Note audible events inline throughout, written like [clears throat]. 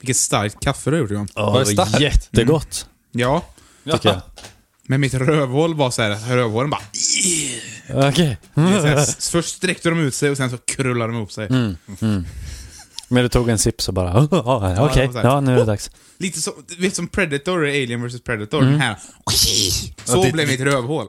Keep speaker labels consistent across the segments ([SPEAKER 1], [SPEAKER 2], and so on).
[SPEAKER 1] Vilket starkt kaffe du har gjort Johan.
[SPEAKER 2] Ja,
[SPEAKER 3] Var det
[SPEAKER 2] det Mm.
[SPEAKER 3] starkt?
[SPEAKER 2] var jättegott.
[SPEAKER 1] Ja.
[SPEAKER 3] tycker jag.
[SPEAKER 1] Men mitt rövhål var så här, rövhålen
[SPEAKER 3] [laughs]
[SPEAKER 1] bara...
[SPEAKER 2] [laughs] Okej.
[SPEAKER 1] Så här, s- först sträckte de ut sig och sen så krullade de ihop sig.
[SPEAKER 3] Mm.
[SPEAKER 2] Men du tog en sipp så bara, [laughs] "Ah, ah,
[SPEAKER 1] Ja,
[SPEAKER 2] okej,
[SPEAKER 1] det var
[SPEAKER 2] ja,
[SPEAKER 1] så här.
[SPEAKER 2] nu är det dags.
[SPEAKER 1] Lite som, du vet, som Predator i Alien vs Predator. Den här. Så
[SPEAKER 3] Ja, Mm. det-
[SPEAKER 1] blev mitt rövhål.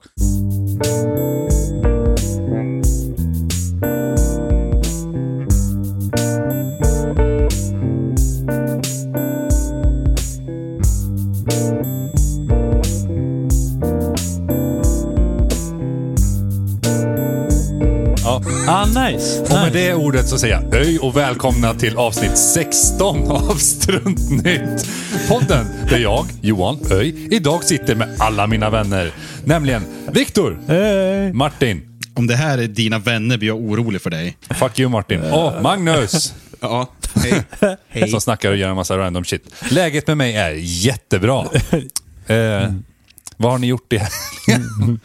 [SPEAKER 3] Ja.
[SPEAKER 2] Ah, nice.
[SPEAKER 3] Och med
[SPEAKER 2] nice.
[SPEAKER 3] det ordet så säger jag öj och välkomna till avsnitt 16 av Struntnytt. Podden där jag, Johan Öj, idag sitter med alla mina vänner. Nämligen Viktor,
[SPEAKER 2] Hej.
[SPEAKER 3] Martin,
[SPEAKER 4] Om det här är dina vänner blir jag orolig för dig.
[SPEAKER 3] fuck you Martin,
[SPEAKER 2] Eh.
[SPEAKER 3] och Magnus
[SPEAKER 1] Ja,
[SPEAKER 3] [laughs]
[SPEAKER 1] hej. hej.
[SPEAKER 3] som snackar och gör en massa random shit. Läget med mig är
[SPEAKER 2] [laughs]
[SPEAKER 3] jättebra.
[SPEAKER 2] Mm.
[SPEAKER 3] Eh, vad har ni gjort i helgen?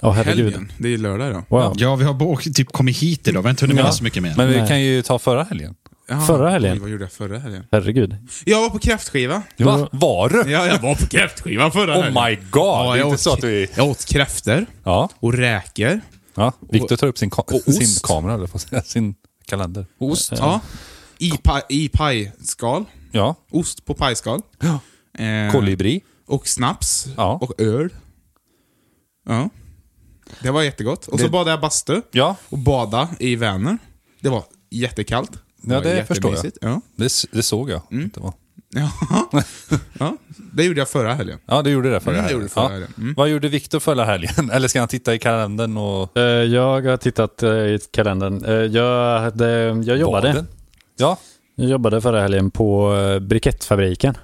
[SPEAKER 2] Åh, herregud.
[SPEAKER 1] Helgen. Det är ju lördag idag.
[SPEAKER 2] Wow.
[SPEAKER 4] Ja, vi har bara åkt- typ kommit hit idag. Vi har inte hunnit med
[SPEAKER 3] Ja,
[SPEAKER 4] så mycket mer.
[SPEAKER 3] Men vi
[SPEAKER 2] Nej.
[SPEAKER 3] kan ju ta förra helgen.
[SPEAKER 1] Jaha.
[SPEAKER 2] Förra helgen.
[SPEAKER 1] Oj, Vad gjorde jag förra helgen?
[SPEAKER 2] Herregud.
[SPEAKER 1] Jag var på kräftskiva.
[SPEAKER 3] Va? Var du?
[SPEAKER 1] Ja, jag var på kräftskiva förra helgen.
[SPEAKER 3] Oh my god! det
[SPEAKER 1] jag
[SPEAKER 3] är inte
[SPEAKER 1] åt,
[SPEAKER 3] så att vi...
[SPEAKER 1] Jag åt kräftor
[SPEAKER 3] Ja.
[SPEAKER 1] och räkor.
[SPEAKER 3] Ja, Viktor tar upp sin, ka-
[SPEAKER 1] och ost.
[SPEAKER 3] sin kamera, eller på säga, sin kalender. Ost?
[SPEAKER 1] Ja. I, pa, I pajskal.
[SPEAKER 3] Ja.
[SPEAKER 1] Ost på pajskal. Eh,
[SPEAKER 3] Kolibri?
[SPEAKER 1] Och snaps.
[SPEAKER 3] Ja.
[SPEAKER 1] Och öl. Ja. Det var jättegott. Och så
[SPEAKER 3] Det-
[SPEAKER 1] badade jag bastu.
[SPEAKER 3] Ja.
[SPEAKER 1] Och bada i Vänern. Det var jättekallt.
[SPEAKER 3] Ja,
[SPEAKER 1] var
[SPEAKER 3] det förstår jag.
[SPEAKER 1] jättemysigt. Ja. Mm.
[SPEAKER 3] Det, s- det såg jag. att Det var.
[SPEAKER 1] Ja. [laughs] ja. Det gjorde jag förra helgen.
[SPEAKER 3] Ja, du gjorde det förra
[SPEAKER 1] Mm, jag
[SPEAKER 3] helgen.
[SPEAKER 1] gjorde det förra
[SPEAKER 3] ja.
[SPEAKER 1] helgen. Mm.
[SPEAKER 3] Vad gjorde Viktor förra helgen? [laughs] Eller ska han titta i kalendern och...
[SPEAKER 2] Eh, Jag har tittat eh, i kalendern. Eh, Jag, hade, jag jobbade.
[SPEAKER 3] Baden? Ja.
[SPEAKER 2] Jag jobbade förra helgen på eh, brikettfabriken.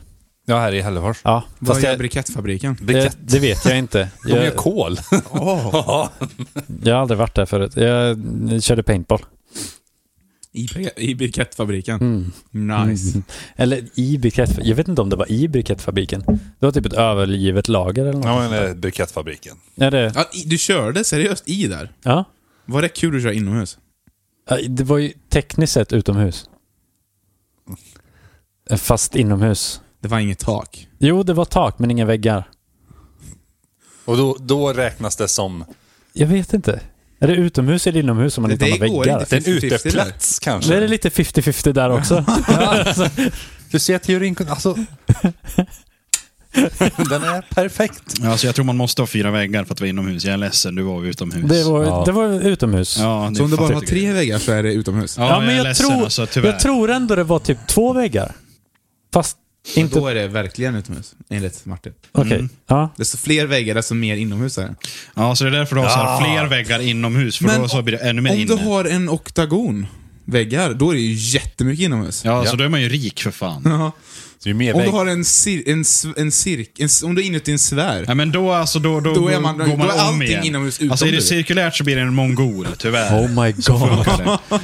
[SPEAKER 3] ja, här i Hällefors.
[SPEAKER 2] Ja,
[SPEAKER 1] Vad gör
[SPEAKER 2] jag-
[SPEAKER 1] brikettfabriken?
[SPEAKER 3] Brikett.
[SPEAKER 2] eh, det vet jag inte.
[SPEAKER 3] De gör
[SPEAKER 1] [laughs]
[SPEAKER 2] Jag,
[SPEAKER 3] kol. [laughs]
[SPEAKER 2] jag har aldrig varit där förut. Jag eh, körde paintball.
[SPEAKER 1] I, bri- I brikettfabriken. Nice.
[SPEAKER 2] Mm. Eller i brikettfabriken. Jag vet inte om det var i brikettfabriken. Det var typ ett övergivet lager eller något.
[SPEAKER 3] ja, men eh, brikettfabriken.
[SPEAKER 2] Ja, det,
[SPEAKER 1] Ja, i- du körde seriöst i där?
[SPEAKER 2] ja.
[SPEAKER 1] Var det kul att köra inomhus?
[SPEAKER 2] Ja, det var ju tekniskt sett utomhus. Eh, Fast inomhus.
[SPEAKER 1] Det var inget tak.
[SPEAKER 2] Jo, det var tak men inga väggar.
[SPEAKER 3] Och då, då räknas det som
[SPEAKER 2] Jag vet inte. Är det utomhus eller inomhus om man
[SPEAKER 1] Det-
[SPEAKER 2] inte har
[SPEAKER 1] det
[SPEAKER 2] några
[SPEAKER 1] går
[SPEAKER 2] väggar?
[SPEAKER 1] inte.
[SPEAKER 3] det är en
[SPEAKER 1] 50-50
[SPEAKER 3] uteplats
[SPEAKER 2] Det
[SPEAKER 3] kanske.
[SPEAKER 2] är det lite 50-50 där också.
[SPEAKER 3] Du ser teorin...
[SPEAKER 2] [laughs]
[SPEAKER 3] Alltså... Den är perfekt.
[SPEAKER 4] Alltså, jag tror man måste ha fyra väggar för att vara inomhus. Jag är ledsen, du var utomhus.
[SPEAKER 2] Det var,
[SPEAKER 3] Ja.
[SPEAKER 2] det var utomhus. Ja,
[SPEAKER 4] Ja,
[SPEAKER 1] Så om du bara har
[SPEAKER 4] fattar jag.
[SPEAKER 1] tre väggar så är det utomhus?
[SPEAKER 4] Ja, jag,
[SPEAKER 2] men
[SPEAKER 4] är
[SPEAKER 2] jag,
[SPEAKER 4] ledsen
[SPEAKER 2] tror,
[SPEAKER 4] alltså, tyvärr.
[SPEAKER 2] jag tror ändå det var typ två väggar. Fast inte...
[SPEAKER 1] Då är det verkligen utomhus, enligt Martin.
[SPEAKER 2] Okej. Ja.
[SPEAKER 1] Desto fler väggar, desto mer inomhus är det.
[SPEAKER 4] Ja, så det är därför du har så här, fler väggar inomhus, för då så blir det ännu mer
[SPEAKER 1] om
[SPEAKER 4] inne.
[SPEAKER 1] du har en oktagon väggar, då är det ju jättemycket inomhus.
[SPEAKER 4] Ja,
[SPEAKER 3] Ja.
[SPEAKER 4] så då är man ju rik för fan.
[SPEAKER 1] Ja.
[SPEAKER 3] Så ju mer
[SPEAKER 1] Om du
[SPEAKER 3] vägg-
[SPEAKER 1] har en, cir en, s- en cirk... En, s- om du är inuti en sfär.
[SPEAKER 4] Ja, men då, alltså, då, då,
[SPEAKER 1] Då är man-
[SPEAKER 4] går man
[SPEAKER 1] då är
[SPEAKER 4] om
[SPEAKER 1] allting
[SPEAKER 4] igen.
[SPEAKER 1] inomhus utom
[SPEAKER 4] alltså, är det
[SPEAKER 1] du.
[SPEAKER 4] cirkulärt så blir det en mongol, tyvärr.
[SPEAKER 2] Oh my god.
[SPEAKER 1] Det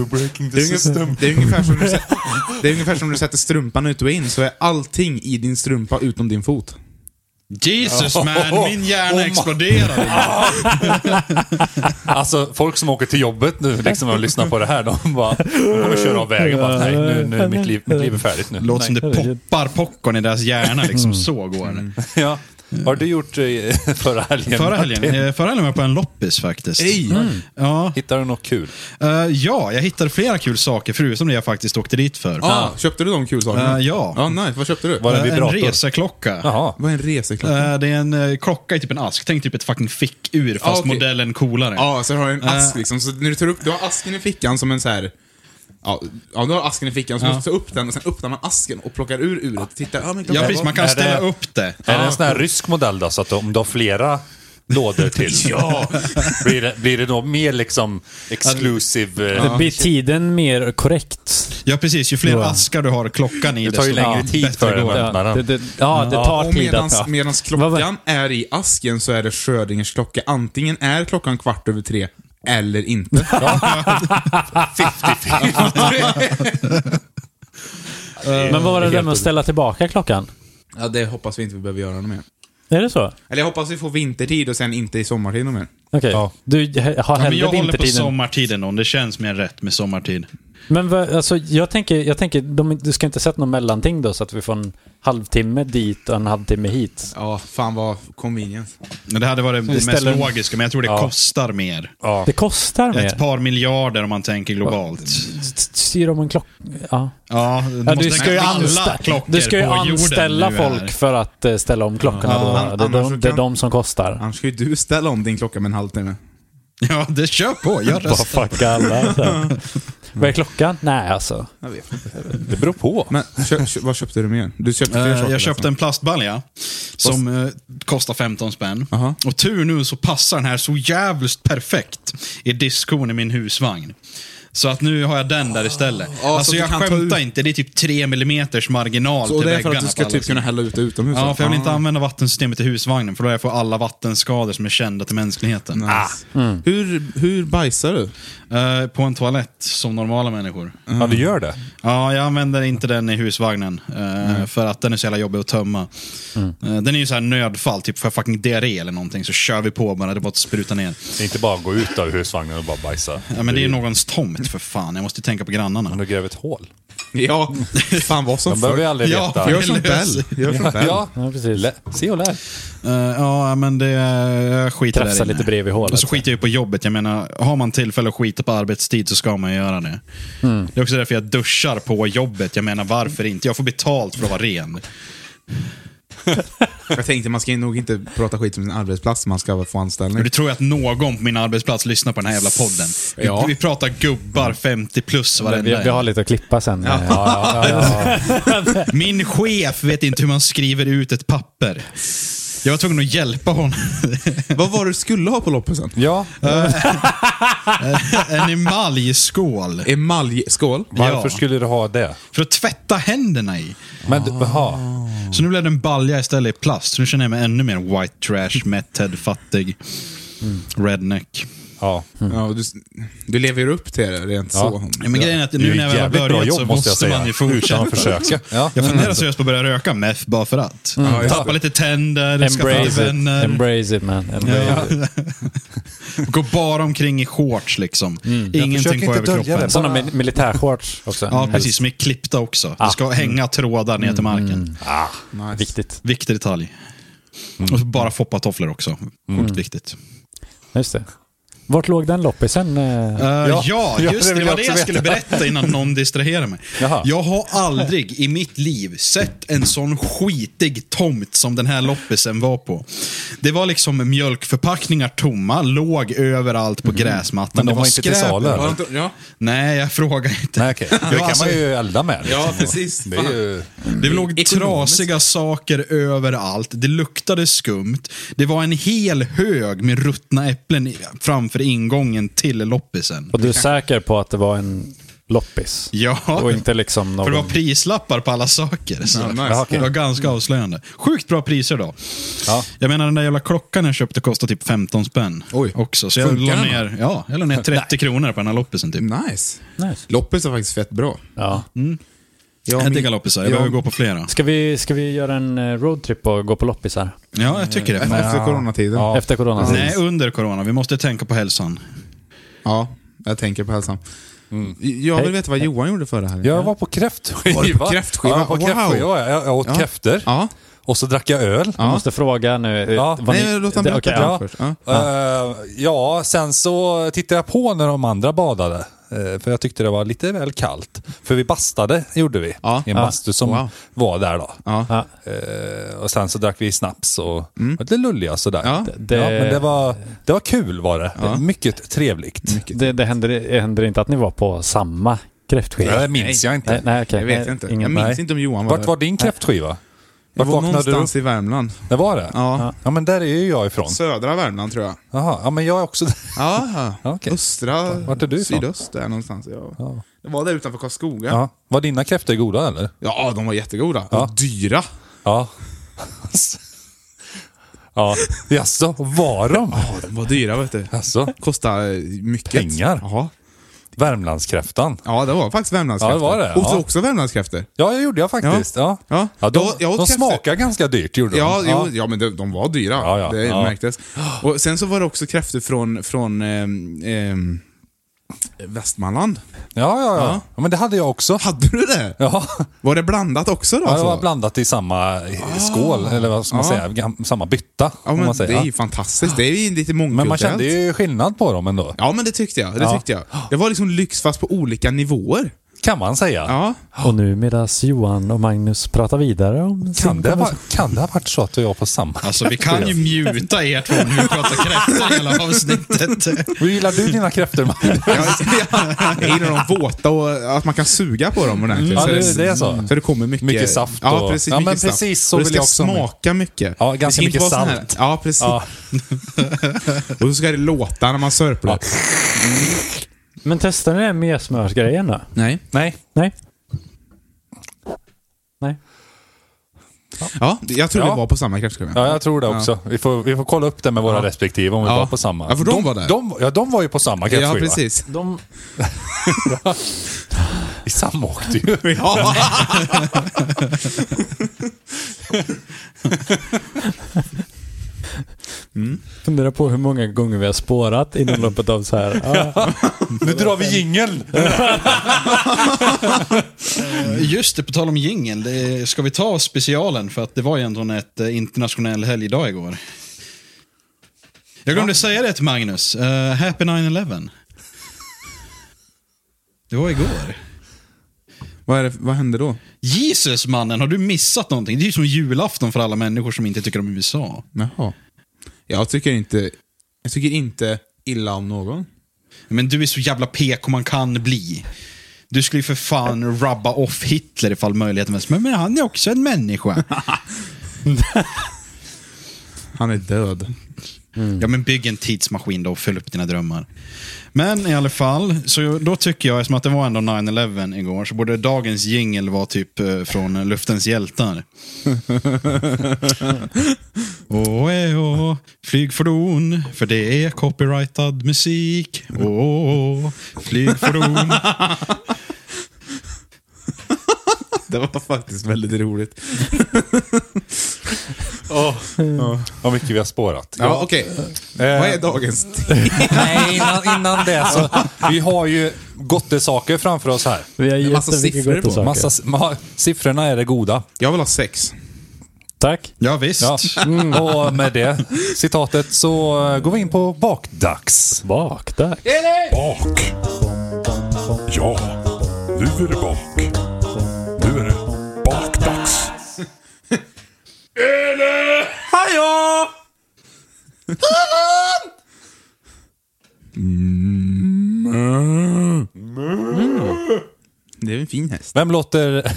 [SPEAKER 1] är, ungefär, det, är ungefär som du sätter, det är ungefär som du sätter strumpan ut och in, så är allting i din strumpa utom din fot.
[SPEAKER 4] Jesus man, min hjärna
[SPEAKER 3] Oh my-
[SPEAKER 4] exploderade.
[SPEAKER 3] Alltså folk som åker till jobbet nu liksom, och lyssnar på det här, de bara de kommer köra av vägen. Bara, nej, nu, nu, mitt, liv, mitt liv är färdigt nu.
[SPEAKER 4] Låter som det
[SPEAKER 3] nej.
[SPEAKER 2] herregud.
[SPEAKER 4] poppar popcorn i deras hjärna
[SPEAKER 1] Mm.
[SPEAKER 4] liksom. Så går det.
[SPEAKER 3] Ja. Vad har du gjort eh, [laughs] förra helgen?
[SPEAKER 4] Förra helgen,
[SPEAKER 3] Martin?
[SPEAKER 4] eh, förra helgen var jag på en loppis faktiskt. Mm. Ja,
[SPEAKER 3] Hittade du något kul?
[SPEAKER 4] eh, ja, jag hittade flera kul saker förutom det jag faktiskt åkte dit för.
[SPEAKER 1] Ah, Köpte du de kul sakerna?
[SPEAKER 4] Eh, ja.
[SPEAKER 1] Ja, nice. Vad köpte du?
[SPEAKER 3] Var det
[SPEAKER 4] Eh, en
[SPEAKER 3] vibrator?
[SPEAKER 4] reseklocka.
[SPEAKER 3] Jaha.
[SPEAKER 1] Vad är en reseklocka?
[SPEAKER 4] Eh, det är en eh, klocka i typ en ask. Tänk typ ett fucking fickur fast
[SPEAKER 1] Ah, okej.
[SPEAKER 4] modellen coolare.
[SPEAKER 1] Ja, så har du en ask
[SPEAKER 4] Eh.
[SPEAKER 1] liksom. Så när du tar upp, du har asken i fickan som en så här. Ja, ja, du har asken i fickan, så
[SPEAKER 4] Ja.
[SPEAKER 1] måste du ta upp den och sen öppnar man asken och plockar ur uret och tittar. Ja, men
[SPEAKER 4] ja, precis. Man kan
[SPEAKER 3] Är
[SPEAKER 4] ställa
[SPEAKER 3] det-
[SPEAKER 4] upp det.
[SPEAKER 3] Är det en sån här rysk modell då? Så att om du har flera lådor
[SPEAKER 4] [laughs]
[SPEAKER 3] till, ja. blir, det, blir det då mer liksom exclusive? eh,
[SPEAKER 2] Blir tiden mer korrekt?
[SPEAKER 4] Ja, precis. Ju fler
[SPEAKER 2] Ja.
[SPEAKER 4] askar du har klockan i,
[SPEAKER 3] Det tar ju
[SPEAKER 4] desto
[SPEAKER 3] längre
[SPEAKER 4] bättre
[SPEAKER 3] tid för den
[SPEAKER 4] går
[SPEAKER 3] att
[SPEAKER 4] det.
[SPEAKER 3] öppna
[SPEAKER 2] Ja, det,
[SPEAKER 3] den.
[SPEAKER 2] det, ja, det tar
[SPEAKER 1] Och
[SPEAKER 2] tid alltså. att...
[SPEAKER 1] medans,
[SPEAKER 2] Ja.
[SPEAKER 1] medans
[SPEAKER 2] Vad var-
[SPEAKER 1] klockan är i asken så är det Schrödingers klocka. Antingen är klockan kvart över tre eller
[SPEAKER 4] [laughs]
[SPEAKER 1] inte.
[SPEAKER 2] Men vad var det
[SPEAKER 3] Helt
[SPEAKER 2] där med att ställa tillbaka klockan?
[SPEAKER 1] Ja, det hoppas vi inte vi behöver göra något mer.
[SPEAKER 2] Är det så?
[SPEAKER 1] Eller jag hoppas vi får vintertid och sen inte i sommartid något mer.
[SPEAKER 2] Okej.
[SPEAKER 3] Ja.
[SPEAKER 2] Du he- har
[SPEAKER 4] Ja, men
[SPEAKER 2] hellre
[SPEAKER 4] jag håller på
[SPEAKER 2] vintertiden.
[SPEAKER 4] sommartiden då. om Det känns mer rätt med sommartid.
[SPEAKER 2] Men vad, alltså, jag tänker, jag tänker de, du ska inte sätta något mellanting då så att vi får en halvtimme dit och en halvtimme hit?
[SPEAKER 1] Ja, fan vad convenience.
[SPEAKER 4] Men det hade varit det mest
[SPEAKER 2] ställer-
[SPEAKER 4] logiska, men jag tror det
[SPEAKER 3] Ja.
[SPEAKER 4] kostar mer.
[SPEAKER 3] Ja.
[SPEAKER 2] Det kostar
[SPEAKER 4] Ett
[SPEAKER 2] mer.
[SPEAKER 4] par miljarder om man tänker globalt.
[SPEAKER 2] Styr om en klocka. Ja.
[SPEAKER 4] Ja, du,
[SPEAKER 2] Ja,
[SPEAKER 4] måste
[SPEAKER 2] du, ska ju
[SPEAKER 4] tänka på alla
[SPEAKER 2] anstä-
[SPEAKER 4] klockor
[SPEAKER 2] du ska ju
[SPEAKER 4] på jorden
[SPEAKER 2] anställa
[SPEAKER 4] nu här.
[SPEAKER 2] folk för att eh, ställa om klockorna.
[SPEAKER 1] Ja,
[SPEAKER 2] då.
[SPEAKER 1] an-
[SPEAKER 2] Det, är
[SPEAKER 1] annars
[SPEAKER 2] de,
[SPEAKER 1] så
[SPEAKER 2] det är
[SPEAKER 1] kan-
[SPEAKER 2] de som kostar.
[SPEAKER 1] Annars ska ju du ställa om din klocka med en halvtimme.
[SPEAKER 4] Ja, det kör på. Jag
[SPEAKER 2] Bara
[SPEAKER 4] röstar.
[SPEAKER 2] fucka
[SPEAKER 4] [laughs]
[SPEAKER 2] alla. så här. Vad är klockan? Nej, alltså.
[SPEAKER 1] Jag vet inte.
[SPEAKER 3] Det beror på.
[SPEAKER 1] Men kö, kö, vad köpte du mer? Du köpte fler
[SPEAKER 4] Eh,
[SPEAKER 1] saker, alltså.
[SPEAKER 4] Jag köpte en plastbalja som eh, kostar 15 spänn.
[SPEAKER 1] Aha.
[SPEAKER 4] Och tur nu så passar den här så jävligt perfekt i diskon i min husvagn. Så att nu har jag den där istället.
[SPEAKER 1] så
[SPEAKER 4] alltså
[SPEAKER 1] du
[SPEAKER 4] jag
[SPEAKER 1] kan ta
[SPEAKER 4] skämtar
[SPEAKER 1] ut-
[SPEAKER 4] inte, det är typ 3 millimeters marginal
[SPEAKER 1] Så, och
[SPEAKER 4] till
[SPEAKER 1] det är för
[SPEAKER 4] väggarna.
[SPEAKER 1] att du
[SPEAKER 4] på
[SPEAKER 1] ska
[SPEAKER 4] alla
[SPEAKER 1] typ
[SPEAKER 4] sidor.
[SPEAKER 1] kunna hälla ut det utomhus?
[SPEAKER 4] Ja, för jag vill inte
[SPEAKER 1] Ah,
[SPEAKER 4] använda vattensystemet i husvagnen, för då har jag får alla vattenskador som är kända till mänskligheten.
[SPEAKER 1] nice. Hur, hur bajsar du?
[SPEAKER 4] Eh, på en toalett, som normala människor.
[SPEAKER 3] Ja, du gör det.
[SPEAKER 4] Ja, jag använder inte den i husvagnen. eh, För att den är så jävla jobbig att tömma.
[SPEAKER 2] Mm.
[SPEAKER 4] Eh, den är ju så här nödfall, typ för fucking diarré eller någonting så kör vi på bara, det är bara att spruta ner.
[SPEAKER 3] Det är Inte bara gå ut av husvagnen och bara bajsa.
[SPEAKER 4] Ja, men det är ju någons tomt för fan, jag måste ju tänka på
[SPEAKER 3] Men
[SPEAKER 4] grannarna.
[SPEAKER 3] du gräver ett hål.
[SPEAKER 1] Ja, fan vad
[SPEAKER 3] De
[SPEAKER 1] som
[SPEAKER 3] behöver ju aldrig
[SPEAKER 4] Ja,
[SPEAKER 3] veta.
[SPEAKER 4] för
[SPEAKER 1] Gör som Bell. Gör som Bell.
[SPEAKER 3] Ja,
[SPEAKER 2] Ja, precis.
[SPEAKER 3] Lä- se och lär.
[SPEAKER 4] Eh, ja, men det jag skiter där
[SPEAKER 2] Krafsa
[SPEAKER 4] inne.
[SPEAKER 2] lite bredvid hålet.
[SPEAKER 4] Och så skiter jag ju på jobbet. Jag menar, har man tillfälle att skita på arbetstid så ska man ju göra det.
[SPEAKER 2] Mm.
[SPEAKER 4] Det är också därför jag duschar på jobbet. Jag menar, varför inte? Jag får betalt för att vara ren.
[SPEAKER 1] Jag tänkte man ska nog inte prata skit om sin arbetsplats om man ska få anställning.
[SPEAKER 4] Men du tror ju att någon på min arbetsplats lyssnar på den här jävla podden. Vi,
[SPEAKER 1] Ja.
[SPEAKER 4] vi pratar gubbar 50 plus varenda
[SPEAKER 2] vi, vi har
[SPEAKER 4] en.
[SPEAKER 2] lite att klippa sen. eh, Ja.
[SPEAKER 4] [laughs]
[SPEAKER 2] Ja, ja, ja.
[SPEAKER 4] Min chef vet inte hur man skriver ut ett papper. Jag var tvungen att hjälpa honom. [laughs]
[SPEAKER 1] Vad var det du skulle ha på loppisen?
[SPEAKER 2] ja.
[SPEAKER 4] en emaljskål.
[SPEAKER 1] Emaljskål?
[SPEAKER 3] Varför
[SPEAKER 4] Ja.
[SPEAKER 3] skulle du ha det?
[SPEAKER 4] För att tvätta händerna i.
[SPEAKER 3] Men du,
[SPEAKER 4] Ah.
[SPEAKER 3] jaha.
[SPEAKER 4] Så nu blev det en balja istället i plast. Så nu känner jag mig ännu mer white trash, mättad, fattig. Redneck.
[SPEAKER 3] Ja.
[SPEAKER 1] Ja, du, du lever ju upp till det rent
[SPEAKER 3] Ja.
[SPEAKER 1] så.
[SPEAKER 4] Ja, men grejen är att
[SPEAKER 3] Du
[SPEAKER 4] nu
[SPEAKER 3] är
[SPEAKER 4] när jag väl har
[SPEAKER 3] jävligt bra
[SPEAKER 4] börjat
[SPEAKER 3] jobb
[SPEAKER 4] så
[SPEAKER 3] måste jag
[SPEAKER 4] måste
[SPEAKER 3] säga.
[SPEAKER 4] man ju fortsätta.
[SPEAKER 3] Utan att försöka. Ja.
[SPEAKER 4] Jag funderar seriöst på att börja röka meth bara för att.
[SPEAKER 1] Ja, just
[SPEAKER 4] Tappa lite tänder, skaffa
[SPEAKER 2] Embrace it.
[SPEAKER 4] vänner.
[SPEAKER 2] Embrace it man. Embrace it.
[SPEAKER 4] Gå bara omkring i shorts liksom.
[SPEAKER 3] försök
[SPEAKER 4] Ingenting
[SPEAKER 3] Mm. inte
[SPEAKER 4] på
[SPEAKER 3] dölja
[SPEAKER 4] överkroppen.
[SPEAKER 3] det. Mm.
[SPEAKER 2] Sådana Eh, mil- militärshorts också.
[SPEAKER 4] Ja, precis. Som är klippta också.
[SPEAKER 3] Ah.
[SPEAKER 4] Det ska hänga trådar ner till marken.
[SPEAKER 3] Mm.
[SPEAKER 1] Nice.
[SPEAKER 2] Viktigt.
[SPEAKER 4] Viktig detalj. Och så bara foppatofflor också.
[SPEAKER 3] Mm.
[SPEAKER 4] Sjukt viktigt.
[SPEAKER 2] Just det. Vart låg den loppisen? eh?
[SPEAKER 4] Eh, ja,
[SPEAKER 3] Ja,
[SPEAKER 4] just
[SPEAKER 3] det vill
[SPEAKER 4] det. Det
[SPEAKER 3] jag
[SPEAKER 4] var
[SPEAKER 3] också
[SPEAKER 4] det jag
[SPEAKER 3] veta.
[SPEAKER 4] skulle berätta innan någon distraherar mig.
[SPEAKER 2] Jaha.
[SPEAKER 4] Jag har aldrig i mitt liv sett en sån skitig tomt som den här loppisen var på. Det var liksom mjölkförpackningar tomma, låg överallt på gräsmattan.
[SPEAKER 3] Mm. Men de
[SPEAKER 4] det
[SPEAKER 3] var inte till
[SPEAKER 4] skräp
[SPEAKER 3] salu,
[SPEAKER 4] överallt.
[SPEAKER 3] eller?
[SPEAKER 1] Ja, ja.
[SPEAKER 4] Nej, jag frågar inte.
[SPEAKER 3] Nej,
[SPEAKER 4] [laughs]
[SPEAKER 3] okej. Det kan
[SPEAKER 4] alltså-
[SPEAKER 3] man ju elda med. liksom.
[SPEAKER 1] Ja, precis.
[SPEAKER 3] Det är ju...
[SPEAKER 4] Det låg trasiga saker överallt. Det luktade skumt. Det var en hel hög med ruttna äpplen i- framför ingången till loppisen.
[SPEAKER 2] Och du är säker på att det var en loppis?
[SPEAKER 4] Ja,
[SPEAKER 2] Och inte liksom
[SPEAKER 4] för
[SPEAKER 2] någon...
[SPEAKER 4] det var prislappar på alla saker. Så.
[SPEAKER 1] Ja, nice.
[SPEAKER 4] Jaha, okej. Det var ganska avslöjande. Sjukt bra priser då.
[SPEAKER 3] Ja.
[SPEAKER 4] Jag menar, den där jävla klockan jag köpte kostade typ 15 spänn.
[SPEAKER 1] Oj.
[SPEAKER 4] Också, så jag
[SPEAKER 1] Funkar
[SPEAKER 4] la,
[SPEAKER 1] den
[SPEAKER 4] ner, ja, jag la ner 30 kronor på den här loppisen typ.
[SPEAKER 1] Nice.
[SPEAKER 2] Nice.
[SPEAKER 1] Loppis är faktiskt fett bra.
[SPEAKER 2] Ja.
[SPEAKER 1] Jag,
[SPEAKER 4] Jag
[SPEAKER 1] min-
[SPEAKER 4] diggar loppisar, jag
[SPEAKER 1] Ja.
[SPEAKER 4] behöver gå på flera.
[SPEAKER 2] Ska, vi, ska vi göra en eh, roadtrip och gå på loppisar?
[SPEAKER 4] Ja, jag tycker det.
[SPEAKER 1] Efter coronatiden. Ja.
[SPEAKER 3] Ja.
[SPEAKER 2] Efter corona? Mm.
[SPEAKER 4] Nej, under corona. Vi måste tänka på hälsan.
[SPEAKER 1] jag tänker på hälsan. Jag
[SPEAKER 2] Hej.
[SPEAKER 1] vill veta vad Johan gjorde förra helgen.
[SPEAKER 3] Jag var på kräftskiva.
[SPEAKER 1] Var du på kräftskiva?
[SPEAKER 3] Ja, jag var på
[SPEAKER 1] Wow.
[SPEAKER 3] kräftskiva. Jag- Jag jag åt
[SPEAKER 1] Ja.
[SPEAKER 3] kräftor.
[SPEAKER 1] Ja.
[SPEAKER 3] Och så drack jag öl.
[SPEAKER 2] Jag måste fråga nu. eh,
[SPEAKER 3] Ja.
[SPEAKER 2] vad
[SPEAKER 1] Nej, låt han
[SPEAKER 2] det-
[SPEAKER 1] berätta det
[SPEAKER 2] okej, ja.
[SPEAKER 1] först. Ja.
[SPEAKER 3] Eh, ja, sen så tittade jag på när de andra badade. eh, För jag tyckte det var lite väl kallt. För vi bastade, gjorde vi.
[SPEAKER 1] Ja.
[SPEAKER 3] I en
[SPEAKER 1] Ja.
[SPEAKER 3] bastu som
[SPEAKER 1] Wow.
[SPEAKER 3] var där då.
[SPEAKER 1] Ja. Mm.
[SPEAKER 2] Ja.
[SPEAKER 3] Eh, och sen så drack vi snaps och var lite lulliga sådär.
[SPEAKER 1] Ja.
[SPEAKER 2] Det-
[SPEAKER 3] Ja, men det var, det var kul var det. det var mycket trevligt.
[SPEAKER 2] Det, det händer, det händer inte att ni var på samma kräftskiva?
[SPEAKER 3] Det minns jag inte.
[SPEAKER 2] Nej, nej, okej.
[SPEAKER 1] Det vet
[SPEAKER 2] Nej,
[SPEAKER 1] jag inte.
[SPEAKER 2] Ingen,
[SPEAKER 1] jag minns
[SPEAKER 2] nej.
[SPEAKER 1] inte om Johan var
[SPEAKER 3] Vart var din kräftskiva? Vart
[SPEAKER 1] var
[SPEAKER 3] vaknade du upp?
[SPEAKER 1] någonstans i Värmland.
[SPEAKER 3] Det var det?
[SPEAKER 1] Ja.
[SPEAKER 3] Ja, men där är ju jag ifrån.
[SPEAKER 1] Södra Värmland tror jag.
[SPEAKER 3] Jaha, ja, men jag är också där.
[SPEAKER 1] Ja,
[SPEAKER 3] Ja, okej.
[SPEAKER 1] östra,
[SPEAKER 3] Vart är du ifrån?
[SPEAKER 1] sydöst där någonstans. Ja. Det var där utanför Karlskoga. Ja.
[SPEAKER 3] Ja. Var dina kräftor goda eller?
[SPEAKER 1] de var jättegoda.
[SPEAKER 3] Ja.
[SPEAKER 1] Och dyra. [laughs]
[SPEAKER 3] Ja. ja. Jaså, var de?
[SPEAKER 1] Ja, de var dyra vet du.
[SPEAKER 3] Alltså,
[SPEAKER 1] Kostar eh, mycket.
[SPEAKER 3] Pengar.
[SPEAKER 1] Ja.
[SPEAKER 3] Värmlandskräftan.
[SPEAKER 1] Ja, det var faktiskt värmlandskräftor.
[SPEAKER 3] Ja, det var det,
[SPEAKER 1] Och
[SPEAKER 3] ja.
[SPEAKER 1] också värmlandskräftor.
[SPEAKER 3] Ja, det gjorde jag faktiskt. Ja.
[SPEAKER 1] Ja.
[SPEAKER 3] de
[SPEAKER 1] Jag- jag åt
[SPEAKER 3] de
[SPEAKER 1] kräftor.
[SPEAKER 3] smakar ganska dyrt, gjorde
[SPEAKER 1] Ja,
[SPEAKER 3] de.
[SPEAKER 1] ja. Jo, ja, men de, de var dyra.
[SPEAKER 3] Ja, ja,
[SPEAKER 1] det
[SPEAKER 3] ja.
[SPEAKER 1] märktes. Och sen så var det också kräftor från, från ehm, ehm, Västmanland.
[SPEAKER 3] Ja, ja, ja, ja. Men det hade jag också.
[SPEAKER 1] Hade du det?
[SPEAKER 3] Ja,
[SPEAKER 1] Var det blandat också då?
[SPEAKER 3] ja det
[SPEAKER 1] alltså?
[SPEAKER 3] var blandat i samma skål, eller vad ska man
[SPEAKER 1] Ah. Ja.
[SPEAKER 3] säga, gam- samma bytta.
[SPEAKER 1] ja,
[SPEAKER 3] om
[SPEAKER 1] men
[SPEAKER 3] man
[SPEAKER 1] det
[SPEAKER 3] säger.
[SPEAKER 1] är ju fantastiskt. Det är ju lite
[SPEAKER 3] Men
[SPEAKER 1] mångkulturellt.
[SPEAKER 3] man kände ju skillnad på dem ändå,
[SPEAKER 1] Ja, men det tyckte jag. Det,
[SPEAKER 3] Ja.
[SPEAKER 1] tyckte jag. det var liksom lyx fast på olika nivåer.
[SPEAKER 3] kan man säga.
[SPEAKER 1] Ja.
[SPEAKER 2] Och nu medan Johan och Magnus pratar vidare om
[SPEAKER 3] Kan,
[SPEAKER 2] sin
[SPEAKER 3] det ha,
[SPEAKER 2] konversation.
[SPEAKER 3] kan det ha varit så att du och jag på samma?
[SPEAKER 4] Alltså vi kan ju mjuta er två när vi pratar kräftor i [laughs] hela avsnittet.
[SPEAKER 3] Hur gillar du dina kräftor, Magnus?
[SPEAKER 1] Ja, [laughs] jag gillar de våta och att man kan suga på dem ordentligt.
[SPEAKER 3] Mm. Ja,
[SPEAKER 1] så, Mm.
[SPEAKER 3] det- det är så.
[SPEAKER 1] så det kommer mycket...
[SPEAKER 3] Mycket saft
[SPEAKER 1] Ja,
[SPEAKER 3] och-
[SPEAKER 1] precis.
[SPEAKER 3] Ja,
[SPEAKER 1] mycket
[SPEAKER 3] men
[SPEAKER 1] saft.
[SPEAKER 3] precis så
[SPEAKER 1] och det
[SPEAKER 3] vill
[SPEAKER 1] ska
[SPEAKER 3] jag också ha
[SPEAKER 1] smaka mycket.
[SPEAKER 3] Ja,
[SPEAKER 1] Det
[SPEAKER 3] ganska
[SPEAKER 1] ska inte
[SPEAKER 3] mycket
[SPEAKER 1] vara sån
[SPEAKER 3] salt.
[SPEAKER 1] Här. Ja, precis.
[SPEAKER 3] Ja.
[SPEAKER 1] [laughs] Och så ska det låta när man sörplar.
[SPEAKER 3] Ja.
[SPEAKER 2] Men testar ni den med smörsgrejen då?
[SPEAKER 1] Nej.
[SPEAKER 3] Nej.
[SPEAKER 2] Nej? Nej.
[SPEAKER 1] Ja, jag tror
[SPEAKER 3] Ja.
[SPEAKER 1] det var på samma kräftskiva.
[SPEAKER 3] Ja, jag tror det också. Vi, får, vi får kolla upp det med våra respektive om vi
[SPEAKER 1] Ja.
[SPEAKER 3] var på samma.
[SPEAKER 1] Ja, för de var där.
[SPEAKER 3] De, ja, de var ju på samma
[SPEAKER 1] Ja,
[SPEAKER 3] kräftskiva.
[SPEAKER 1] precis.
[SPEAKER 2] De...
[SPEAKER 3] Vi samåkte ju.
[SPEAKER 1] Ja. [laughs]
[SPEAKER 2] Funderar på hur många gånger vi har spårat inom loppet av så här. Ja.
[SPEAKER 3] Nu drar vi jingeln!
[SPEAKER 4] Eh, Just det, på tal om jingel. Ska vi ta specialen? För att det var ju ändå ett eh, internationell helgdag igår. Jag glömde säga det till Magnus. Eh, happy 9-11. Det var igår.
[SPEAKER 1] vad, är det, vad hände då?
[SPEAKER 4] Jesus mannen, har du missat någonting? Det är ju som julafton för alla människor som inte tycker om USA.
[SPEAKER 1] Jaha. Jag tycker inte, jag tycker inte illa om någon.
[SPEAKER 4] Men du är så jävla PK man kan bli. Du skulle ju för fan rubba off Hitler ifall möjligheten fanns. Men, men han är också en människa.
[SPEAKER 1] Han är död.
[SPEAKER 4] Ja, men bygg en tidsmaskin då och följ upp dina drömmar. Men i alla fall, så då tycker jag, eftersom att det var ändå 9-11 igår, så borde dagens jingel vara typ eh, från Luftens hjältar. Åh, eh, åh, flygfordon, för det är copyrightad musik. Åh, åh, flygfordon.
[SPEAKER 1] [laughs] Det var faktiskt väldigt roligt.
[SPEAKER 3] Vad mycket vi har spårat. Eh,
[SPEAKER 1] Ja, okej. Vad är dagens
[SPEAKER 3] Nej, innan, innan det så. Vi har ju gottesaker framför oss här.
[SPEAKER 2] Vi har
[SPEAKER 1] massa
[SPEAKER 2] jättemycket
[SPEAKER 1] siffror på.
[SPEAKER 2] gott saker.
[SPEAKER 3] Massa, ma, siffrorna är det goda.
[SPEAKER 1] Jag vill ha sex.
[SPEAKER 2] Tack.
[SPEAKER 4] Ja, visst.
[SPEAKER 3] Ja. Och med det citatet så eh, går vi in på bakdags.
[SPEAKER 2] Bakdags.
[SPEAKER 5] Bak. Ja, nu är det bak. Nu är det bakdags.
[SPEAKER 1] Hallå! Det är en fin häst.
[SPEAKER 3] Vem låter...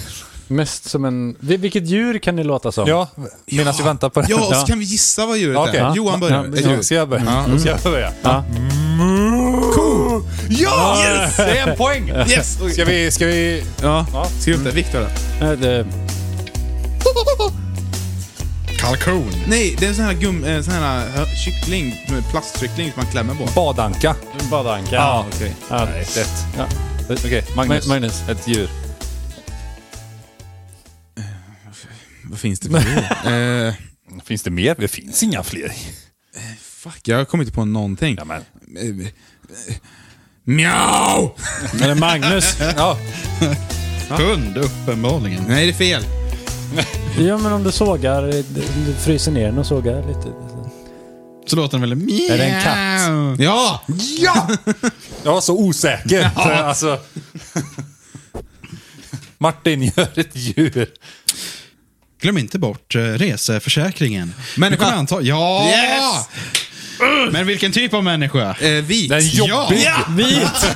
[SPEAKER 2] Mest som en... Vil- Vilket djur kan ni låta som?
[SPEAKER 3] Ja, medan vi väntar på det.
[SPEAKER 1] Ja, och så kan vi gissa vad djuret
[SPEAKER 3] Okej.
[SPEAKER 1] är. Johan börjar.
[SPEAKER 2] Ja,
[SPEAKER 1] Ett djur.
[SPEAKER 3] Ska jag börja? Ska jag börja?
[SPEAKER 2] Ja.
[SPEAKER 3] Ko! Ja!
[SPEAKER 1] Yes!
[SPEAKER 3] Det är en poäng!
[SPEAKER 1] Yes!
[SPEAKER 3] Ska vi... Ska vi...
[SPEAKER 1] Ja, skriv upp det. Viktor då.
[SPEAKER 2] Eh, det-
[SPEAKER 4] Kalkon.
[SPEAKER 1] Nej, det är en sån här gum... En sån här eh, kyckling, plastkyckling som man klämmer på.
[SPEAKER 3] Badanka.
[SPEAKER 2] Badanka.
[SPEAKER 3] Ja.
[SPEAKER 1] Okej.
[SPEAKER 2] Ja.
[SPEAKER 3] Nej, rätt.
[SPEAKER 2] Ja.
[SPEAKER 3] Okej, Magnus.
[SPEAKER 2] Ma- Magnus.
[SPEAKER 3] Ett djur.
[SPEAKER 1] Vad finns det för djur? Eh,
[SPEAKER 3] Finns det mer? Det finns inga fler.
[SPEAKER 1] Fuck, jag kommer inte på någonting.
[SPEAKER 3] Ja, men.
[SPEAKER 1] Eh, eh, Mjau!
[SPEAKER 2] Eller Magnus.
[SPEAKER 3] Ja,
[SPEAKER 4] Hund, uppenbarligen.
[SPEAKER 1] Nej, det är fel.
[SPEAKER 2] [laughs] ja, men om du sågar, eh, du fryser ner den och sågar lite.
[SPEAKER 4] Så låter den väl mjau.
[SPEAKER 2] Är det en katt?
[SPEAKER 1] Ja!
[SPEAKER 3] Ja! Jag var så osäker. Så jag, [laughs] alltså... Martin gör ett djur.
[SPEAKER 4] Glöm inte bort eh, reseförsäkringen.
[SPEAKER 1] Människa.
[SPEAKER 4] Nu kommer jag anta- Ja!
[SPEAKER 1] Yes!
[SPEAKER 4] Men vilken typ av människa?
[SPEAKER 1] Eh, vit.
[SPEAKER 3] Den
[SPEAKER 4] Ja!
[SPEAKER 3] jobbig.
[SPEAKER 2] Vit!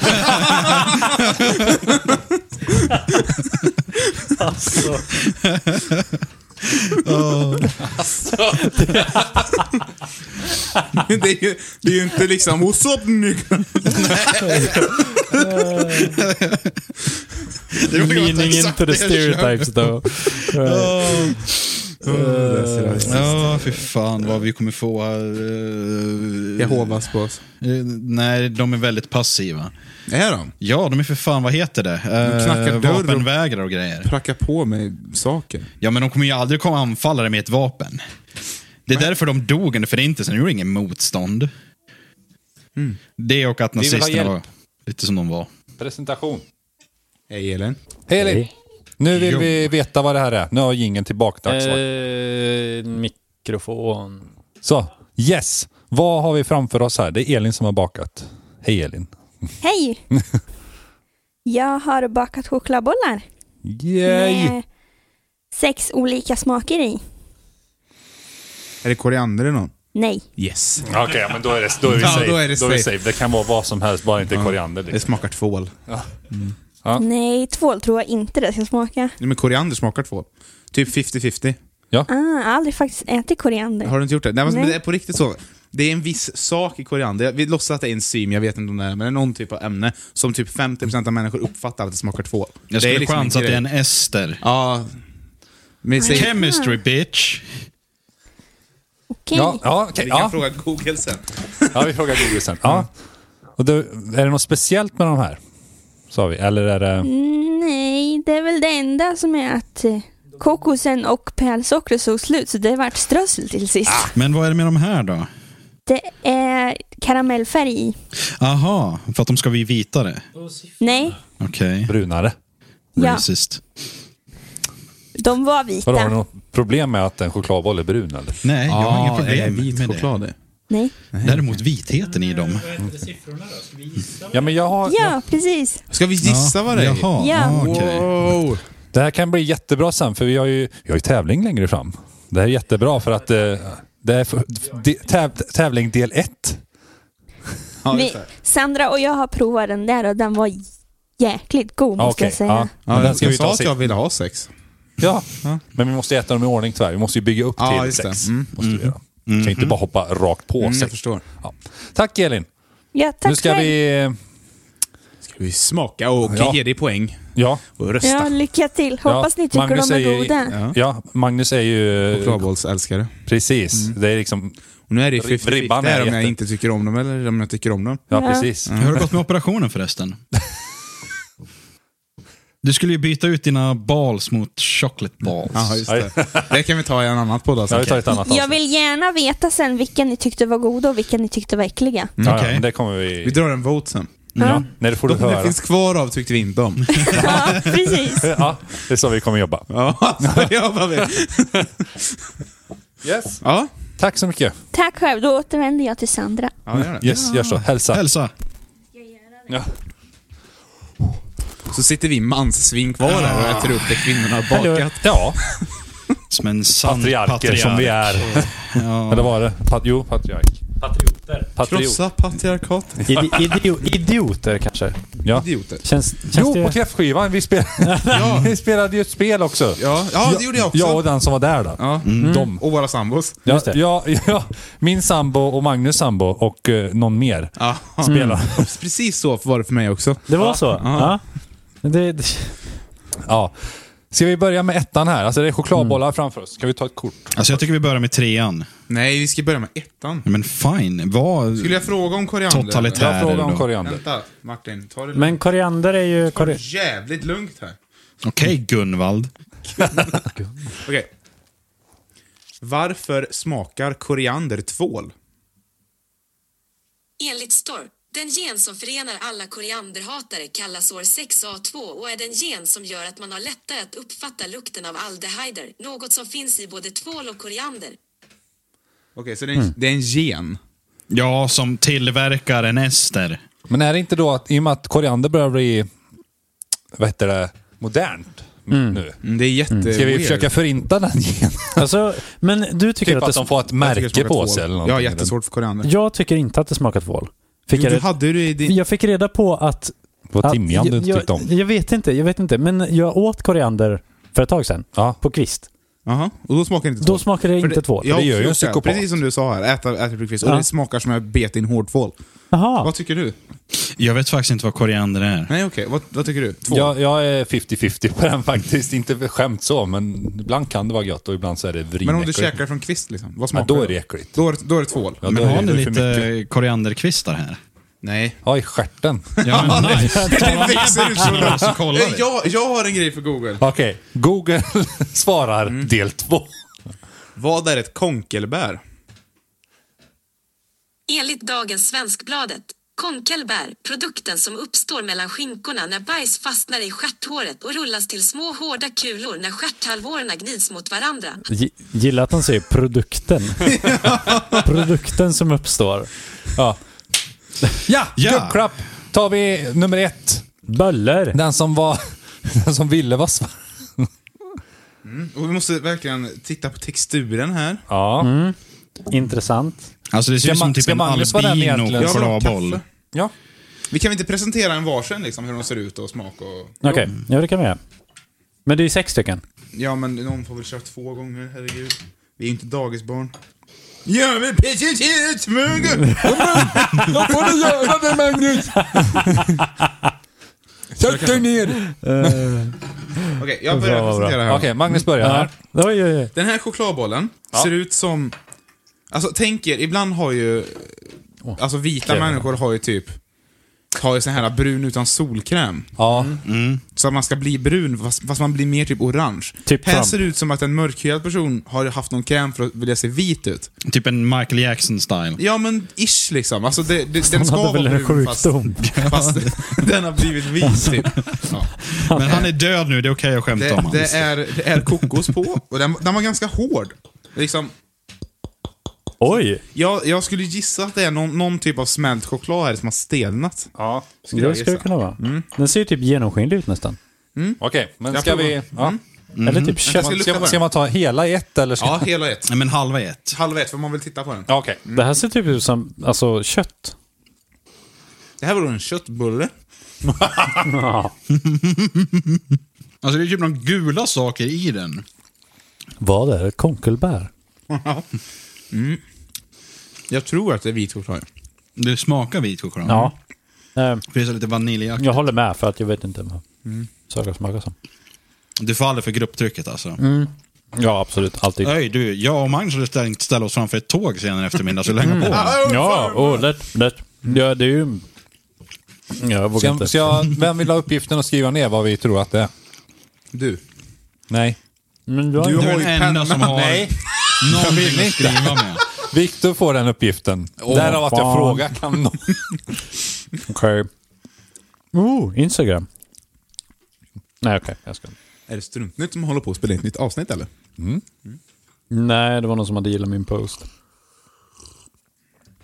[SPEAKER 2] alltså.
[SPEAKER 1] [laughs] det, är ju, det är ju inte liksom... What's up,
[SPEAKER 4] [laughs]
[SPEAKER 1] nigga?"
[SPEAKER 4] Det var ju
[SPEAKER 2] Leaning
[SPEAKER 4] exakt
[SPEAKER 2] into
[SPEAKER 4] det
[SPEAKER 2] the
[SPEAKER 4] jag
[SPEAKER 2] stereotypes though. Right.
[SPEAKER 4] Eh. Ja, fy fan vad vi kommer få... eh,
[SPEAKER 1] Jehovas på oss.
[SPEAKER 4] eh, nej, de är väldigt passiva.
[SPEAKER 1] Är de?
[SPEAKER 4] Ja, de är för fan, vad heter det? Eh,
[SPEAKER 1] knackar dörr och-
[SPEAKER 4] vapenvägrare och grejer.
[SPEAKER 1] Prackar på mig saker.
[SPEAKER 4] Ja, men de kommer ju aldrig komma anfalla dig med ett vapen. Det är därför de dog under förintelsen. De gjorde ingen motstånd. Det och att
[SPEAKER 1] Mm.
[SPEAKER 3] vill ha
[SPEAKER 4] nazisterna var...
[SPEAKER 3] hjälp.
[SPEAKER 4] Lite som de var.
[SPEAKER 3] Presentation.
[SPEAKER 1] Hej Elin.
[SPEAKER 3] Hej Elin.
[SPEAKER 2] Hej.
[SPEAKER 3] Nu vill vi veta vad det här är. Nu har jingeln tillbakadragits. va?
[SPEAKER 2] Eh, mikrofon.
[SPEAKER 3] Så, yes. Vad har vi framför oss här? Det är Elin som har bakat. Hej Elin.
[SPEAKER 6] Hej!
[SPEAKER 3] [laughs]
[SPEAKER 6] Jag har bakat chokladbollar
[SPEAKER 3] Yay!
[SPEAKER 6] med sex olika smaker i.
[SPEAKER 1] Är det koriander eller någon?
[SPEAKER 6] Nej,
[SPEAKER 1] Yes.
[SPEAKER 3] Okej, men då är det, då är vi
[SPEAKER 1] Ja,
[SPEAKER 3] safe.
[SPEAKER 1] då är det
[SPEAKER 3] vi
[SPEAKER 1] safe.
[SPEAKER 3] safe. Det kan vara vad som helst, bara inte koriander.
[SPEAKER 1] Det
[SPEAKER 3] Liksom.
[SPEAKER 1] smakar tvål.
[SPEAKER 6] nej, tvål tror jag inte det ska smaka.
[SPEAKER 1] Nej, men koriander smakar tvål. Typ 50-50.
[SPEAKER 6] Ah, jag har aldrig faktiskt ätit koriander.
[SPEAKER 1] Har du inte gjort det? Nej, men
[SPEAKER 6] Nej.
[SPEAKER 1] det är på riktigt så. Det är en viss sak i koriander, vi låtsas att det är enzym, jag vet inte om det är, men det är någon typ av ämne som typ 50% av människor uppfattar att det smakar tvål.
[SPEAKER 4] Jag skulle
[SPEAKER 1] är liksom
[SPEAKER 4] chansa att det är
[SPEAKER 1] grej.
[SPEAKER 4] en ester.
[SPEAKER 1] Ja. Men säg, vi
[SPEAKER 4] Chemistry bitch.
[SPEAKER 6] Okej.
[SPEAKER 3] Ja, ja, okej,
[SPEAKER 1] kan
[SPEAKER 3] ja.
[SPEAKER 1] fråga Google sen.
[SPEAKER 3] ja, vi frågar Google sen. Ja. Och då, är det något speciellt med de här? Sa vi. Eller är
[SPEAKER 1] Mm.
[SPEAKER 3] det...
[SPEAKER 6] Nej, det är väl det enda som är att eh, kokosen och pärlsockret såg slut så det vart strössel till sist.
[SPEAKER 3] Ah.
[SPEAKER 4] Men vad är det med de här då?
[SPEAKER 6] Det är karamellfärg i.
[SPEAKER 4] Aha, för att de ska bli vitare.
[SPEAKER 6] Nej,
[SPEAKER 4] Okej,
[SPEAKER 3] Brunare?
[SPEAKER 6] ja,
[SPEAKER 4] racist.
[SPEAKER 6] de var
[SPEAKER 3] Vadå, har du
[SPEAKER 6] vita.
[SPEAKER 3] något problem med att en chokladboll är brun eller?
[SPEAKER 4] Nej, jag har inga
[SPEAKER 1] är
[SPEAKER 4] problem
[SPEAKER 1] det vit
[SPEAKER 4] med
[SPEAKER 1] choklad det?
[SPEAKER 6] Nej.
[SPEAKER 4] det. Däremot vitheten i dem.
[SPEAKER 3] Ja, men jag har...
[SPEAKER 6] Ja, precis.
[SPEAKER 1] Ska vi gissa vad det är?
[SPEAKER 4] Jaha,
[SPEAKER 6] Ja.
[SPEAKER 4] ah, okej.
[SPEAKER 1] Wow.
[SPEAKER 3] Det här kan bli jättebra sen, för vi har ju, vi har ju tävling längre fram. Det här är jättebra för att eh, det är för, de, täv, tävling del ett.
[SPEAKER 1] Ja,
[SPEAKER 6] Vi,
[SPEAKER 1] just det.
[SPEAKER 6] Sandra och jag har provat den där och den var jäkligt god
[SPEAKER 3] Ja,
[SPEAKER 6] måste
[SPEAKER 3] Okej.
[SPEAKER 6] jag säga.
[SPEAKER 3] Ja, men
[SPEAKER 1] Ja,
[SPEAKER 3] den
[SPEAKER 1] jag,
[SPEAKER 3] ska vi ta
[SPEAKER 1] sa att
[SPEAKER 3] sen.
[SPEAKER 1] jag ville ha sex.
[SPEAKER 3] Ja, men vi måste äta dem i ordning tyvärr. Vi måste ju bygga upp
[SPEAKER 1] Ja,
[SPEAKER 3] till
[SPEAKER 1] just det.
[SPEAKER 3] sex.
[SPEAKER 1] Mm.
[SPEAKER 3] Måste vi göra. Kan ju inte bara hoppa rakt på
[SPEAKER 1] Mm, jag
[SPEAKER 3] sex.
[SPEAKER 1] förstår.
[SPEAKER 3] Ja. Tack Elin.
[SPEAKER 6] Ja, tack
[SPEAKER 3] nu ska
[SPEAKER 6] själv.
[SPEAKER 3] vi...
[SPEAKER 1] Ska vi smaka och
[SPEAKER 3] Ja.
[SPEAKER 1] ge dig poäng
[SPEAKER 3] Ja,
[SPEAKER 1] och
[SPEAKER 6] Ja,
[SPEAKER 1] rösta?
[SPEAKER 6] lycka till. Hoppas
[SPEAKER 3] ja,
[SPEAKER 6] ni tycker de är,
[SPEAKER 3] ju-
[SPEAKER 6] goda.
[SPEAKER 3] Ja. Magnus är ju...
[SPEAKER 1] Chokladbollsälskare.
[SPEAKER 3] Precis.
[SPEAKER 1] Mm.
[SPEAKER 3] Det är liksom...
[SPEAKER 1] Och nu är det ju
[SPEAKER 3] Rib-
[SPEAKER 1] 50
[SPEAKER 3] ribban
[SPEAKER 1] Det
[SPEAKER 3] är
[SPEAKER 1] är om jag
[SPEAKER 3] jätte-
[SPEAKER 1] inte tycker om dem eller om jag tycker om dem.
[SPEAKER 3] Ja,
[SPEAKER 6] Ja.
[SPEAKER 3] precis.
[SPEAKER 4] Hur har det gått med operationen förresten? Du skulle ju byta ut dina balls mot chocolate balls.
[SPEAKER 1] Ja, just det. Det kan vi ta i en annan podd alltså.
[SPEAKER 3] Ja, vi tar ett annat
[SPEAKER 6] Jag
[SPEAKER 3] avsnitt.
[SPEAKER 6] vill gärna veta sen vilka ni tyckte var goda och vilka ni tyckte var äckliga.
[SPEAKER 3] Ja,
[SPEAKER 4] Okej.
[SPEAKER 3] ja, men det kommer vi...
[SPEAKER 1] Vi drar en vote sen.
[SPEAKER 3] Ja, nej, det får du
[SPEAKER 1] De det
[SPEAKER 3] höra.
[SPEAKER 1] finns kvar av tyckte vi inte [laughs] om.
[SPEAKER 6] Ja, precis.
[SPEAKER 3] Ja, det är så vi kommer jobba.
[SPEAKER 1] Ja, alltså, så jobbar vi.
[SPEAKER 3] Yes.
[SPEAKER 1] Ja,
[SPEAKER 3] Tack så mycket.
[SPEAKER 6] Tack själv. Då återvänder jag till Sandra.
[SPEAKER 1] ja gör det.
[SPEAKER 3] Yes, gör så. Hälsa.
[SPEAKER 4] Hälsa.
[SPEAKER 3] Ja.
[SPEAKER 1] Så sitter vi manssvin kvar här och äter upp det kvinnorna har bakat.
[SPEAKER 3] Ja,
[SPEAKER 4] Som en sann
[SPEAKER 3] patriarker
[SPEAKER 4] patriark.
[SPEAKER 3] som vi är. Eller var det? Pat jo, patriark.
[SPEAKER 2] Patrioter.
[SPEAKER 3] Patriot.
[SPEAKER 1] Krossa patriarkatet.
[SPEAKER 2] idioter kanske.
[SPEAKER 3] Ja.
[SPEAKER 1] Idioter.
[SPEAKER 2] Känns, känns
[SPEAKER 3] Jo,
[SPEAKER 2] det...
[SPEAKER 3] på träffskivan.
[SPEAKER 1] [laughs]
[SPEAKER 3] Vi, spel [laughs] vi spelade ju ett spel också.
[SPEAKER 1] Ja, ja, det gjorde jag också.
[SPEAKER 3] Jag och den som var där då. Mm.
[SPEAKER 1] Ja. Mm.
[SPEAKER 3] De.
[SPEAKER 1] Och våra sambos.
[SPEAKER 3] Ja,
[SPEAKER 2] Just det.
[SPEAKER 3] ja, [laughs] ja, min sambo och Magnus sambo och eh, någon mer
[SPEAKER 1] Ja. Mm.
[SPEAKER 3] spelar.
[SPEAKER 1] [laughs] Precis så var det för mig också.
[SPEAKER 2] Det var så?
[SPEAKER 3] Mm.
[SPEAKER 2] Ja. Det, det,
[SPEAKER 3] Ja. Ska vi börja med ettan här? Alltså det är chokladbollar
[SPEAKER 1] Mm.
[SPEAKER 3] framför oss. Ska vi ta ett kort?
[SPEAKER 4] Alltså jag tycker vi börjar med trean.
[SPEAKER 1] Nej, vi ska börja med ettan.
[SPEAKER 4] Men fine, vad...
[SPEAKER 1] Skulle jag fråga om koriander?
[SPEAKER 4] Totalitär.
[SPEAKER 3] Jag
[SPEAKER 4] Här
[SPEAKER 3] frågar
[SPEAKER 4] är
[SPEAKER 3] om
[SPEAKER 4] det
[SPEAKER 1] eller?
[SPEAKER 3] koriander.
[SPEAKER 4] då.
[SPEAKER 1] Vänta, Martin. Ta det lugnt.
[SPEAKER 2] men koriander är ju...
[SPEAKER 1] Ta det
[SPEAKER 2] Kori
[SPEAKER 1] jävligt lugnt här.
[SPEAKER 4] Okej, Gunvald.
[SPEAKER 1] Okej. Varför smakar koriander tvål?
[SPEAKER 7] Enligt Storr, den gen som förenar alla korianderhatare kallas år 6A2 och är den gen som gör att man har lättare att uppfatta lukten av aldehyder, något som finns i både tvål och koriander.
[SPEAKER 1] Okej, så det är, en,
[SPEAKER 3] Mm.
[SPEAKER 1] det är en gen.
[SPEAKER 4] Ja, som tillverkar en ester.
[SPEAKER 3] Men är det inte då att i och med att koriander börjar bli, vad heter det, modernt nu?
[SPEAKER 1] Mm, Det är jätte...
[SPEAKER 3] Ska vi
[SPEAKER 1] weird.
[SPEAKER 3] försöka förinta den igen?
[SPEAKER 2] Alltså, men du tycker
[SPEAKER 3] Typ
[SPEAKER 2] att,
[SPEAKER 3] att
[SPEAKER 2] det...
[SPEAKER 3] de får ett
[SPEAKER 1] Jag tycker det
[SPEAKER 3] märke
[SPEAKER 1] smakar
[SPEAKER 3] på
[SPEAKER 1] tvål.
[SPEAKER 3] sig eller
[SPEAKER 1] Jag
[SPEAKER 3] någonting.
[SPEAKER 1] har jättesvårt för koriander.
[SPEAKER 2] Jag tycker inte att det smakar tvål. Fick
[SPEAKER 1] Jo,
[SPEAKER 2] jag,
[SPEAKER 1] du
[SPEAKER 2] red...
[SPEAKER 1] hade du i din...
[SPEAKER 2] jag fick reda på att...
[SPEAKER 3] Det var
[SPEAKER 2] att-
[SPEAKER 3] timjan du
[SPEAKER 2] jag,
[SPEAKER 3] tyckte
[SPEAKER 2] jag,
[SPEAKER 3] om.
[SPEAKER 2] jag vet inte, jag vet inte. Men jag åt koriander för ett tag sedan.
[SPEAKER 3] Ja.
[SPEAKER 2] På kvist.
[SPEAKER 1] Jaha, och då smakar det inte
[SPEAKER 2] Då smakar det
[SPEAKER 1] För
[SPEAKER 2] inte tvål.
[SPEAKER 1] jag
[SPEAKER 3] det gör ju en
[SPEAKER 1] också gjort det.
[SPEAKER 3] psykopat.
[SPEAKER 1] Precis som du sa här, äta, äta äppelkvist. Och
[SPEAKER 2] Ja.
[SPEAKER 1] det smakar som att bet i en hård tvål.
[SPEAKER 2] Jaha.
[SPEAKER 1] Vad tycker du?
[SPEAKER 4] Jag vet faktiskt inte vad koriander är.
[SPEAKER 1] Nej, okej. Vad, vad tycker du? Tvål?
[SPEAKER 3] Jag, jag är 50-50 på den faktiskt. Inte för skämt så, men ibland kan det vara gött och ibland så är det vrinäckligt.
[SPEAKER 1] Men om du käkar från kvist, liksom, vad smakar
[SPEAKER 3] Ja, då är det äckligt.
[SPEAKER 1] Då är, det- då är det tvål.
[SPEAKER 3] Ja,
[SPEAKER 4] Men
[SPEAKER 3] då är
[SPEAKER 4] har
[SPEAKER 3] det
[SPEAKER 4] ni
[SPEAKER 3] för
[SPEAKER 4] lite
[SPEAKER 3] [laughs]
[SPEAKER 4] korianderkvistar här?
[SPEAKER 1] Nej.
[SPEAKER 3] Ja, i stjärten.
[SPEAKER 1] [laughs]
[SPEAKER 4] Ja, men nice.
[SPEAKER 1] Det växer
[SPEAKER 4] [laughs]
[SPEAKER 1] ut från dem.
[SPEAKER 4] Så kolla det.
[SPEAKER 1] jag, jag har en grej för Google.
[SPEAKER 3] Okej, Google [laughs] svarar
[SPEAKER 1] Mm.
[SPEAKER 3] del två.
[SPEAKER 1] Vad är ett konkelbär?
[SPEAKER 7] Enligt dagens Svenskbladet, Konkelbär, produkten som uppstår mellan skinkorna när bajs fastnar i stjärthåret och rullas till små hårda kulor när stjärthalvorna gnids mot varandra.
[SPEAKER 2] G- gillar att han säger
[SPEAKER 3] [laughs]
[SPEAKER 2] produkten. produkten som uppstår.
[SPEAKER 3] Ja, ja,
[SPEAKER 4] Ja.
[SPEAKER 3] gubbklapp. tar vi nummer ett.
[SPEAKER 2] Böller.
[SPEAKER 3] Den som var... [laughs] Den som ville vara svart.
[SPEAKER 1] Och vi måste verkligen titta på texturen här.
[SPEAKER 3] Ja.
[SPEAKER 2] Intressant.
[SPEAKER 4] Alltså det ser
[SPEAKER 3] Ska
[SPEAKER 4] ut som
[SPEAKER 3] man-
[SPEAKER 4] typ
[SPEAKER 3] ska
[SPEAKER 4] en
[SPEAKER 3] Magnus vara den egentligen?
[SPEAKER 1] Jag vill ha
[SPEAKER 4] albino-chokladboll.
[SPEAKER 1] kaffe.
[SPEAKER 3] ja.
[SPEAKER 1] Vi kan väl inte presentera en varsin, liksom, hur de ser ut och smak och...
[SPEAKER 2] Okej, ja det kan vi göra. Men det är ju sex stycken.
[SPEAKER 1] Ja, men någon får väl köra två gånger, herregud. Vi är ju inte dagisbarn. Jag vill presentera ett smörgås!
[SPEAKER 3] Vad får du göra det [laughs] Magnus? Sätt dig ner!
[SPEAKER 1] Okej,
[SPEAKER 3] [laughs]
[SPEAKER 1] jag börjar
[SPEAKER 2] Bra, bra, bra.
[SPEAKER 1] presentera
[SPEAKER 3] Okej,
[SPEAKER 1] här.
[SPEAKER 3] Magnus börjar här.
[SPEAKER 2] Mm. Oj, oj, oj.
[SPEAKER 1] Den här chokladbollen ser ut som... Alltså, tänk er, ibland har ju... Alltså, vita
[SPEAKER 2] krämen.
[SPEAKER 1] människor har ju typ... Har ju sån här brun utan solkräm.
[SPEAKER 3] Ja.
[SPEAKER 1] Så att man ska bli brun, fast, fast man blir mer typ orange.
[SPEAKER 2] Typ
[SPEAKER 1] här
[SPEAKER 2] Trump.
[SPEAKER 1] ser det ut som att en mörkhyad person har haft någon kräm för att vilja se vit ut.
[SPEAKER 4] Typ en Michael Jackson-style.
[SPEAKER 1] Ja, men ish liksom. Alltså, det, det, den
[SPEAKER 2] Han
[SPEAKER 1] ska vara
[SPEAKER 2] hade väl en
[SPEAKER 1] brun, fast,
[SPEAKER 2] sjukdom.
[SPEAKER 1] [laughs] fast
[SPEAKER 2] Alltså.
[SPEAKER 1] den har blivit vit typ. Ja.
[SPEAKER 4] Men han är död nu, det är okej att skämta om
[SPEAKER 1] Det,
[SPEAKER 4] han.
[SPEAKER 1] det, är, det är kokos på och den, den var ganska hård. Liksom,
[SPEAKER 2] Oj!
[SPEAKER 1] jag, jag skulle gissa att det är någon, någon typ av smält choklad här som har stelnat.
[SPEAKER 3] ja.
[SPEAKER 1] Skulle
[SPEAKER 2] Det
[SPEAKER 1] jag
[SPEAKER 2] skulle det
[SPEAKER 1] gissa.
[SPEAKER 2] kunna vara. Den ser ju typ genomskinlig ut nästan.
[SPEAKER 3] Okej, men
[SPEAKER 1] Jag
[SPEAKER 3] ska
[SPEAKER 1] provar.
[SPEAKER 3] vi... Ja.
[SPEAKER 2] Eller typ kött.
[SPEAKER 1] ska lukta på
[SPEAKER 3] Ska,
[SPEAKER 1] den.
[SPEAKER 3] ska man ta hela i ett eller? Ska...
[SPEAKER 1] Ja, hela ett.
[SPEAKER 4] Nej, men halva i ett.
[SPEAKER 1] Halv ett, för man vill titta på den.
[SPEAKER 3] Ja, Okej.
[SPEAKER 2] Det här ser typ ut som alltså, kött.
[SPEAKER 1] Det här var då en köttbulle.
[SPEAKER 4] Alltså det är typ några gula saker i den.
[SPEAKER 2] Vad är det? Konkelbär?
[SPEAKER 1] mm. Jag tror att det är vit choklad.
[SPEAKER 4] Det smakar vit choklad.
[SPEAKER 2] Ja. Eh,
[SPEAKER 4] För Det är så lite vaniljakt.
[SPEAKER 2] Jag håller med för att jag vet inte vad saker smakar som.
[SPEAKER 4] Du faller för grupptrycket alltså.
[SPEAKER 2] Ja, absolut. Alltid.
[SPEAKER 4] Öj, du, jag och Magnus hade tänkt ställa oss framför ett tåg senare i eftermiddag, så [laughs] länge på.
[SPEAKER 2] Ja, oh, lätt, lätt. Ja, det är ju... Ja, jag vågar
[SPEAKER 3] Ska,
[SPEAKER 2] inte.
[SPEAKER 3] ska jag, vem vill ha uppgiften att skriva ner vad vi tror att det är?
[SPEAKER 1] Du.
[SPEAKER 3] Nej.
[SPEAKER 2] Men jag...
[SPEAKER 1] Du
[SPEAKER 4] Du
[SPEAKER 1] har ju
[SPEAKER 4] är den enda
[SPEAKER 1] pennan.
[SPEAKER 4] som har
[SPEAKER 3] Nej.
[SPEAKER 4] någonting att skriva [laughs] med.
[SPEAKER 3] Viktor får den uppgiften. Därav att jag
[SPEAKER 2] fan.
[SPEAKER 3] frågar kan någon...
[SPEAKER 2] Okej. Oh, Instagram. Nej, okej. Jag ska...
[SPEAKER 1] Är det Struntnytt som håller på att spela in ett nytt avsnitt eller?
[SPEAKER 2] Nej, det var någon som hade gillat min post.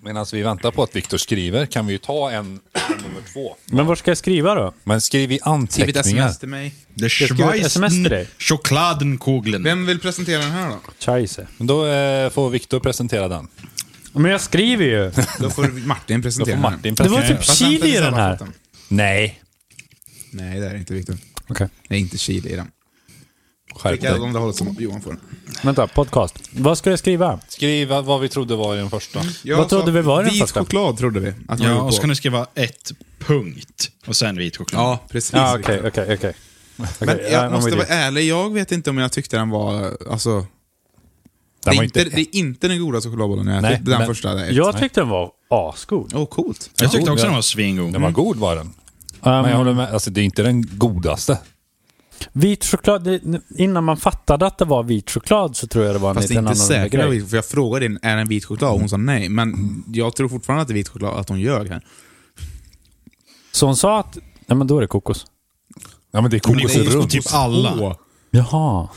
[SPEAKER 3] Medan vi väntar på att Viktor skriver kan vi ju ta en nummer två.
[SPEAKER 2] Men var ska jag skriva då?
[SPEAKER 3] Men skriv
[SPEAKER 1] Skriv
[SPEAKER 3] i
[SPEAKER 1] ett
[SPEAKER 3] anteckningar.
[SPEAKER 1] sms till mig.
[SPEAKER 4] Det
[SPEAKER 2] skriver ett sms till
[SPEAKER 4] Schweizen
[SPEAKER 2] dig.
[SPEAKER 4] Schokoladenkugeln.
[SPEAKER 1] Vem vill presentera den här då?
[SPEAKER 2] Chaise.
[SPEAKER 3] Men Då eh, får Viktor presentera den.
[SPEAKER 2] Men jag skriver ju!
[SPEAKER 1] Då får Martin presentera
[SPEAKER 3] Får Martin
[SPEAKER 2] Det var
[SPEAKER 3] presentera
[SPEAKER 2] typ
[SPEAKER 3] den.
[SPEAKER 1] Fast vänta
[SPEAKER 2] chili i
[SPEAKER 1] tills
[SPEAKER 2] den
[SPEAKER 1] alla
[SPEAKER 2] här.
[SPEAKER 1] fått den.
[SPEAKER 3] Nej.
[SPEAKER 1] Nej, det är det inte Viktor.
[SPEAKER 2] [laughs] Okej.
[SPEAKER 1] Det är inte chili i den.
[SPEAKER 3] Skärp
[SPEAKER 1] Skicka åt
[SPEAKER 3] dig.
[SPEAKER 1] andra hållet som Johan får den.
[SPEAKER 2] Vänta, podcast. Vad ska jag skriva?
[SPEAKER 3] Skriv vad vi trodde var i den första.
[SPEAKER 1] Jag
[SPEAKER 2] Vad trodde
[SPEAKER 1] sa
[SPEAKER 2] vi var i den
[SPEAKER 1] Vit
[SPEAKER 2] första?
[SPEAKER 1] choklad trodde vi. Att man
[SPEAKER 4] Ja,
[SPEAKER 1] gjorde på.
[SPEAKER 4] och så kan du skriva ett punkt och sen vit choklad.
[SPEAKER 1] Ja, precis.
[SPEAKER 2] Ja, okej, okej, okej.
[SPEAKER 1] Men
[SPEAKER 2] Okej,
[SPEAKER 1] jag
[SPEAKER 2] I'm
[SPEAKER 1] måste
[SPEAKER 2] with
[SPEAKER 1] vara
[SPEAKER 2] you.
[SPEAKER 1] ärlig, jag vet inte om jag tyckte den var... Alltså, det, är
[SPEAKER 3] var
[SPEAKER 1] inte,
[SPEAKER 3] inte-
[SPEAKER 1] det är inte den godaste chokladbollen jag
[SPEAKER 3] Nej,
[SPEAKER 1] ätit. Den
[SPEAKER 3] men-
[SPEAKER 1] första. där.
[SPEAKER 2] Jag tyckte den var asgod.
[SPEAKER 1] Åh, coolt.
[SPEAKER 4] Jag tyckte också
[SPEAKER 3] ja.
[SPEAKER 4] den var svingod.
[SPEAKER 3] Den var
[SPEAKER 2] Mm.
[SPEAKER 3] god var den. Men jag håller med, alltså det är inte den godaste.
[SPEAKER 2] Vit choklad, det, innan man fattade att det var vit choklad så tror jag det var en
[SPEAKER 1] Fast det är
[SPEAKER 2] liten
[SPEAKER 1] inte
[SPEAKER 2] annorlunda
[SPEAKER 1] säkert,
[SPEAKER 2] grej.
[SPEAKER 1] för jag frågade in, är det en vit choklad? Och hon sa nej. Men jag tror fortfarande att det är vit choklad, att hon ljög här.
[SPEAKER 2] Så hon sa att, ja men då är det kokos.
[SPEAKER 3] Ja men det är
[SPEAKER 4] Men det är ju
[SPEAKER 3] kokosrunt.
[SPEAKER 4] typ alla.
[SPEAKER 2] Jaha.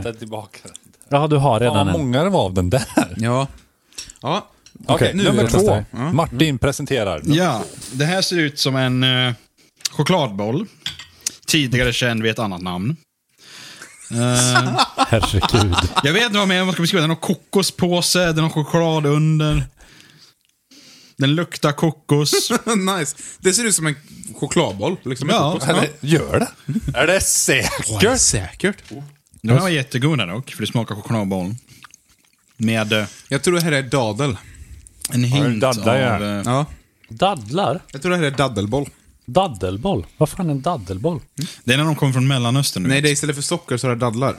[SPEAKER 3] Ställ tillbaka den.
[SPEAKER 2] Ja, du har
[SPEAKER 3] Fan
[SPEAKER 2] redan
[SPEAKER 3] vad
[SPEAKER 2] en.
[SPEAKER 3] många det var av den där. Okej,
[SPEAKER 1] Ja. Ja. nu är
[SPEAKER 3] nummer
[SPEAKER 1] det
[SPEAKER 3] två. Mm.
[SPEAKER 2] nästa.
[SPEAKER 3] Martin presenterar.
[SPEAKER 4] Ja, det här ser ut som en eh, chokladboll. Tidigare känd vid ett annat namn. Eh,
[SPEAKER 2] Herregud.
[SPEAKER 4] jag vet inte vad mer man ska beskriva. Den har kokospåse, den har choklad under. Den luktar kokos.
[SPEAKER 1] [laughs] nice. Det ser ut som en chokladboll. Liksom en
[SPEAKER 4] Ja,
[SPEAKER 1] kokos.
[SPEAKER 3] Eller, Eh, gör det? Är det säkert?
[SPEAKER 1] Åh, säkert.
[SPEAKER 4] Den här var jättegoda dock, för det smakar chokladboll. Med eh,
[SPEAKER 1] Jag tror det här är dadel.
[SPEAKER 4] en hint av...
[SPEAKER 3] daddar jag.
[SPEAKER 4] eh,
[SPEAKER 1] Ja.
[SPEAKER 2] [laughs] Dadlar?
[SPEAKER 1] Jag tror det här är daddelboll.
[SPEAKER 2] Daddelboll? Vad fan är en daddelboll?
[SPEAKER 4] Det är när de kommer från Mellanöstern. du
[SPEAKER 1] Nej,
[SPEAKER 4] vet.
[SPEAKER 1] det är istället för socker så är det dadlar.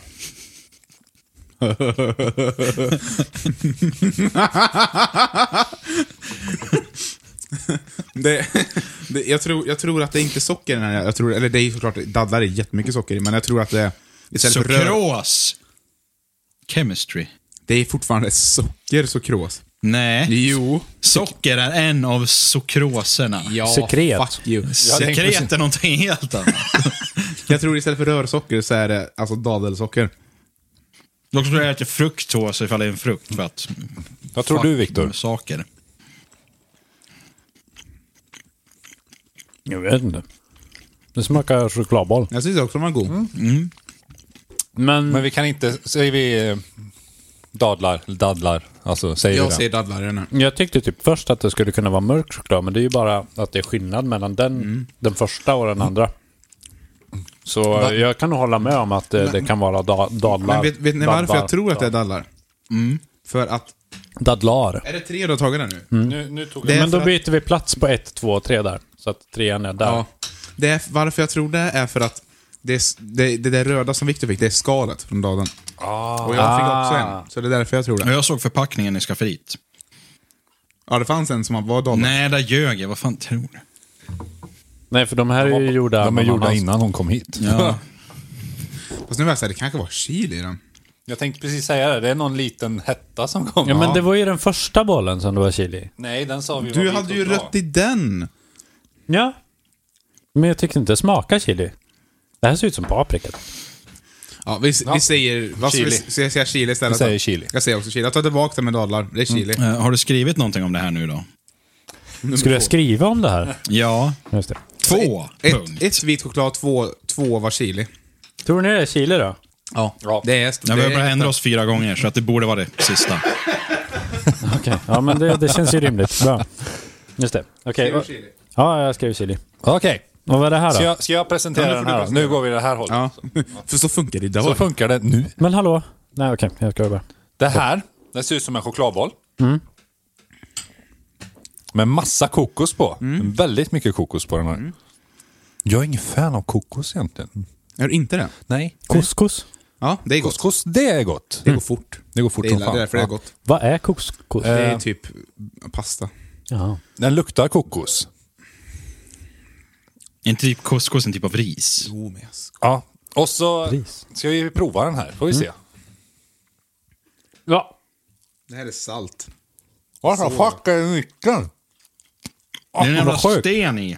[SPEAKER 1] det, det, jag, tror, jag tror att det är inte socker i den här. Jag tror, eller det är ju såklart, dadlar är jättemycket socker i, men jag tror att det är... Istället för rör,
[SPEAKER 4] Sukros! Chemistry.
[SPEAKER 1] det är fortfarande socker, sukros.
[SPEAKER 4] Nej.
[SPEAKER 1] Jo.
[SPEAKER 4] Socker är en av sukroserna.
[SPEAKER 1] Ja,
[SPEAKER 2] Sekret.
[SPEAKER 1] fuck you.
[SPEAKER 4] Sekret är någonting helt annat.
[SPEAKER 1] Jag tror istället för rörsocker så är det alltså dadelsocker.
[SPEAKER 4] Jag tror jag äter fruktos ifall det är en frukt. För att,
[SPEAKER 3] Vad tror du, Viktor?
[SPEAKER 4] Saker.
[SPEAKER 2] Jag vet inte. Det smakar chokladboll.
[SPEAKER 1] Jag syns också de var god.
[SPEAKER 2] Men,
[SPEAKER 3] Men vi kan inte, säger vi eh, dadlar, dadlar, alltså säger vi
[SPEAKER 1] Jag
[SPEAKER 3] det?
[SPEAKER 1] säger dadlar nu.
[SPEAKER 2] jag tyckte typ först att det skulle kunna vara mörk choklad, men det är ju bara att det är skillnad mellan den,
[SPEAKER 1] Mm.
[SPEAKER 2] den första och den andra. Så eh, jag kan nog hålla med om att eh, det, det kan vara da, dadlar.
[SPEAKER 1] Men vet, vet ni varför
[SPEAKER 2] dadlar,
[SPEAKER 1] jag tror att det är dadlar? Mm. För att...
[SPEAKER 2] Dadlar.
[SPEAKER 1] Är det tre du har tagit där nu?
[SPEAKER 3] Nu, nu tog
[SPEAKER 1] Det är
[SPEAKER 2] Men då
[SPEAKER 1] för att-
[SPEAKER 2] byter vi plats på ett, två och tre där. Så att trean är där.
[SPEAKER 1] Ja. Det är, varför jag tror det är för att det, är, det, det där röda som Viktor fick, det är skalet från dadeln.
[SPEAKER 3] Ah.
[SPEAKER 1] Och jag fick också en, så det är därför jag tror
[SPEAKER 4] Ja,
[SPEAKER 1] det.
[SPEAKER 4] Jag såg förpackningen i skafferiet.
[SPEAKER 1] Ja, det fanns en som var dadel.
[SPEAKER 4] Nej, där ljög jag. Vad fan tror du?
[SPEAKER 2] Nej, för de här är ju gjorda...
[SPEAKER 3] De är
[SPEAKER 2] någon
[SPEAKER 3] gjorda
[SPEAKER 2] annanstans.
[SPEAKER 3] innan hon kom hit.
[SPEAKER 1] Fast nu var jag såhär, det kanske var chili i den.
[SPEAKER 3] Jag tänkte precis säga det, det är någon liten hetta som kom.
[SPEAKER 2] Ja, men det var ju den första bollen som det var chili i.
[SPEAKER 3] Nej, den sa vi var
[SPEAKER 1] Du
[SPEAKER 3] vit
[SPEAKER 1] hade
[SPEAKER 3] och
[SPEAKER 1] ju
[SPEAKER 3] bra.
[SPEAKER 1] rött i den!
[SPEAKER 2] Ja. Men jag tyckte inte det smakade chili. Det här ser ut som paprika.
[SPEAKER 1] Ja, vi,
[SPEAKER 3] Ja.
[SPEAKER 1] vi säger... Vad ska vi,
[SPEAKER 3] Chili.
[SPEAKER 1] ska jag säga chili istället?
[SPEAKER 3] Vi säger
[SPEAKER 1] då?
[SPEAKER 3] chili.
[SPEAKER 1] Jag säger också chili. Jag tar tillbaka det med dadlar. Det är chili.
[SPEAKER 4] Eh, Har du skrivit någonting om det här nu då?
[SPEAKER 1] Nummer
[SPEAKER 2] Skulle jag
[SPEAKER 1] två.
[SPEAKER 2] skriva om det här?
[SPEAKER 4] Ja.
[SPEAKER 2] Just det.
[SPEAKER 4] Två.
[SPEAKER 1] Ett,
[SPEAKER 4] punkt.
[SPEAKER 1] ett vit choklad, två, två var chili.
[SPEAKER 2] Tror ni det är chili då?
[SPEAKER 1] Ja.
[SPEAKER 3] Ja.
[SPEAKER 1] Det är...
[SPEAKER 4] Ja, vi
[SPEAKER 1] det
[SPEAKER 4] har
[SPEAKER 1] är-
[SPEAKER 4] bara ändrat oss fyra gånger, så att det borde vara det sista.
[SPEAKER 2] Okej. Ja, men det, det känns ju rimligt. Bra. Just det. Okej.
[SPEAKER 1] Skriver chili.
[SPEAKER 2] Ja, jag skrev chili.
[SPEAKER 3] Okej,
[SPEAKER 2] Och vad är det här
[SPEAKER 3] ska
[SPEAKER 2] då?
[SPEAKER 3] jag, ska jag presentera
[SPEAKER 1] Ja, nu får du
[SPEAKER 3] den här? då?
[SPEAKER 1] presentera.
[SPEAKER 3] Nu går vi det här hållet.
[SPEAKER 1] Ja. För så funkar det idag.
[SPEAKER 3] Så funkar det nu.
[SPEAKER 2] Men hallå? Nej, okej. Jag ska bara.
[SPEAKER 3] Det här, den ser ut som en chokladboll. Med massa kokos på. Väldigt mycket kokos på den här. Jag är ingen fan av kokos egentligen.
[SPEAKER 1] Är du inte det?
[SPEAKER 3] Nej.
[SPEAKER 2] Couscous?
[SPEAKER 1] Ja, det är gott.
[SPEAKER 3] Couscous, det är gott.
[SPEAKER 1] Det går fort.
[SPEAKER 3] Det går fort
[SPEAKER 1] Det
[SPEAKER 3] som
[SPEAKER 1] gillar Mm. jag, det är därför
[SPEAKER 3] fan.
[SPEAKER 1] det är
[SPEAKER 3] Ja.
[SPEAKER 1] gott.
[SPEAKER 2] Vad är couscous?
[SPEAKER 1] Det
[SPEAKER 3] Eh.
[SPEAKER 1] är typ pasta.
[SPEAKER 2] Ja.
[SPEAKER 3] Den luktar kokos.
[SPEAKER 4] En typ couscous, en typ av ris.
[SPEAKER 1] Jo, men jag ska-
[SPEAKER 3] Ja. Och så
[SPEAKER 2] Pris.
[SPEAKER 3] ska vi prova den här, får vi se.
[SPEAKER 2] ja.
[SPEAKER 1] Det här är salt.
[SPEAKER 3] What the fuck är nyckeln?
[SPEAKER 1] Ah,
[SPEAKER 4] Det är en jävla
[SPEAKER 3] vad sjukt.
[SPEAKER 4] sten i.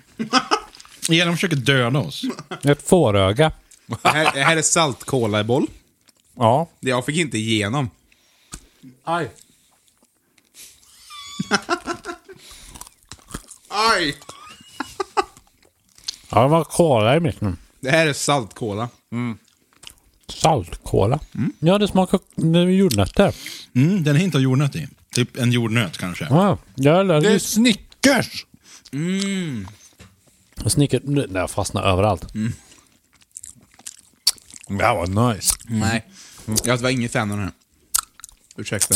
[SPEAKER 4] Ja, de försöker döda oss.
[SPEAKER 2] Ett fåröga.
[SPEAKER 1] Det här, det här är saltkola i boll.
[SPEAKER 3] Ja.
[SPEAKER 1] Det Jag fick inte igenom.
[SPEAKER 2] Aj.
[SPEAKER 1] Aj!
[SPEAKER 2] Ja, det var kola i mitten.
[SPEAKER 1] Det här är saltkola.
[SPEAKER 2] Saltkola.
[SPEAKER 3] Mm.
[SPEAKER 2] Ja, det smakar det är jordnötter.
[SPEAKER 4] Mm, den är inte av jordnöt i. Typ en jordnöt kanske.
[SPEAKER 2] Ja, jag lärde
[SPEAKER 3] Det är
[SPEAKER 2] mig
[SPEAKER 3] Snickers!
[SPEAKER 2] snickert... Nej, jag fastnar överallt.
[SPEAKER 3] Mm. Det här var nice.
[SPEAKER 1] Nej. Jag var ingen fan av den här. Ursäkta.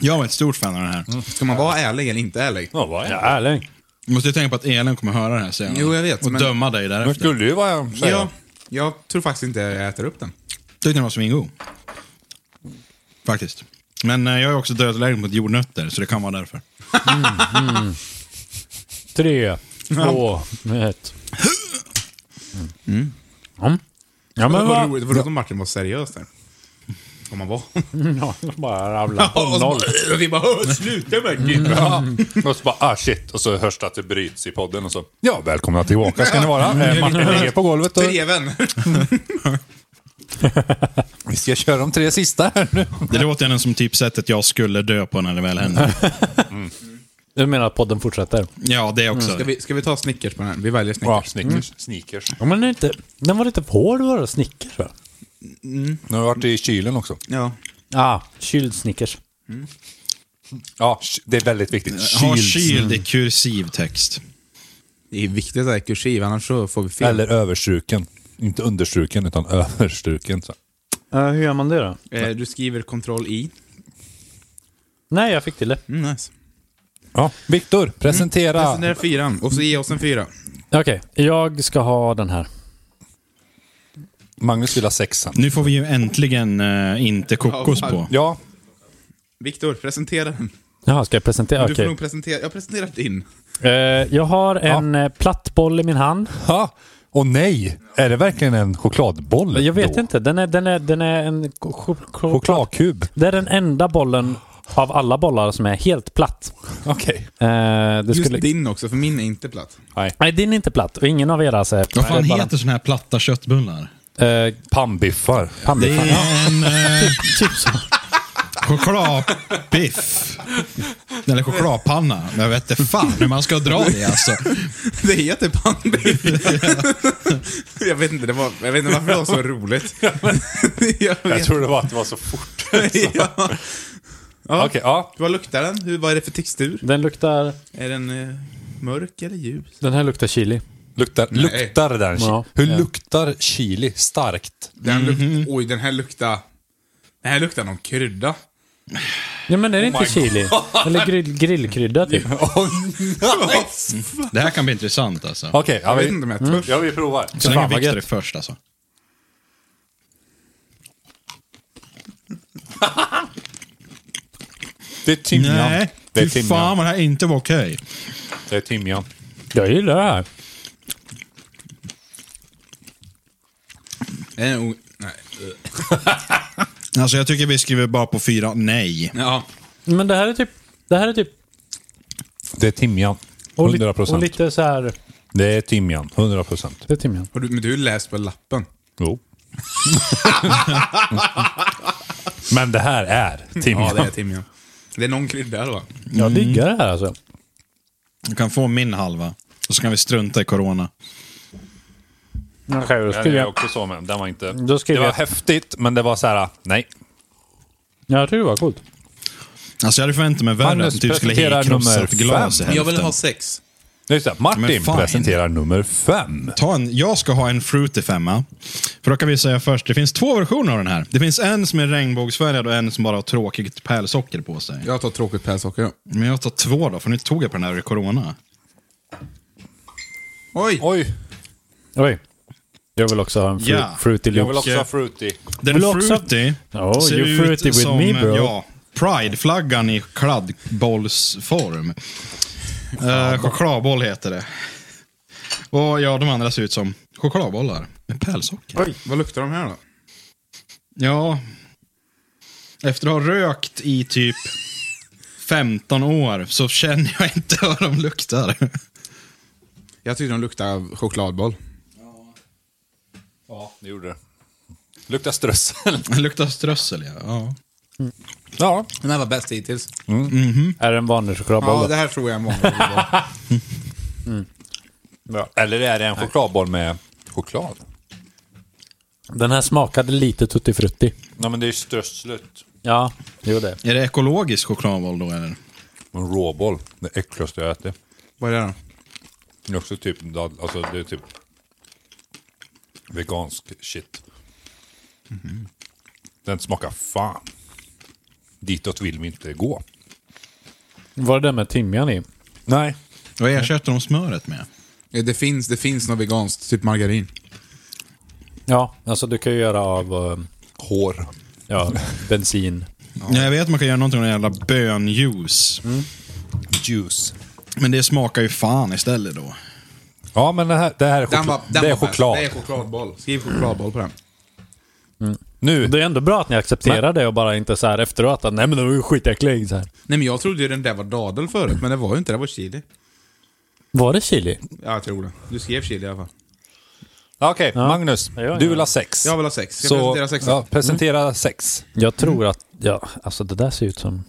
[SPEAKER 4] Jag var ett stort fan av den här.
[SPEAKER 1] Ska man vara ärlig eller inte ärlig?
[SPEAKER 3] Ja, vad är
[SPEAKER 2] Ja,
[SPEAKER 3] det?
[SPEAKER 2] ärlig.
[SPEAKER 4] Du måste ju tänka på att Elin kommer höra det här senare.
[SPEAKER 1] Jo, jag vet,
[SPEAKER 4] Och
[SPEAKER 1] men-
[SPEAKER 4] döma dig
[SPEAKER 3] Det
[SPEAKER 4] därefter.
[SPEAKER 3] skulle ju vara... säger jag.
[SPEAKER 1] Ja, jag tror faktiskt inte jag äter upp den.
[SPEAKER 4] Tyckte den var svingod. Faktiskt. Men eh, jag är också dödlägen mot jordnötter, så det kan vara därför.
[SPEAKER 2] Tre, två, ett. Mm. Ja,
[SPEAKER 1] Men
[SPEAKER 2] men
[SPEAKER 1] vad
[SPEAKER 2] vad...
[SPEAKER 1] roligt, vad roligt om Martin var seriös där. Om man var.
[SPEAKER 2] [laughs] Ja, jag bara ramla på
[SPEAKER 1] Och så
[SPEAKER 2] noll.
[SPEAKER 1] bara- Vi bara "Åh, sluta med det.
[SPEAKER 3] Ja. Och så bara, ah shit. Och så hörs det att det bryts i podden och så, ja välkomna tillbaka ska ni vara. Eh, Martin ligger på golvet och
[SPEAKER 1] Tre vänner.
[SPEAKER 3] vi ska köra de tre sista här nu.
[SPEAKER 4] Det låter ändå som typ sättet jag skulle dö på när det väl händer.
[SPEAKER 2] Du menar att podden fortsätter?
[SPEAKER 4] Ja, det också.
[SPEAKER 1] Ska vi, ska vi ta Snickers på den här? Vi väljer Snickers.
[SPEAKER 3] Ja, Snickers. Sneakers.
[SPEAKER 2] Ja, men den är inte... Den var lite hård var det, Snickers va?
[SPEAKER 3] Nu har vi varit i kylen också.
[SPEAKER 1] Ja.
[SPEAKER 2] Ja, ah, kyld Snickers.
[SPEAKER 3] Ja, det är väldigt viktigt.
[SPEAKER 4] Eh, Ha
[SPEAKER 3] Kyld.
[SPEAKER 4] kyld i kursiv text.
[SPEAKER 1] Det är viktigt att det är kursiv, annars så får vi fel.
[SPEAKER 3] Eller överstruken. Inte understruken, utan överstruken. Så.
[SPEAKER 2] hur gör man det då?
[SPEAKER 1] Eh, du skriver kontroll i.
[SPEAKER 2] Nej, jag fick till det.
[SPEAKER 1] Mm, nice.
[SPEAKER 3] Ja, Viktor, presentera.
[SPEAKER 2] Mm,
[SPEAKER 1] Sen är det fyran, och så ge oss en fyra.
[SPEAKER 2] Okej, jag ska ha den här.
[SPEAKER 3] Magnus vill ha sexan.
[SPEAKER 4] Nu får vi ju äntligen eh, inte kokos
[SPEAKER 1] Ja,
[SPEAKER 4] på.
[SPEAKER 3] Ja,
[SPEAKER 1] Viktor, presentera den.
[SPEAKER 2] Jaha, ska jag presentera?
[SPEAKER 1] Du får
[SPEAKER 2] Okej.
[SPEAKER 1] nog presentera. Jag har presenterat din.
[SPEAKER 2] Eh, jag har en ja. platt boll i min hand.
[SPEAKER 3] ha. Och nej, är det verkligen en chokladboll?
[SPEAKER 2] Jag vet
[SPEAKER 3] då?
[SPEAKER 2] inte. Den är, den är, den är en... ko- ko- ko-
[SPEAKER 3] Chokladkub.
[SPEAKER 2] Det är den enda bollen av alla bollar som är helt platt.
[SPEAKER 3] Okej.
[SPEAKER 2] Eh, det
[SPEAKER 1] Just
[SPEAKER 2] skulle...
[SPEAKER 1] din också, för min är inte platt. [laughs]
[SPEAKER 2] Nej, din är inte platt och ingen av eras är...
[SPEAKER 4] Vad fan
[SPEAKER 2] Nej, bara-
[SPEAKER 4] heter såna här platta köttbullar?
[SPEAKER 2] Eh,
[SPEAKER 3] Pannbiffar.
[SPEAKER 4] Det
[SPEAKER 2] pannbiffar.
[SPEAKER 4] är en [laughs] eh, chokladbiff. Eller chokladpanna. Men jag vet inte fan hur man ska dra det alltså.
[SPEAKER 1] Det heter pannbiff. [laughs] jag vet inte, det var, jag vet inte varför det var så roligt. [laughs] jag
[SPEAKER 3] Jag
[SPEAKER 1] vet.
[SPEAKER 3] tror det var att det var så fort.
[SPEAKER 1] ja. Ja.
[SPEAKER 3] Okej, ja.
[SPEAKER 1] Vad luktar den? Hur, vad är det för textur?
[SPEAKER 2] Den luktar...
[SPEAKER 1] Är den eh, mörk eller ljus?
[SPEAKER 2] Den här luktar chili.
[SPEAKER 3] Luktar, luktar den chi-
[SPEAKER 2] Ja.
[SPEAKER 3] Hur
[SPEAKER 2] Ja.
[SPEAKER 3] luktar chili starkt?
[SPEAKER 1] Den luk-
[SPEAKER 3] Mhm.
[SPEAKER 1] Oj, den här luktar... Den här luktar någon krydda.
[SPEAKER 2] Ja, men är det inte chili? Eller grill, grillkrydda
[SPEAKER 3] [laughs]
[SPEAKER 2] typ.
[SPEAKER 4] Det här kan bli intressant alltså.
[SPEAKER 3] Okej, ja,
[SPEAKER 1] Jag vet
[SPEAKER 3] vi,
[SPEAKER 1] inte om jag törs.
[SPEAKER 3] ja, vi provar.
[SPEAKER 4] Så länge
[SPEAKER 2] Fan, vad
[SPEAKER 4] Viktor är
[SPEAKER 2] gött.
[SPEAKER 4] först alltså.
[SPEAKER 3] Det är timjan. det är timjan.
[SPEAKER 4] vad det här inte var okej.
[SPEAKER 3] Det är timjan.
[SPEAKER 2] Jag gillar det här.
[SPEAKER 1] Är den o- Nej.
[SPEAKER 4] Alltså jag tycker vi skriver bara på fyra nej.
[SPEAKER 1] Ja.
[SPEAKER 2] Men det här är typ... Det här är typ...
[SPEAKER 3] Det är timjan.
[SPEAKER 2] Och, li, och
[SPEAKER 3] 100%.
[SPEAKER 2] lite så här...
[SPEAKER 3] Det är timjan. 100%.
[SPEAKER 2] Det är timjan.
[SPEAKER 1] Har du, men du har ju läst på lappen.
[SPEAKER 2] [laughs]
[SPEAKER 3] Jo. Men det här är timjan.
[SPEAKER 1] Ja, det är timjan. Det är någon krydda eller vad?
[SPEAKER 2] Jag diggar det här alltså.
[SPEAKER 4] Du kan få min halva. Och så kan vi strunta i corona.
[SPEAKER 2] Okay, då,
[SPEAKER 3] Ja, det är
[SPEAKER 2] skulle
[SPEAKER 3] jag
[SPEAKER 2] jag,
[SPEAKER 3] också så med. Den var inte...
[SPEAKER 2] Då
[SPEAKER 3] Det
[SPEAKER 2] skriver
[SPEAKER 3] var
[SPEAKER 2] jag-
[SPEAKER 3] häftigt, men det var så här, nej.
[SPEAKER 2] jag tycker det var coolt.
[SPEAKER 4] Alltså jag hade förväntat mig värre.
[SPEAKER 3] Magnus
[SPEAKER 4] att du Typ skulle
[SPEAKER 3] presenterar
[SPEAKER 4] ha krossat
[SPEAKER 3] nummer
[SPEAKER 4] glas i
[SPEAKER 3] fem.
[SPEAKER 1] Jag vill
[SPEAKER 4] hälften.
[SPEAKER 1] ha sex.
[SPEAKER 3] Just det, Martin
[SPEAKER 4] Men fan.
[SPEAKER 3] presenterar nummer fem.
[SPEAKER 4] Ta en, jag ska ha en fruity femma. För då kan vi säga först, det finns två versioner av den här. Det finns en som är regnbågsfärgad och en som bara har tråkigt pärlsocker på sig.
[SPEAKER 1] Jag tar tråkigt pälssocker. ja.
[SPEAKER 4] Men jag tar två då, för nu tog jag på den här i corona.
[SPEAKER 1] Oj!
[SPEAKER 3] Oj,
[SPEAKER 2] Oj. Jag vill också ha en fru,
[SPEAKER 4] Ja.
[SPEAKER 2] fruity
[SPEAKER 3] jag vill
[SPEAKER 2] loops.
[SPEAKER 3] också ha fruity.
[SPEAKER 4] Den
[SPEAKER 2] Vill du också-
[SPEAKER 4] fruity
[SPEAKER 2] Oh, you're fruity with me, bro.
[SPEAKER 4] Ja, Pride-flaggan i kladdbollsform. Eh, chokladboll heter det. Och ja, de andra ser ut som chokladbollar med pärlsocker.
[SPEAKER 1] Oj, vad luktar de här då?
[SPEAKER 4] Ja. Efter att ha rökt i typ 15 år så känner jag inte hur de luktar.
[SPEAKER 1] Jag tycker de luktar chokladboll.
[SPEAKER 3] Ja, det gjorde det. Luktar [laughs] strössel.
[SPEAKER 4] Det luktar strössel, ja. ja.
[SPEAKER 3] Ja.
[SPEAKER 1] Den här var bäst hittills.
[SPEAKER 2] Är det en vanlig
[SPEAKER 1] Ja,
[SPEAKER 2] chokladboll?
[SPEAKER 1] det här tror jag är en vanlig
[SPEAKER 3] [laughs]
[SPEAKER 1] chokladboll.
[SPEAKER 3] Eller är det en chokladboll med choklad?
[SPEAKER 2] Den här smakade lite tutti frutti.
[SPEAKER 3] Nej, men det är ju strösslet.
[SPEAKER 2] Ja, jo det.
[SPEAKER 4] Är det ekologisk chokladboll då, eller?
[SPEAKER 3] En råboll. Det äckligaste jag ätit.
[SPEAKER 1] Vad är det då?
[SPEAKER 3] Det är också typ, dad- alltså det är typ vegansk shit. Mhm. Den smakar fan. Ditåt vill vi inte gå.
[SPEAKER 2] Var det den med timjan i?
[SPEAKER 3] Nej.
[SPEAKER 4] Vad ersätter de smöret med?
[SPEAKER 1] Ja, Eh, Det finns, det finns något veganskt, typ margarin.
[SPEAKER 2] Ja, alltså du kan ju göra av eh,
[SPEAKER 3] Hår.
[SPEAKER 2] ja, bensin.
[SPEAKER 4] Ja, jag vet att man kan göra någonting med en jävla bönjuice.
[SPEAKER 3] Juice.
[SPEAKER 4] Men det smakar ju fan istället då.
[SPEAKER 3] Ja, men det här, det här är,
[SPEAKER 1] Den
[SPEAKER 3] chokla-
[SPEAKER 1] var, den
[SPEAKER 3] det är
[SPEAKER 1] var bäst.
[SPEAKER 3] choklad.
[SPEAKER 1] Det är chokladboll. Skriv chokladboll på den.
[SPEAKER 3] Nu.
[SPEAKER 2] Det är ändå bra att ni accepterar det och bara inte så här efteråt att nej men det var ju skitäcklig. Så här.
[SPEAKER 1] Nej men jag trodde ju den där var dadel förut, men det var ju inte det. var chili.
[SPEAKER 2] Var det chili?
[SPEAKER 1] Ja, jag tror det. Du skrev chili i alla fall.
[SPEAKER 3] Ja, Okej, Magnus.
[SPEAKER 2] Ja, ja,
[SPEAKER 3] Du vill
[SPEAKER 2] ja.
[SPEAKER 3] ha sex.
[SPEAKER 1] Jag vill ha sex. Ska jag
[SPEAKER 3] Så,
[SPEAKER 1] presentera sex?
[SPEAKER 3] ja, presentera sex.
[SPEAKER 2] Mm. Jag tror att, ja, alltså det där ser ut som...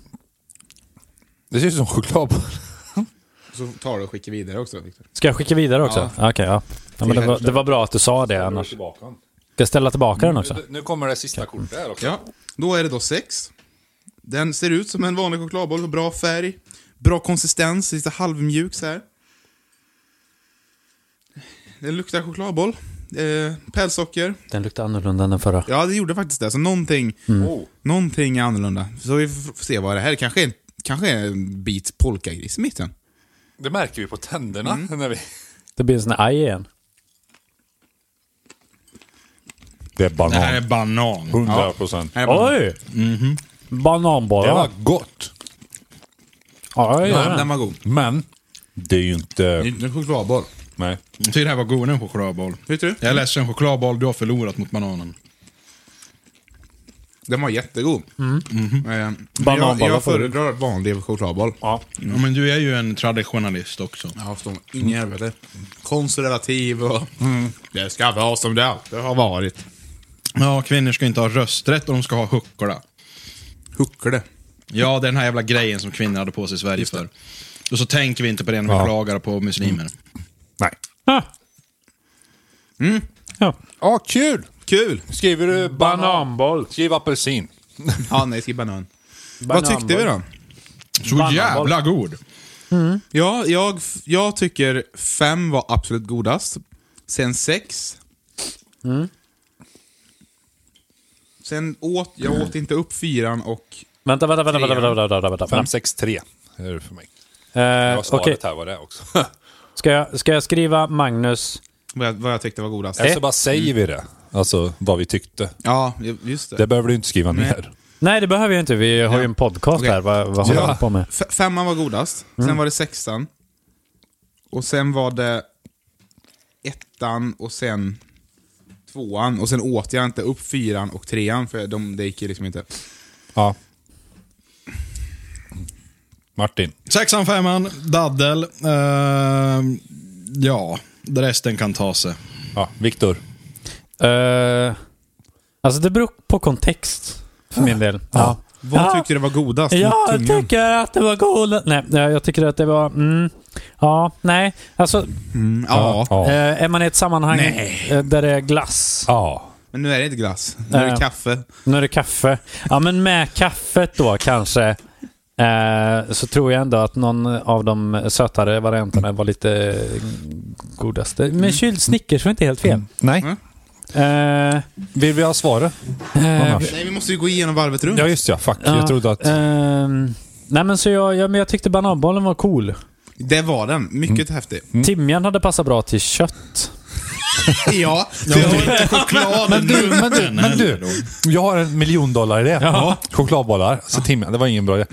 [SPEAKER 3] Det ser ut som chokladboll.
[SPEAKER 1] Så tar du och skickar vidare också, Viktor.
[SPEAKER 2] Ska jag skicka vidare också? Okej, ja. ja men det, var, det var bra att du sa det annars. Ska jag ställa tillbaka den också?
[SPEAKER 3] Nu kommer det sista kortet här också.
[SPEAKER 1] Ja, då är det då sex. Den ser ut som en vanlig chokladboll, bra färg, bra konsistens, lite halvmjuk så här. Den luktar chokladboll. Eh, pälssocker.
[SPEAKER 2] Den luktar annorlunda än den förra.
[SPEAKER 1] Ja, det gjorde faktiskt det. Så någonting,
[SPEAKER 3] Oh.
[SPEAKER 1] någonting är annorlunda. Så vi får får se vad det här är. Kanske, är en- kanske är en bit polkagris i mitten.
[SPEAKER 3] Det märker vi på tänderna.
[SPEAKER 1] Mm.
[SPEAKER 3] När vi...
[SPEAKER 2] Det blir en sån här aj igen.
[SPEAKER 3] Det är banan.
[SPEAKER 4] Det här är banan.
[SPEAKER 3] 100 procent.
[SPEAKER 1] Här är bara-
[SPEAKER 2] Oj! Bananbollar.
[SPEAKER 3] Det var gott.
[SPEAKER 2] Ja, jag gör
[SPEAKER 1] Ja, den
[SPEAKER 2] den.
[SPEAKER 1] var god.
[SPEAKER 3] Men det är ju
[SPEAKER 1] Det är
[SPEAKER 3] inte...
[SPEAKER 1] inte en chokladboll.
[SPEAKER 3] Nej.
[SPEAKER 4] Jag tycker det här var godare än chokladboll.
[SPEAKER 1] Tyckte du?
[SPEAKER 4] Jag är ledsen, chokladboll, du har förlorat mot bananen.
[SPEAKER 1] Den var jättegod. Mm. Jag,
[SPEAKER 2] Bananbollar
[SPEAKER 1] jag
[SPEAKER 2] får du.
[SPEAKER 1] föredrar vanlig chokladboll.
[SPEAKER 2] Ja.
[SPEAKER 4] Ja, men du är ju en traditionalist också.
[SPEAKER 1] Ja, står in i helvete. Konservativ och... Det ska vara som det alltid har varit.
[SPEAKER 4] Ja, kvinnor ska inte ha rösträtt och de ska ha huckla.
[SPEAKER 1] Huckle.
[SPEAKER 4] Ja, det är den här jävla grejen som kvinnor hade på sig i Sverige förr. Och så tänker vi inte på det när vi klagar på muslimer.
[SPEAKER 3] Mm.
[SPEAKER 1] Nej.
[SPEAKER 2] Ah. Ja.
[SPEAKER 1] Ja, kul! Kul!
[SPEAKER 3] Skriver du banan?
[SPEAKER 2] Bananboll.
[SPEAKER 3] Skriv apelsin.
[SPEAKER 1] Ja, nej, skriv banan. Vad
[SPEAKER 2] Bananboll.
[SPEAKER 1] tyckte vi då?
[SPEAKER 4] Så
[SPEAKER 2] Bananboll.
[SPEAKER 4] jävla god!
[SPEAKER 1] Ja, jag, jag tycker fem var absolut godast. Sen sex. Sen åt jag åt inte upp fyran och...
[SPEAKER 2] Vänta, vänta, vänta, vänta, vänta, vänta, vänta, vänta.
[SPEAKER 3] 563 är det för mig. Jag
[SPEAKER 2] Eh,
[SPEAKER 3] har svaret
[SPEAKER 2] Okej,
[SPEAKER 3] här vad det är också. [laughs]
[SPEAKER 2] ska, jag, ska jag skriva Magnus?
[SPEAKER 1] Vad jag, vad jag tyckte var godast.
[SPEAKER 3] Eller så Alltså, bara säger vi det. Alltså vad vi tyckte.
[SPEAKER 1] Ja, just det.
[SPEAKER 3] Det behöver du inte skriva ner.
[SPEAKER 2] Nej, det behöver jag inte. Vi har ju en podcast
[SPEAKER 1] Okej.
[SPEAKER 2] här. Vad, vad håller
[SPEAKER 1] Ja.
[SPEAKER 2] jag på med?
[SPEAKER 1] F- femman var godast, sen var det sexan. Och sen var det ettan och sen tvåan. Och sen åt jag inte upp fyran och trean, för de, det gick ju liksom inte.
[SPEAKER 3] Ja. Martin.
[SPEAKER 4] Sexan, femman, daddel. Ehm, ja, resten kan ta sig.
[SPEAKER 3] Ja, Viktor.
[SPEAKER 2] Eh, alltså, det beror på kontext för min del. Ja.
[SPEAKER 1] Vad
[SPEAKER 2] Ja.
[SPEAKER 1] tyckte du var godast?
[SPEAKER 2] Ja,
[SPEAKER 1] Mot
[SPEAKER 2] jag
[SPEAKER 1] tungan.
[SPEAKER 2] tycker att det var coolt. Nej, nej, jag tycker att det var... Mm, ja, nej. Alltså,
[SPEAKER 1] Mm, ja.
[SPEAKER 3] Ja.
[SPEAKER 2] eh, är man i ett sammanhang eh, där det är glass,
[SPEAKER 3] Ja.
[SPEAKER 1] men nu är det inte glass. Nu är det
[SPEAKER 2] Nej.
[SPEAKER 1] kaffe.
[SPEAKER 2] nu är det kaffe. Ja, men med kaffet då kanske, eh, så tror jag ändå att någon av de sötare varianterna var lite eh, godaste. Men kyld Snickers var inte helt fel.
[SPEAKER 3] Nej.
[SPEAKER 1] Mm.
[SPEAKER 2] Eh,
[SPEAKER 3] Vill vi ha svaret?
[SPEAKER 2] eh,
[SPEAKER 3] Annars.
[SPEAKER 1] Nej, vi måste ju gå igenom varvet runt.
[SPEAKER 3] Ja, just ja. Eh, Fuck.
[SPEAKER 2] ja,
[SPEAKER 3] Jag trodde att...
[SPEAKER 2] ehm, nej, men så jag, jag, men jag tyckte bananbollen var cool.
[SPEAKER 1] Det var den. Mycket häftig.
[SPEAKER 2] Timjan hade passat bra till kött.
[SPEAKER 1] Ja,
[SPEAKER 4] Det var inte chokladen
[SPEAKER 3] Men du, men du,
[SPEAKER 4] munnen
[SPEAKER 3] men
[SPEAKER 4] heller då.
[SPEAKER 3] du. Jag har en miljon dollar i det. Chokladbollar. Så timjan, det var ingen bra idé.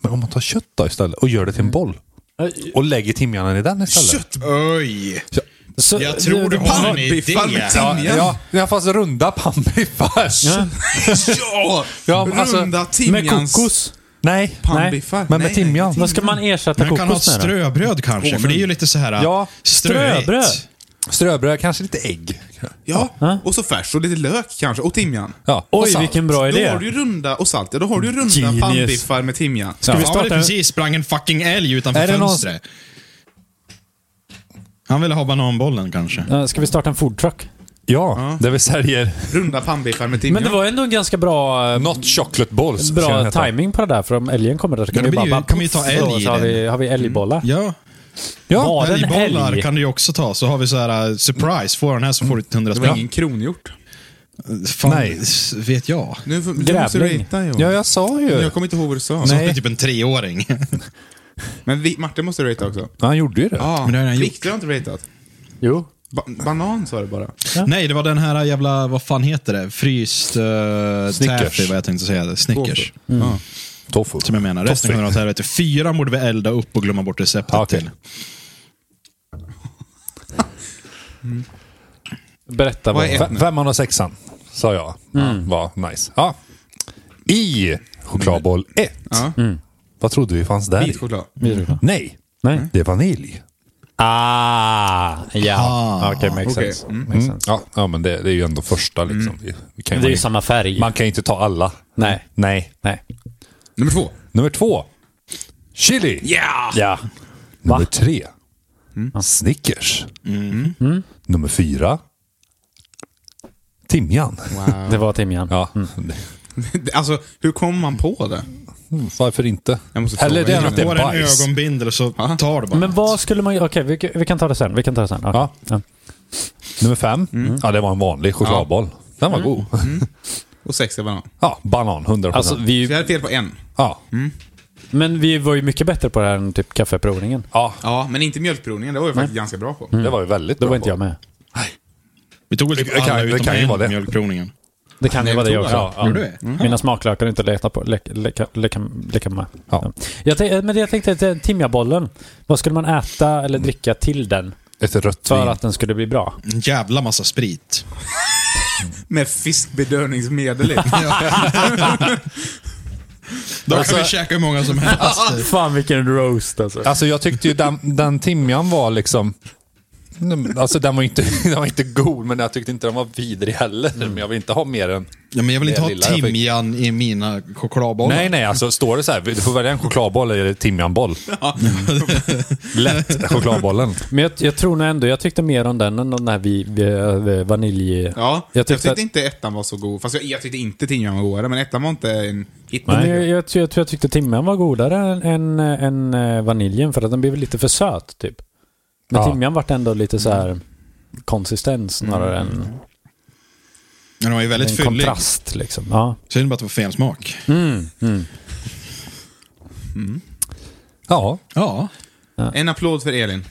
[SPEAKER 3] Men om man tar kött då istället och gör det till en boll.
[SPEAKER 2] Eh,
[SPEAKER 3] Och lägger timjanen i den istället.
[SPEAKER 4] Oj!
[SPEAKER 2] Så,
[SPEAKER 4] Jag tror du har en idé.
[SPEAKER 1] Pannbiffar med
[SPEAKER 3] Ja,
[SPEAKER 1] timjan.
[SPEAKER 3] ja, ja, fast runda pannbiffar.
[SPEAKER 2] Ja.
[SPEAKER 1] Ja,
[SPEAKER 3] Ja, men alltså,
[SPEAKER 1] Runda
[SPEAKER 2] Med
[SPEAKER 1] timjans...
[SPEAKER 2] kokos.
[SPEAKER 3] Nej.
[SPEAKER 1] Pannbiffar.
[SPEAKER 3] Men med
[SPEAKER 1] Nej, nej.
[SPEAKER 3] timjan.
[SPEAKER 2] Vad ska man ersätta
[SPEAKER 4] Man kan ha
[SPEAKER 2] kokos med då?
[SPEAKER 4] ströbröd kanske, för det är ju lite så här...
[SPEAKER 3] Ja,
[SPEAKER 4] ströigt.
[SPEAKER 2] ströbröd.
[SPEAKER 3] Ströbröd, kanske lite ägg.
[SPEAKER 1] Ja, och så färs och lite lök kanske. Och timjan.
[SPEAKER 3] Ja, och
[SPEAKER 2] Oj,
[SPEAKER 3] salt.
[SPEAKER 2] vilken bra
[SPEAKER 1] Då har
[SPEAKER 2] idé.
[SPEAKER 1] du ju runda och salt. Ja, då har du ju runda
[SPEAKER 2] Genius.
[SPEAKER 1] pannbiffar med timjan.
[SPEAKER 2] Ska vi
[SPEAKER 4] Ja, det
[SPEAKER 2] starta?
[SPEAKER 4] precis sprang en fucking älg utanför
[SPEAKER 3] Är det någon-
[SPEAKER 4] fönstret. Han ville ha bananbollen kanske.
[SPEAKER 2] Eh, Ska vi starta en foodtruck?
[SPEAKER 3] Ja, där vi säljer
[SPEAKER 1] Runda pannbiffar med timjan.
[SPEAKER 2] Men det var ändå en ganska bra, eh,
[SPEAKER 3] Not chocolate balls. ska den
[SPEAKER 2] bra
[SPEAKER 3] heta.
[SPEAKER 2] timing på det där, för om älgen kommer där så kan
[SPEAKER 4] det
[SPEAKER 2] vi bara...
[SPEAKER 4] blir ju-
[SPEAKER 2] bara
[SPEAKER 4] kan vi ju ta
[SPEAKER 2] puff,
[SPEAKER 4] älg
[SPEAKER 2] och
[SPEAKER 4] i
[SPEAKER 2] Så har
[SPEAKER 4] den. Mm.
[SPEAKER 2] vi, har vi älgbollar.
[SPEAKER 4] Ja,
[SPEAKER 2] Ja, var det en
[SPEAKER 4] älgbollar
[SPEAKER 2] älg?
[SPEAKER 4] kan du ju också ta. Så har vi så här eh, surprise. Får du den här så får du 100
[SPEAKER 1] Det var
[SPEAKER 4] spänn.
[SPEAKER 1] ingen kronhjort.
[SPEAKER 4] Fan,
[SPEAKER 3] Nej.
[SPEAKER 4] s- vet jag.
[SPEAKER 1] Nu, får- nu måste du
[SPEAKER 2] Grävling.
[SPEAKER 1] ratea Johan.
[SPEAKER 3] Ja, jag sa ju.
[SPEAKER 1] Jag kommer inte ihåg vad du sa.
[SPEAKER 4] Nej. Typ
[SPEAKER 2] [laughs]
[SPEAKER 4] en treåring.
[SPEAKER 1] Men vi, Martin måste ratea också.
[SPEAKER 3] Ja, Han gjorde ju det.
[SPEAKER 1] Ja,
[SPEAKER 4] men det har han gjort.
[SPEAKER 1] Viktor har inte ratat.
[SPEAKER 2] Jo.
[SPEAKER 1] Ba banan sa du bara.
[SPEAKER 4] Nej, det var den här jävla, vad fan heter det? Fryst uh,
[SPEAKER 3] Snickers.
[SPEAKER 4] taffy, vad jag tänkte säga. Snickers.
[SPEAKER 2] Mm.
[SPEAKER 1] Ja.
[SPEAKER 3] Tofu.
[SPEAKER 4] Som jag menar. Resten
[SPEAKER 3] Toffee.
[SPEAKER 4] kommer att ha helvete. Fyra borde vi elda upp och glömma bort receptet
[SPEAKER 3] Ja, okej.
[SPEAKER 4] till.
[SPEAKER 2] Berätta
[SPEAKER 1] Vad
[SPEAKER 2] vad
[SPEAKER 1] är-
[SPEAKER 2] är...
[SPEAKER 3] Fe- Femman och sexan, sa jag. Ja, var nice. Ja. I chokladboll 1.
[SPEAKER 1] Ja.
[SPEAKER 3] Vad trodde vi fanns där? i?
[SPEAKER 1] Vit choklad.
[SPEAKER 3] Nej,
[SPEAKER 2] Nej.
[SPEAKER 3] det är vanilj.
[SPEAKER 2] Ah, ja.
[SPEAKER 4] Ah,
[SPEAKER 2] Okej, makes
[SPEAKER 1] okej.
[SPEAKER 2] sense.
[SPEAKER 1] Mm.
[SPEAKER 2] Makes
[SPEAKER 3] Mm.
[SPEAKER 2] sense.
[SPEAKER 3] Ja, ja, men det, det är ju ändå första liksom. Vi- vi kan,
[SPEAKER 2] Det är
[SPEAKER 3] man,
[SPEAKER 2] ju samma färg.
[SPEAKER 3] man kan ju inte ta alla.
[SPEAKER 2] Nej.
[SPEAKER 3] Nej.
[SPEAKER 2] Nej.
[SPEAKER 1] Nummer två.
[SPEAKER 3] Nummer två. Chili.
[SPEAKER 1] Ja!
[SPEAKER 2] Ja.
[SPEAKER 3] Nummer tre. Mm. Snickers. Mm. Nummer fyra. Timjan.
[SPEAKER 2] Det var timjan.
[SPEAKER 3] Ja.
[SPEAKER 1] [laughs] Alltså, hur kom man på det?
[SPEAKER 3] Varför inte?
[SPEAKER 1] Jag måste
[SPEAKER 3] Hellre
[SPEAKER 1] fråga
[SPEAKER 3] det än
[SPEAKER 1] igen.
[SPEAKER 3] att det
[SPEAKER 4] Får
[SPEAKER 3] är
[SPEAKER 4] en
[SPEAKER 3] bajs.
[SPEAKER 4] ögonbindel så tar du bara.
[SPEAKER 2] Men vad skulle man... Okej, vi, vi kan ta det sen. Vi kan ta det sen. Okej.
[SPEAKER 3] Ja.
[SPEAKER 2] Ja.
[SPEAKER 3] Nummer fem.
[SPEAKER 2] Mm.
[SPEAKER 3] Ja, det var en vanlig chokladboll. Den var god.
[SPEAKER 1] Och sex är banan.
[SPEAKER 3] Ja, banan. 100%.
[SPEAKER 2] Alltså,
[SPEAKER 1] Vi
[SPEAKER 2] vi, Mm.
[SPEAKER 1] hade fel på en.
[SPEAKER 3] ja.
[SPEAKER 2] men vi var ju mycket bättre på det här än typ kaffeprovningen.
[SPEAKER 3] ja,
[SPEAKER 1] Ja, men inte mjölkprovningen. Det var vi faktiskt ganska bra på.
[SPEAKER 2] Mm.
[SPEAKER 3] det var ju väldigt
[SPEAKER 2] Då
[SPEAKER 3] bra.
[SPEAKER 2] Mm. var inte jag med.
[SPEAKER 4] Vi tog väl
[SPEAKER 3] Det
[SPEAKER 4] typ
[SPEAKER 3] kan-
[SPEAKER 4] alla
[SPEAKER 3] det
[SPEAKER 4] utom
[SPEAKER 3] kan ju vara det.
[SPEAKER 4] en mjölkprovningen.
[SPEAKER 2] Det kan ju
[SPEAKER 1] Nej,
[SPEAKER 2] vara det
[SPEAKER 1] jag
[SPEAKER 2] jag också.
[SPEAKER 1] tror
[SPEAKER 2] Ja, ja.
[SPEAKER 4] Gjorde det? Mm.
[SPEAKER 2] Mina smaklökar inte leta på. Leka, leka, leka, leka med.
[SPEAKER 3] Ja.
[SPEAKER 2] Ja. Jag, tänk- men jag tänkte att eh, timjabollen. Vad skulle man äta eller dricka till den
[SPEAKER 3] Ett rött
[SPEAKER 2] för
[SPEAKER 3] vin.
[SPEAKER 2] att den skulle bli bra?
[SPEAKER 4] En jävla massa sprit.
[SPEAKER 1] Med fiskbedövningsmedel
[SPEAKER 2] [laughs]
[SPEAKER 1] i.
[SPEAKER 4] Då kan vi käka hur många
[SPEAKER 3] [laughs]
[SPEAKER 4] som helst.
[SPEAKER 2] Fan vilken roast alltså.
[SPEAKER 3] Alltså jag tyckte ju den, den timjan var liksom... Alltså den var, inte, [laughs] den var inte god, men jag tyckte inte den var vidrig heller.
[SPEAKER 2] Mm.
[SPEAKER 3] Men jag vill inte ha mer än...
[SPEAKER 4] Ja, men jag vill inte
[SPEAKER 3] det
[SPEAKER 4] ha
[SPEAKER 3] lilla jag fick.
[SPEAKER 4] timjan i mina chokladbollar.
[SPEAKER 3] Nej, nej, alltså står det så här, du får välja en chokladboll eller timjanboll.
[SPEAKER 2] [laughs]
[SPEAKER 3] Lätt, chokladbollen.
[SPEAKER 2] Men jag, jag tror nog ändå jag tyckte mer om den än den här vi, vi, vi, vanilj...
[SPEAKER 1] Ja, jag
[SPEAKER 2] jag
[SPEAKER 1] tyckte,
[SPEAKER 2] tyckte att,
[SPEAKER 1] inte ettan var så god. Fast jag, jag tyckte inte timjan var godare, men ettan var inte en hit.
[SPEAKER 2] Nej, jag, jag, tror- jag tror jag tyckte timjan var godare än, än, eh, än eh, vaniljen för att den blev lite för söt typ. Men
[SPEAKER 3] Ja.
[SPEAKER 2] timjan vart ändå lite så här konsistens snarare än
[SPEAKER 4] Men den var ju väldigt
[SPEAKER 2] en
[SPEAKER 4] fyllig.
[SPEAKER 2] kontrast liksom. Ja.
[SPEAKER 4] Synd bara att det var fel smak.
[SPEAKER 3] Ja,
[SPEAKER 4] Ja.
[SPEAKER 1] En applåd för Elin.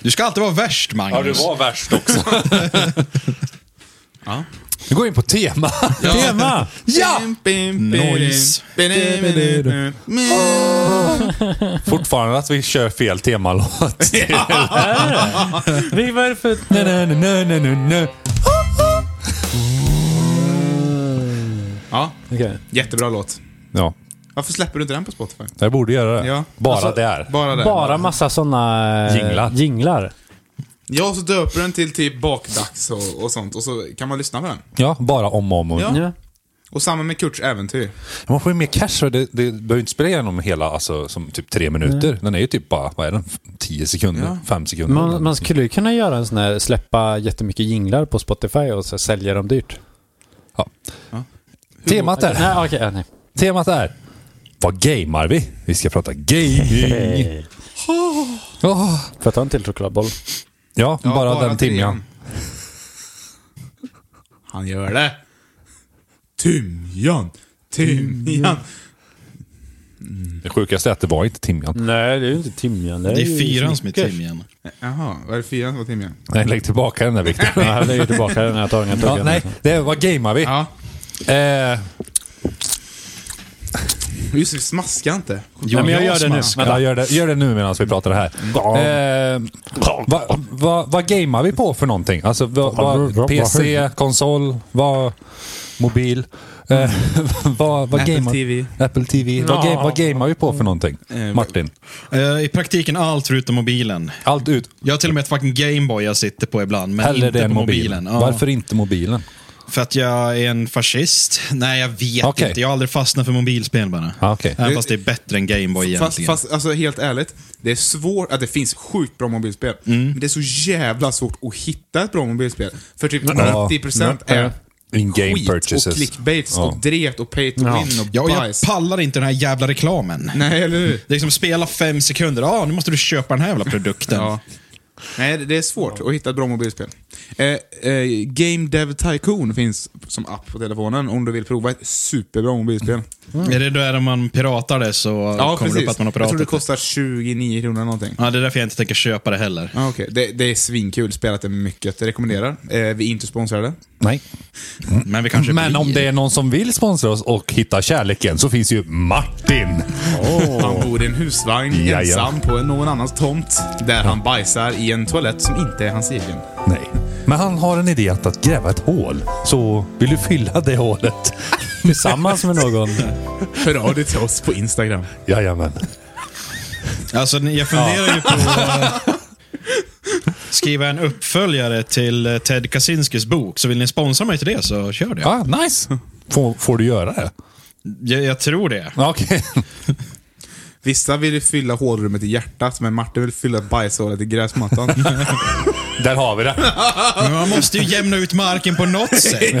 [SPEAKER 4] Du ska alltid vara värst, Magnus.
[SPEAKER 3] värst [laughs] också.
[SPEAKER 1] Ja.
[SPEAKER 3] Vi går in på tema.
[SPEAKER 2] Tema!
[SPEAKER 3] Ja!
[SPEAKER 4] Noise.
[SPEAKER 3] Fortfarande att vi kör fel [laughs] temalåt.
[SPEAKER 2] Vi var det för...
[SPEAKER 3] Na, na, na, na, na, na, na.
[SPEAKER 1] Ja,
[SPEAKER 2] Okej.
[SPEAKER 1] jättebra låt.
[SPEAKER 3] Ja,
[SPEAKER 1] Varför släpper du inte den på Spotify?
[SPEAKER 3] jag borde göra det.
[SPEAKER 1] Ja.
[SPEAKER 3] Bara
[SPEAKER 2] Alltså,
[SPEAKER 3] där.
[SPEAKER 1] Bara den.
[SPEAKER 2] Bara massa sådana
[SPEAKER 3] Jinglar.
[SPEAKER 2] jinglar.
[SPEAKER 1] Ja, så döper den till typ bakdags och, och sånt och så kan man lyssna på den.
[SPEAKER 3] Ja, bara om och om. och-
[SPEAKER 1] Ja.
[SPEAKER 2] Ja.
[SPEAKER 1] Och samma med Kurts äventyr.
[SPEAKER 3] Man får ju mer cash och det, det behöver inte spela igenom hela, alltså som typ tre minuter. Den är ju typ bara, vad är den? 10 sekunder?
[SPEAKER 1] Ja.
[SPEAKER 3] 5 sekunder?
[SPEAKER 2] Man, man skulle ju kunna göra en sån här, släppa jättemycket jinglar på Spotify och så sälja dem dyrt.
[SPEAKER 3] Ja. Temat är,
[SPEAKER 2] Nej, okej, ja, nej.
[SPEAKER 3] temat är, vad gamear vi? Vi ska prata [laughs] gaming. Åh.
[SPEAKER 2] Får jag ta en till chokladboll?
[SPEAKER 3] Ja,
[SPEAKER 1] Ja,
[SPEAKER 3] bara, den timjan.
[SPEAKER 1] timjan. Han gör det. Timjan, timjan.
[SPEAKER 3] Det sjukaste är att det var inte timjan.
[SPEAKER 2] Nej, det är ju inte timjan.
[SPEAKER 4] Det är fyran som är timjan.
[SPEAKER 1] Jaha, var det fyran som var timjan?
[SPEAKER 3] Nej, lägg tillbaka den där Viktor.
[SPEAKER 2] [laughs] Ja, jag lägger tillbaka den här tagningen.
[SPEAKER 3] ja,
[SPEAKER 2] tagningen.
[SPEAKER 3] nej, det är, vad gamear vi?
[SPEAKER 1] Ja.
[SPEAKER 3] Eh,
[SPEAKER 1] Just det, vi smaskar inte.
[SPEAKER 2] Nej, men jag gör det nu.
[SPEAKER 4] smaskar.
[SPEAKER 2] Vänta.
[SPEAKER 3] ja, gör, det, gör det nu medan vi pratar det här. Eh, vad va, vad gamear vi på för någonting? Alltså, va, va, PC, konsol, va, mobil? Eh,
[SPEAKER 2] Mm.
[SPEAKER 3] [laughs] va, va
[SPEAKER 1] Apple
[SPEAKER 3] gamear-
[SPEAKER 1] TV.
[SPEAKER 3] Apple TV. Vad game, vad gamear vi på för någonting? Martin?
[SPEAKER 4] Eh, I praktiken allt förutom mobilen.
[SPEAKER 3] Allt ut.
[SPEAKER 4] Jag har till och med ett fucking Gameboy jag sitter på ibland, men
[SPEAKER 3] Hellre
[SPEAKER 4] inte
[SPEAKER 3] det än
[SPEAKER 4] på
[SPEAKER 3] mobilen.
[SPEAKER 4] mobilen. Ja.
[SPEAKER 3] Varför inte mobilen?
[SPEAKER 4] För att jag är en fascist? Nej, jag vet
[SPEAKER 3] Okej.
[SPEAKER 4] inte. Jag har aldrig fastnat för mobilspel bara.
[SPEAKER 3] Ah, okej.
[SPEAKER 4] Även fast det är bättre än Gameboy
[SPEAKER 1] Fast,
[SPEAKER 4] egentligen.
[SPEAKER 1] fast alltså, helt ärligt, det är svårt, att det finns sjukt bra mobilspel,
[SPEAKER 4] Mm.
[SPEAKER 1] men det är så jävla svårt att hitta ett bra mobilspel. För typ 90% är
[SPEAKER 3] In-game
[SPEAKER 1] skit
[SPEAKER 3] purchases.
[SPEAKER 1] och clickbaits
[SPEAKER 3] Ja.
[SPEAKER 1] och dret och pay to win och
[SPEAKER 4] Ja, och jag
[SPEAKER 1] bajs.
[SPEAKER 4] pallar inte den här jävla reklamen.
[SPEAKER 1] Nej, eller hur?
[SPEAKER 4] Det är liksom spela fem sekunder. Ja, nu måste du köpa den här jävla produkten.
[SPEAKER 1] Ja. Nej, det det är svårt att hitta ett bra mobilspel. Eh, eh, Game Dev Tycoon finns som app på telefonen om du vill prova ett superbra mobilspel.
[SPEAKER 4] Är det där man piratar det så Mm. kommer det upp att man
[SPEAKER 1] Jag tror
[SPEAKER 4] har piratat
[SPEAKER 1] det
[SPEAKER 4] det?
[SPEAKER 1] kostar 29 kronor eller någonting.
[SPEAKER 4] Ja, det är därför jag inte tänker köpa det heller.
[SPEAKER 1] Ah, okej. det, det är svinkul, spelat det mycket. Jag rekommenderar. Eh, vi är inte sponsrade.
[SPEAKER 3] Nej.
[SPEAKER 4] Men vi kanske
[SPEAKER 3] Mm. Men
[SPEAKER 4] blir.
[SPEAKER 3] om det är någon som vill sponsra oss och hitta kärleken så finns ju Martin.
[SPEAKER 1] Han bor i en husvagn
[SPEAKER 3] Jaja.
[SPEAKER 1] ensam på en- någon annans tomt där han bajsar i en toalett som inte är hans egen.
[SPEAKER 3] Nej. Men han har en idé att, att gräva ett hål. Så vill du fylla det hålet?
[SPEAKER 2] Tillsammans med någon.
[SPEAKER 1] Hör av dig till oss på Instagram.
[SPEAKER 3] Jajamän.
[SPEAKER 4] Alltså, ni- jag funderar ju på att eh,
[SPEAKER 3] [laughs]
[SPEAKER 4] skriva en uppföljare till eh, Ted Kaczynskis bok. Så vill ni sponsra mig till det så kör det.
[SPEAKER 3] Ah, nice. Får, får du göra det?
[SPEAKER 4] Jag, jag tror det.
[SPEAKER 3] Ja, Okej.
[SPEAKER 1] Vissa vill fylla hålrummet i hjärtat, men Martin vill fylla bajshålet i [laughs] gräsmattan.
[SPEAKER 3] [laughs] Där har vi det.
[SPEAKER 4] Men man måste ju jämna ut marken
[SPEAKER 3] [laughs]
[SPEAKER 4] på något sätt.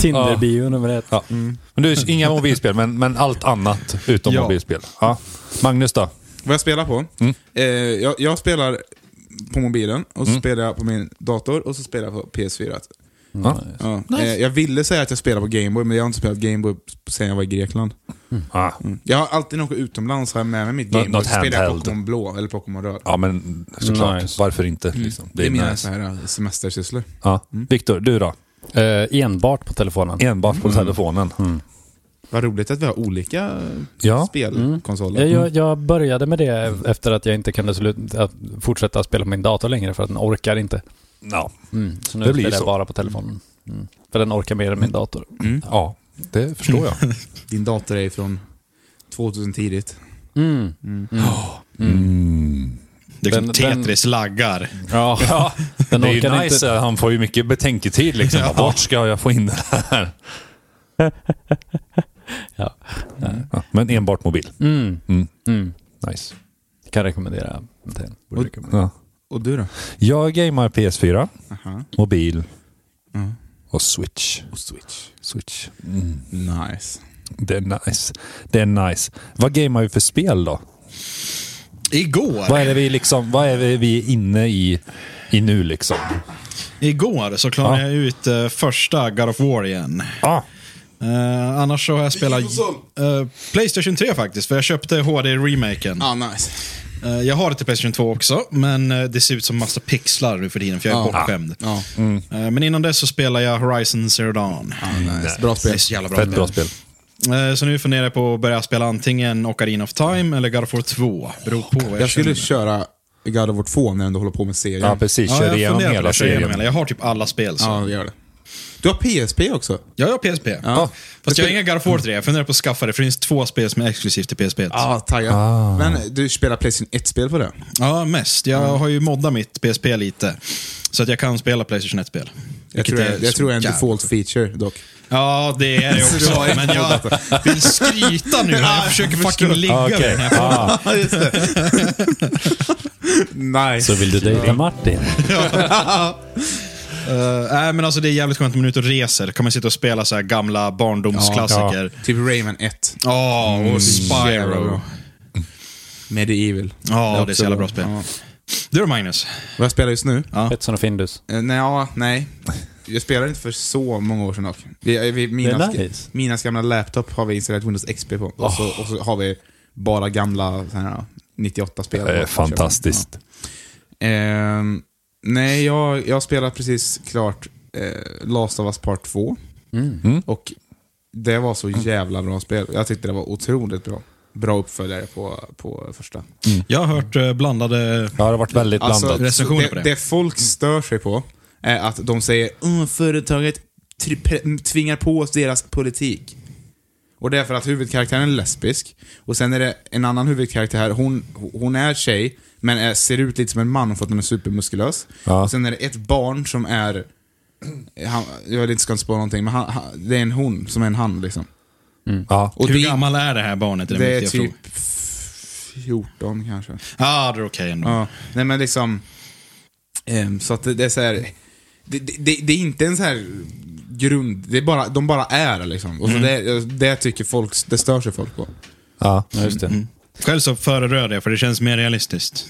[SPEAKER 2] Tinder-bio nummer ett.
[SPEAKER 3] Ja. Men du, inga mobilspel, men, men allt annat utom
[SPEAKER 4] Ja.
[SPEAKER 3] mobilspel. Ja. Magnus då?
[SPEAKER 1] Vad jag spelar på? Eh, jag, jag spelar på mobilen, och så spelar jag på min dator, och så spelar jag på PS4.
[SPEAKER 3] Ja.
[SPEAKER 1] Ja. Eh, jag ville säga att jag spelar på Gameboy, men jag har inte spelat Gameboy sedan jag var i Grekland.
[SPEAKER 3] Ah.
[SPEAKER 1] Jag har alltid när jag åker utomlands har jag med mig mitt Gameboy.
[SPEAKER 3] något
[SPEAKER 1] så spelar jag
[SPEAKER 3] handheld.
[SPEAKER 1] Pokémon Blå eller Pokémon Röd.
[SPEAKER 3] ja, men såklart.
[SPEAKER 2] Nice.
[SPEAKER 3] Varför inte? Liksom.
[SPEAKER 1] Det är mina
[SPEAKER 3] nice.
[SPEAKER 1] så här eh, semestersysslor.
[SPEAKER 3] Ja. Viktor, du då?
[SPEAKER 2] Eh, enbart på telefonen.
[SPEAKER 3] Enbart på telefonen.
[SPEAKER 1] Vad roligt att vi har olika
[SPEAKER 3] Ja.
[SPEAKER 1] spelkonsoler.
[SPEAKER 2] Mm. Jag, jag, jag började med det efter att jag inte kunde slut, att fortsätta spela på min dator längre för att den orkar inte.
[SPEAKER 3] Ja.
[SPEAKER 2] Mm. Så nu
[SPEAKER 3] Det blir
[SPEAKER 2] spelar jag
[SPEAKER 3] så.
[SPEAKER 2] bara på telefonen. Mm. För den orkar mer än min dator.
[SPEAKER 3] ja, det förstår jag.
[SPEAKER 1] Din dator är från 2000 tidigt.
[SPEAKER 2] Mm.
[SPEAKER 3] Mm.
[SPEAKER 4] Det är
[SPEAKER 2] Den-
[SPEAKER 4] liksom
[SPEAKER 2] den-
[SPEAKER 4] Tetris laggar.
[SPEAKER 2] [laughs] Ja. Den
[SPEAKER 3] Det är ju
[SPEAKER 2] orkar
[SPEAKER 3] nice,
[SPEAKER 2] inte.
[SPEAKER 3] att han får ju mycket betänketid
[SPEAKER 4] [laughs]
[SPEAKER 3] liksom. Bara, Vart ska jag få in det här?
[SPEAKER 2] Ja.
[SPEAKER 3] Ja, men enbart mobil.
[SPEAKER 2] Mm.
[SPEAKER 3] Mm.
[SPEAKER 2] Mm.
[SPEAKER 3] Nice.
[SPEAKER 2] Kan rekommendera. den. Borde
[SPEAKER 1] Och-
[SPEAKER 2] rekommendera.
[SPEAKER 3] Ja.
[SPEAKER 1] Och du då?
[SPEAKER 3] Jag gamer PS4,
[SPEAKER 1] Aha.
[SPEAKER 3] mobil och Switch.
[SPEAKER 1] Och Switch.
[SPEAKER 3] Switch.
[SPEAKER 1] Nice.
[SPEAKER 3] Det är nice. Det är nice. Vad gamer vi för spel då?
[SPEAKER 4] Igår,
[SPEAKER 3] Vad är det vi, liksom, vad är det vi är inne i, i nu liksom?
[SPEAKER 4] igår så klarade
[SPEAKER 3] Ja.
[SPEAKER 4] jag ut eh, första God of War igen.
[SPEAKER 3] Ah,
[SPEAKER 4] Eh, annars så har jag spelat
[SPEAKER 1] Vilken konsol?
[SPEAKER 4] eh, Playstation 3 faktiskt, för jag köpte HD-remaken.
[SPEAKER 1] Ja, nice.
[SPEAKER 4] Eh, jag har det till Playstation 2 också, men eh, det ser ut som massa pixlar nu för tiden, för jag är
[SPEAKER 1] Ja.
[SPEAKER 4] bortskämd.
[SPEAKER 1] Ja, Mm.
[SPEAKER 4] Eh, men innan dess så spelar jag Horizon Zero Dawn.
[SPEAKER 1] nice. Bra
[SPEAKER 4] Det
[SPEAKER 1] spel.
[SPEAKER 4] är så jävla bra.
[SPEAKER 3] fett bra spel.
[SPEAKER 4] Eh, Så nu funderar jag på att börja spela antingen Ocarina of Time eller God of War 2. Beror på vad jag,
[SPEAKER 1] Jag skulle
[SPEAKER 4] känner.
[SPEAKER 1] köra God of War 2 när du håller på med serien.
[SPEAKER 3] Ja, precis.
[SPEAKER 4] Ja,
[SPEAKER 3] Kör
[SPEAKER 4] jag
[SPEAKER 3] igenom
[SPEAKER 4] funderar på
[SPEAKER 3] hela
[SPEAKER 4] det. Kör igenom
[SPEAKER 3] serien.
[SPEAKER 4] hela. Jag har typ alla spel. Så.
[SPEAKER 1] Ja, gör det. Du har PSP också?
[SPEAKER 4] Jag har PSP.
[SPEAKER 1] Ja.
[SPEAKER 4] Fast jag har inga God of War 3. Jag funderar på att skaffa det, för det finns två spel som är exklusivt till PSP.
[SPEAKER 1] Ja, taggad. Men du spelar Playstation 1-spel på det?
[SPEAKER 4] Ja, mest. Jag
[SPEAKER 1] Mm.
[SPEAKER 4] har ju moddat mitt PSP lite. Så att jag kan spela Playstation 1-spel.
[SPEAKER 1] Jag tror, det, jag tror det är en
[SPEAKER 4] jävla-
[SPEAKER 1] default feature dock.
[SPEAKER 4] Ja, det är det
[SPEAKER 1] Så du
[SPEAKER 4] också.
[SPEAKER 1] har ju
[SPEAKER 4] Men jag vill skryta nu. Jag försöker fucking ligga
[SPEAKER 3] Okej.
[SPEAKER 4] med den här.
[SPEAKER 3] Ah,
[SPEAKER 1] Nice.
[SPEAKER 2] Så vill du dejta Martin?
[SPEAKER 4] Eh, Nej, men alltså det är jävligt skönt när man är ute och reser. Då kan man sitta och spela så här gamla barndomsklassiker.
[SPEAKER 1] Typ Rayman 1.
[SPEAKER 4] Ja, och
[SPEAKER 1] Jävla
[SPEAKER 4] Spyro.
[SPEAKER 1] bra. Medieval.
[SPEAKER 4] Ja, det är
[SPEAKER 1] också
[SPEAKER 4] så jävla bra spel.
[SPEAKER 1] Ja.
[SPEAKER 4] Du då Magnus?
[SPEAKER 1] Vad jag spelar just nu?
[SPEAKER 2] Pettersson och Findus.
[SPEAKER 1] Eh, nej, ja, nej. Jag spelade inte för så många år sedan dock. Vi, vi,
[SPEAKER 2] Det
[SPEAKER 1] mina,
[SPEAKER 2] är nice.
[SPEAKER 1] mina gamla laptop har vi installerat Windows XP på. Och, så, och så har vi bara gamla så här, 98-spel.
[SPEAKER 3] det är fantastiskt.
[SPEAKER 1] Ehm, nej, jag, jag spelar precis klart eh, Last of Us Part 2. Och det var så jävla bra spel. Jag tyckte det var otroligt bra. Bra uppföljare på, på första.
[SPEAKER 4] Jag har hört eh, blandade...
[SPEAKER 3] Ja, det har varit väldigt
[SPEAKER 4] Alltså,
[SPEAKER 3] blandat.
[SPEAKER 4] recensioner
[SPEAKER 1] det,
[SPEAKER 4] på det.
[SPEAKER 1] det folk stör sig på är att de säger "Åh, företaget tri- pre- tvingar på oss deras politik. Och det är för att huvudkaraktären är lesbisk. Och sen är det en annan huvudkaraktär, här. hon, hon är tjej, men är, ser ut lite som en man för att hon är supermuskulös.
[SPEAKER 3] Ja.
[SPEAKER 1] Och sen är det ett barn som är... Han, jag vet inte, ska inte spå någonting, men han, han, det är en hon som är en han liksom.
[SPEAKER 3] Ja.
[SPEAKER 1] Och
[SPEAKER 4] Hur
[SPEAKER 1] det,
[SPEAKER 4] gammal är det här barnet? Det är,
[SPEAKER 1] det är typ
[SPEAKER 4] typ...
[SPEAKER 1] 14 kanske.
[SPEAKER 4] Ja, det är okej ändå.
[SPEAKER 1] Ja, nej men liksom... ehm, så att det, det är så här... Det, det, det, det är inte en så här grund... Det är bara, de bara är liksom. Och så det, det tycker folk, det stör sig folk på.
[SPEAKER 3] Ja. Mm.
[SPEAKER 2] Ja, just det.
[SPEAKER 4] Själv så föredrar jag det, för det känns mer realistiskt.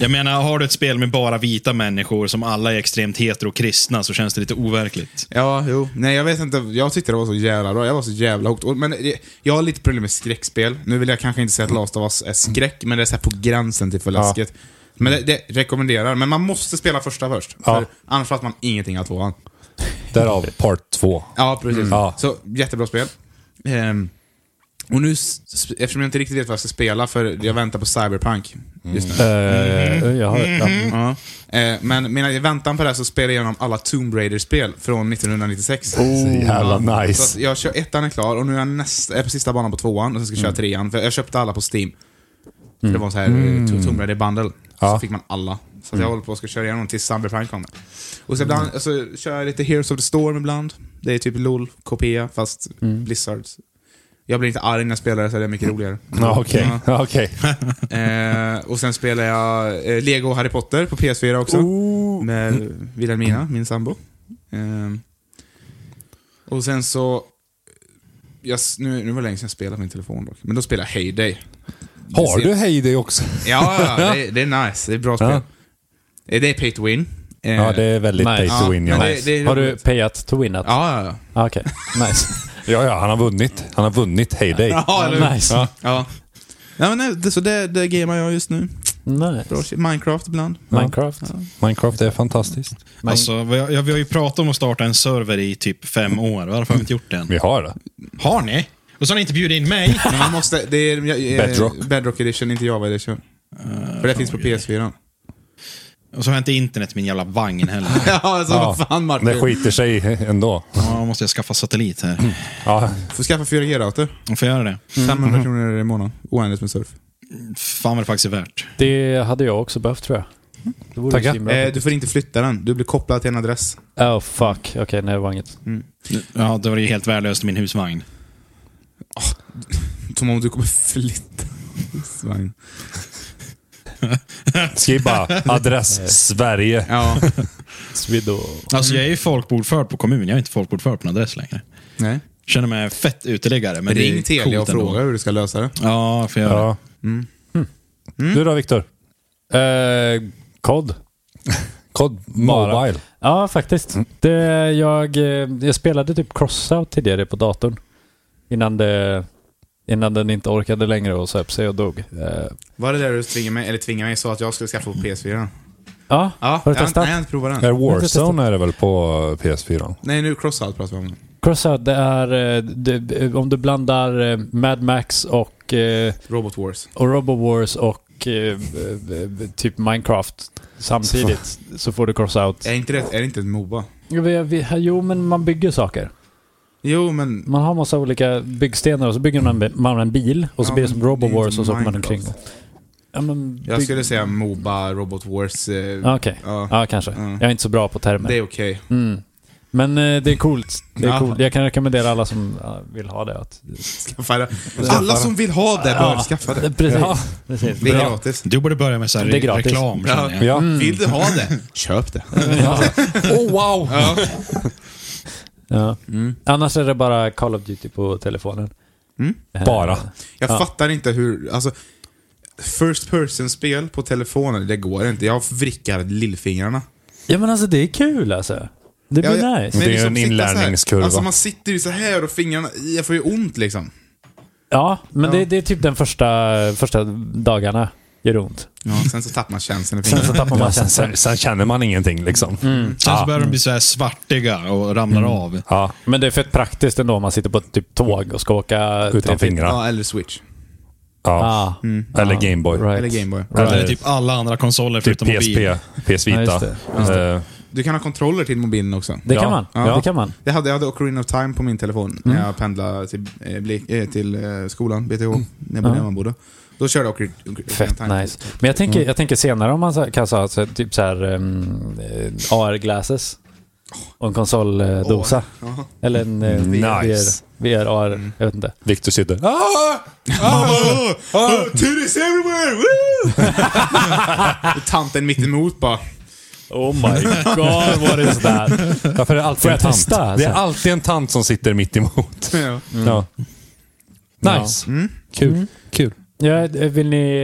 [SPEAKER 4] Jag menar, har du ett spel med bara vita människor som alla är extremt hetero och kristna så känns det lite overkligt.
[SPEAKER 1] Ja, jo. Nej, jag vet inte. Jag tyckte det var så jävla bra. Jag var så jävla hooked. Och- Men det- jag har lite problem med skräckspel. Nu vill jag kanske inte säga att Last of Us är skräck, men det är så här på gränsen till för läskigt. Men det, det rekommenderar. Men man måste spela första först. För annars fattar man ingenting av tvåan.
[SPEAKER 3] Därav part två.
[SPEAKER 1] Ja, precis.
[SPEAKER 3] Ja.
[SPEAKER 1] Så jättebra spel. Ehm, och nu, s- s- eftersom jag inte riktigt vet vad jag ska spela, för jag väntar på Cyberpunk just nu.
[SPEAKER 2] Eh, jag har, ja.
[SPEAKER 1] Ja. Eh, men medan jag väntar på det här så spelar jag igenom alla Tomb Raider-spel från 1996.
[SPEAKER 3] Så jävla
[SPEAKER 1] Ja.
[SPEAKER 3] nice.
[SPEAKER 1] Så att jag kör ettan är klar och nu är jag, nästa, jag är på sista banan på tvåan och sen ska
[SPEAKER 3] Mm.
[SPEAKER 1] jag köra trean. För jag köpte alla på Steam. För Det var en sån här mm. Tomb Raider bundle.
[SPEAKER 3] Ja. Mm.
[SPEAKER 1] Så fick man alla. Så att jag håller på och ska köra igenom tills Cyberpunk kommer. Och så ibland så kör jag lite Heroes of the Storm ibland. Det är typ LOL, kopia fast
[SPEAKER 3] Mm.
[SPEAKER 1] Blizzards. Jag blir inte arg när jag spelar det, så det är mycket roligare.
[SPEAKER 3] Ja, Okej.
[SPEAKER 1] Ja.
[SPEAKER 3] Ja, okej.
[SPEAKER 1] Eh, och sen spelar jag eh, Lego och Harry Potter på PS4 också.
[SPEAKER 3] Oh,
[SPEAKER 1] Med
[SPEAKER 3] Mm.
[SPEAKER 1] Wilhelmina, min sambo. Eh, och sen så... Jag, s- nu, nu var det länge sedan jag spelade på min telefon dock. Men då spelar jag Heyday.
[SPEAKER 3] Har du Heyday också? [laughs]
[SPEAKER 1] Ja, ja, det, det är nice. Det är bra spel.
[SPEAKER 3] Ja.
[SPEAKER 1] Eh, det är pay to win. Eh,
[SPEAKER 3] Ja, det är väldigt
[SPEAKER 2] Nice.
[SPEAKER 3] pay to win. Ja,
[SPEAKER 1] men
[SPEAKER 3] Nice.
[SPEAKER 1] det, det är
[SPEAKER 2] har du
[SPEAKER 1] roligt.
[SPEAKER 2] payat to winat?
[SPEAKER 1] Ja, ja,
[SPEAKER 3] [laughs]
[SPEAKER 1] ja.
[SPEAKER 2] Ah, Okej, nice. [laughs]
[SPEAKER 3] ja, ja, han har vunnit. Han har vunnit Heyday.
[SPEAKER 1] Ja, eller hur?
[SPEAKER 2] nice.
[SPEAKER 1] Ja. Ja, men nej, det, så det, det gamar jag just nu.
[SPEAKER 2] Nej.
[SPEAKER 1] Bra shit. Minecraft ibland.
[SPEAKER 2] Minecraft.
[SPEAKER 3] Minecraft är fantastiskt.
[SPEAKER 2] Men-
[SPEAKER 4] Alltså, vi, har, ja, vi har ju pratat om att starta en server i typ fem år. Varför har vi inte gjort det än?
[SPEAKER 3] Vi har det.
[SPEAKER 4] Har ni? Och så har ni inte bjudit in mig.
[SPEAKER 1] Men man måste, det är eh,
[SPEAKER 3] Bedrock. Eh,
[SPEAKER 1] Bedrock edition, inte Java edition. För det finns på PS4.
[SPEAKER 4] Och så har jag inte internet i min jävla vagn heller.
[SPEAKER 1] [laughs] [laughs] Ja, alltså vad fan Martin.
[SPEAKER 3] det skiter sig ändå.
[SPEAKER 4] Ja, måste jag skaffa satellit här.
[SPEAKER 3] Ja,
[SPEAKER 1] Får skaffa 4G-router.
[SPEAKER 3] Mm.
[SPEAKER 4] Jag får göra det.
[SPEAKER 1] 500
[SPEAKER 3] Mm-hmm.
[SPEAKER 1] kronor i månaden. Oändligt med surf.
[SPEAKER 4] Fan vad det faktiskt är värt.
[SPEAKER 2] Det hade jag också behövt tror jag. Det vore
[SPEAKER 3] Tackar.
[SPEAKER 2] så himla
[SPEAKER 1] Eh,
[SPEAKER 2] bra.
[SPEAKER 1] du får inte flytta den. Du blir kopplad till en adress.
[SPEAKER 2] Oh fuck. Okej, nej det var inget.
[SPEAKER 4] Ja, det var ju helt värdelöst i min husvagn.
[SPEAKER 1] Som om du kommer [laughs] flytta. Svang.
[SPEAKER 3] skriv bara adress Sverige.
[SPEAKER 1] Ja.
[SPEAKER 2] Svido.
[SPEAKER 4] Alltså jag är ju folkbordförd på kommunen, jag är inte folkbordförd på en adress längre.
[SPEAKER 1] [laughs] Nej.
[SPEAKER 4] Känner mig fett uteliggare, men det är
[SPEAKER 1] Ring Telia och
[SPEAKER 4] coolt ändå.
[SPEAKER 1] fråga hur du ska lösa det.
[SPEAKER 4] Ja, får jag göra det.
[SPEAKER 3] Ja. Mm. Du då Viktor?
[SPEAKER 2] Eh, kod.
[SPEAKER 3] Cod
[SPEAKER 2] Bara.
[SPEAKER 3] Mobile.
[SPEAKER 2] Ja, faktiskt. Det, jag, eh, jag spelade typ Crossout tidigare på datorn. Innan, det, innan den inte orkade längre och söp sig och dog. Eh,
[SPEAKER 1] Var det där du tvingade mig, eller tvingade mig, sa att jag skulle skaffa på PS4?
[SPEAKER 2] ja,
[SPEAKER 1] Ja,
[SPEAKER 2] Mm. har
[SPEAKER 1] jag
[SPEAKER 2] du
[SPEAKER 1] har inte-
[SPEAKER 2] testat?
[SPEAKER 1] nej, jag har inte provat den.
[SPEAKER 3] Är Warzone är det väl på PS4?
[SPEAKER 1] Nej, nu Crossout pratar vi om.
[SPEAKER 2] Crossout, det är eh, det, om du blandar eh, Mad Max och, eh,
[SPEAKER 1] Robot Wars.
[SPEAKER 2] och RoboWars och eh, eh, typ Minecraft samtidigt så får du Crossout.
[SPEAKER 1] Är inte det, är det inte ett Moba?
[SPEAKER 2] Jo, vi- vi- Jo, men man bygger saker.
[SPEAKER 1] Jo, men...
[SPEAKER 2] Man har massa olika byggstenar och så bygger man en, man en bil och så
[SPEAKER 1] Ja,
[SPEAKER 2] blir det som
[SPEAKER 1] men det är
[SPEAKER 2] Robowars
[SPEAKER 1] inte
[SPEAKER 2] och så åker man
[SPEAKER 1] Minecraft.
[SPEAKER 2] omkring. Ja, men bygg...
[SPEAKER 1] Jag skulle säga Moba, Robot Wars. Eh,
[SPEAKER 2] Ja, Okej,
[SPEAKER 1] Ja.
[SPEAKER 2] ja kanske.
[SPEAKER 1] Ja.
[SPEAKER 2] Jag är inte så bra på termer.
[SPEAKER 1] Det är okej.
[SPEAKER 2] Mm. Men eh, det är coolt. Det är
[SPEAKER 1] Ja.
[SPEAKER 2] coolt. Jag kan rekommendera alla som eh, vill ha det att...
[SPEAKER 1] [laughs] Skaffa det. Alla som vill ha det bör
[SPEAKER 2] Ja.
[SPEAKER 1] skaffa det.
[SPEAKER 2] [laughs] Precis.
[SPEAKER 3] Ja.
[SPEAKER 2] Precis.
[SPEAKER 1] Det är
[SPEAKER 2] Bra.
[SPEAKER 1] gratis. Mm.
[SPEAKER 4] Du borde börja med så här
[SPEAKER 2] Det är gratis.
[SPEAKER 4] reklam, känner jag.
[SPEAKER 3] Ja.
[SPEAKER 1] Vill du ha
[SPEAKER 2] [laughs]
[SPEAKER 1] det? Köp det. [laughs]
[SPEAKER 2] Ja.
[SPEAKER 3] Oh wow!
[SPEAKER 2] Ja.
[SPEAKER 1] Mm.
[SPEAKER 2] Annars är det bara Call of Duty på telefonen. Eh,
[SPEAKER 3] Bara.
[SPEAKER 1] Jag
[SPEAKER 2] Ja.
[SPEAKER 1] fattar inte hur... Alltså, first person-spel på telefonen, det går inte. Jag vrickar lillfingrarna.
[SPEAKER 2] Ja men alltså det är kul alltså. Det blir
[SPEAKER 1] Ja, ja,
[SPEAKER 2] nice.
[SPEAKER 1] men
[SPEAKER 3] Det är
[SPEAKER 1] liksom
[SPEAKER 3] ju en
[SPEAKER 1] sitta så här.
[SPEAKER 3] inlärningskurva.
[SPEAKER 1] Alltså man sitter ju så här och fingrarna, jag får ju ont liksom.
[SPEAKER 2] Ja, men
[SPEAKER 1] Ja.
[SPEAKER 2] Det, det är typ den första, första dagarna
[SPEAKER 1] [laughs]
[SPEAKER 2] gör ont.
[SPEAKER 1] Ja, sen så tappar man känslan i
[SPEAKER 2] Mm. Sen
[SPEAKER 1] fingrarna.
[SPEAKER 2] så tappar man
[SPEAKER 3] Ja, sen,
[SPEAKER 2] känslan.
[SPEAKER 3] sen, sen känner man ingenting liksom.
[SPEAKER 4] Sen så börjar de bli så här svartiga och ramlar av.
[SPEAKER 3] Ja,
[SPEAKER 2] Men det är fett praktiskt ändå om man sitter på ett typ tåg och ska åka...
[SPEAKER 3] utan fingrar.
[SPEAKER 1] Ja, eller Switch.
[SPEAKER 3] Ja.
[SPEAKER 2] Ah,
[SPEAKER 3] Eller Gameboy.
[SPEAKER 2] Mm.
[SPEAKER 1] Mm.
[SPEAKER 2] right.
[SPEAKER 1] Eller Gameboy.
[SPEAKER 2] Right.
[SPEAKER 4] Eller typ alla andra konsoler
[SPEAKER 3] Typ
[SPEAKER 4] förutom
[SPEAKER 3] PSP,
[SPEAKER 4] mobil.
[SPEAKER 3] PS Vita.
[SPEAKER 2] Ja, just det.
[SPEAKER 3] Eh,
[SPEAKER 1] Du kan ha kontroller till mobilen också.
[SPEAKER 2] Det kan
[SPEAKER 3] Ja.
[SPEAKER 2] man.
[SPEAKER 1] Ja.
[SPEAKER 2] Det kan man.
[SPEAKER 1] Jag hade, jag hade Ocarina of Time på min telefon
[SPEAKER 2] Mm.
[SPEAKER 1] när jag pendlade till, eh, Blek- eh, till eh, skolan, BTH, när jag
[SPEAKER 2] Ja.
[SPEAKER 1] man bodde. Då körde jag Ocar- Ocarina of
[SPEAKER 2] Fett
[SPEAKER 1] Time.
[SPEAKER 2] nice. Men jag
[SPEAKER 1] Mm.
[SPEAKER 2] tänker, jag tänker senare om man så- kan säga alltså, typ så här um, AR-glasses. Och en konsoldosa.
[SPEAKER 1] Ja. Mm.
[SPEAKER 2] Eller en eh, VR,
[SPEAKER 3] Nice.
[SPEAKER 2] VR, AR, jag vet inte.
[SPEAKER 3] Victor sitter. Ah!
[SPEAKER 1] Oh, oh, titties everywhere! Woo! Och [laughs] tanten mitt emot bara.
[SPEAKER 2] Oh my god, what is that?
[SPEAKER 3] Varför är det alltid
[SPEAKER 2] Får
[SPEAKER 3] en
[SPEAKER 2] jag
[SPEAKER 3] tant?
[SPEAKER 2] testa, alltså? Mm.
[SPEAKER 3] Det är alltid en tant som sitter
[SPEAKER 2] [laughs]
[SPEAKER 3] mitt emot.
[SPEAKER 1] Ja.
[SPEAKER 3] Ja. Nice. Kul. Kul.
[SPEAKER 2] Ja, vill ni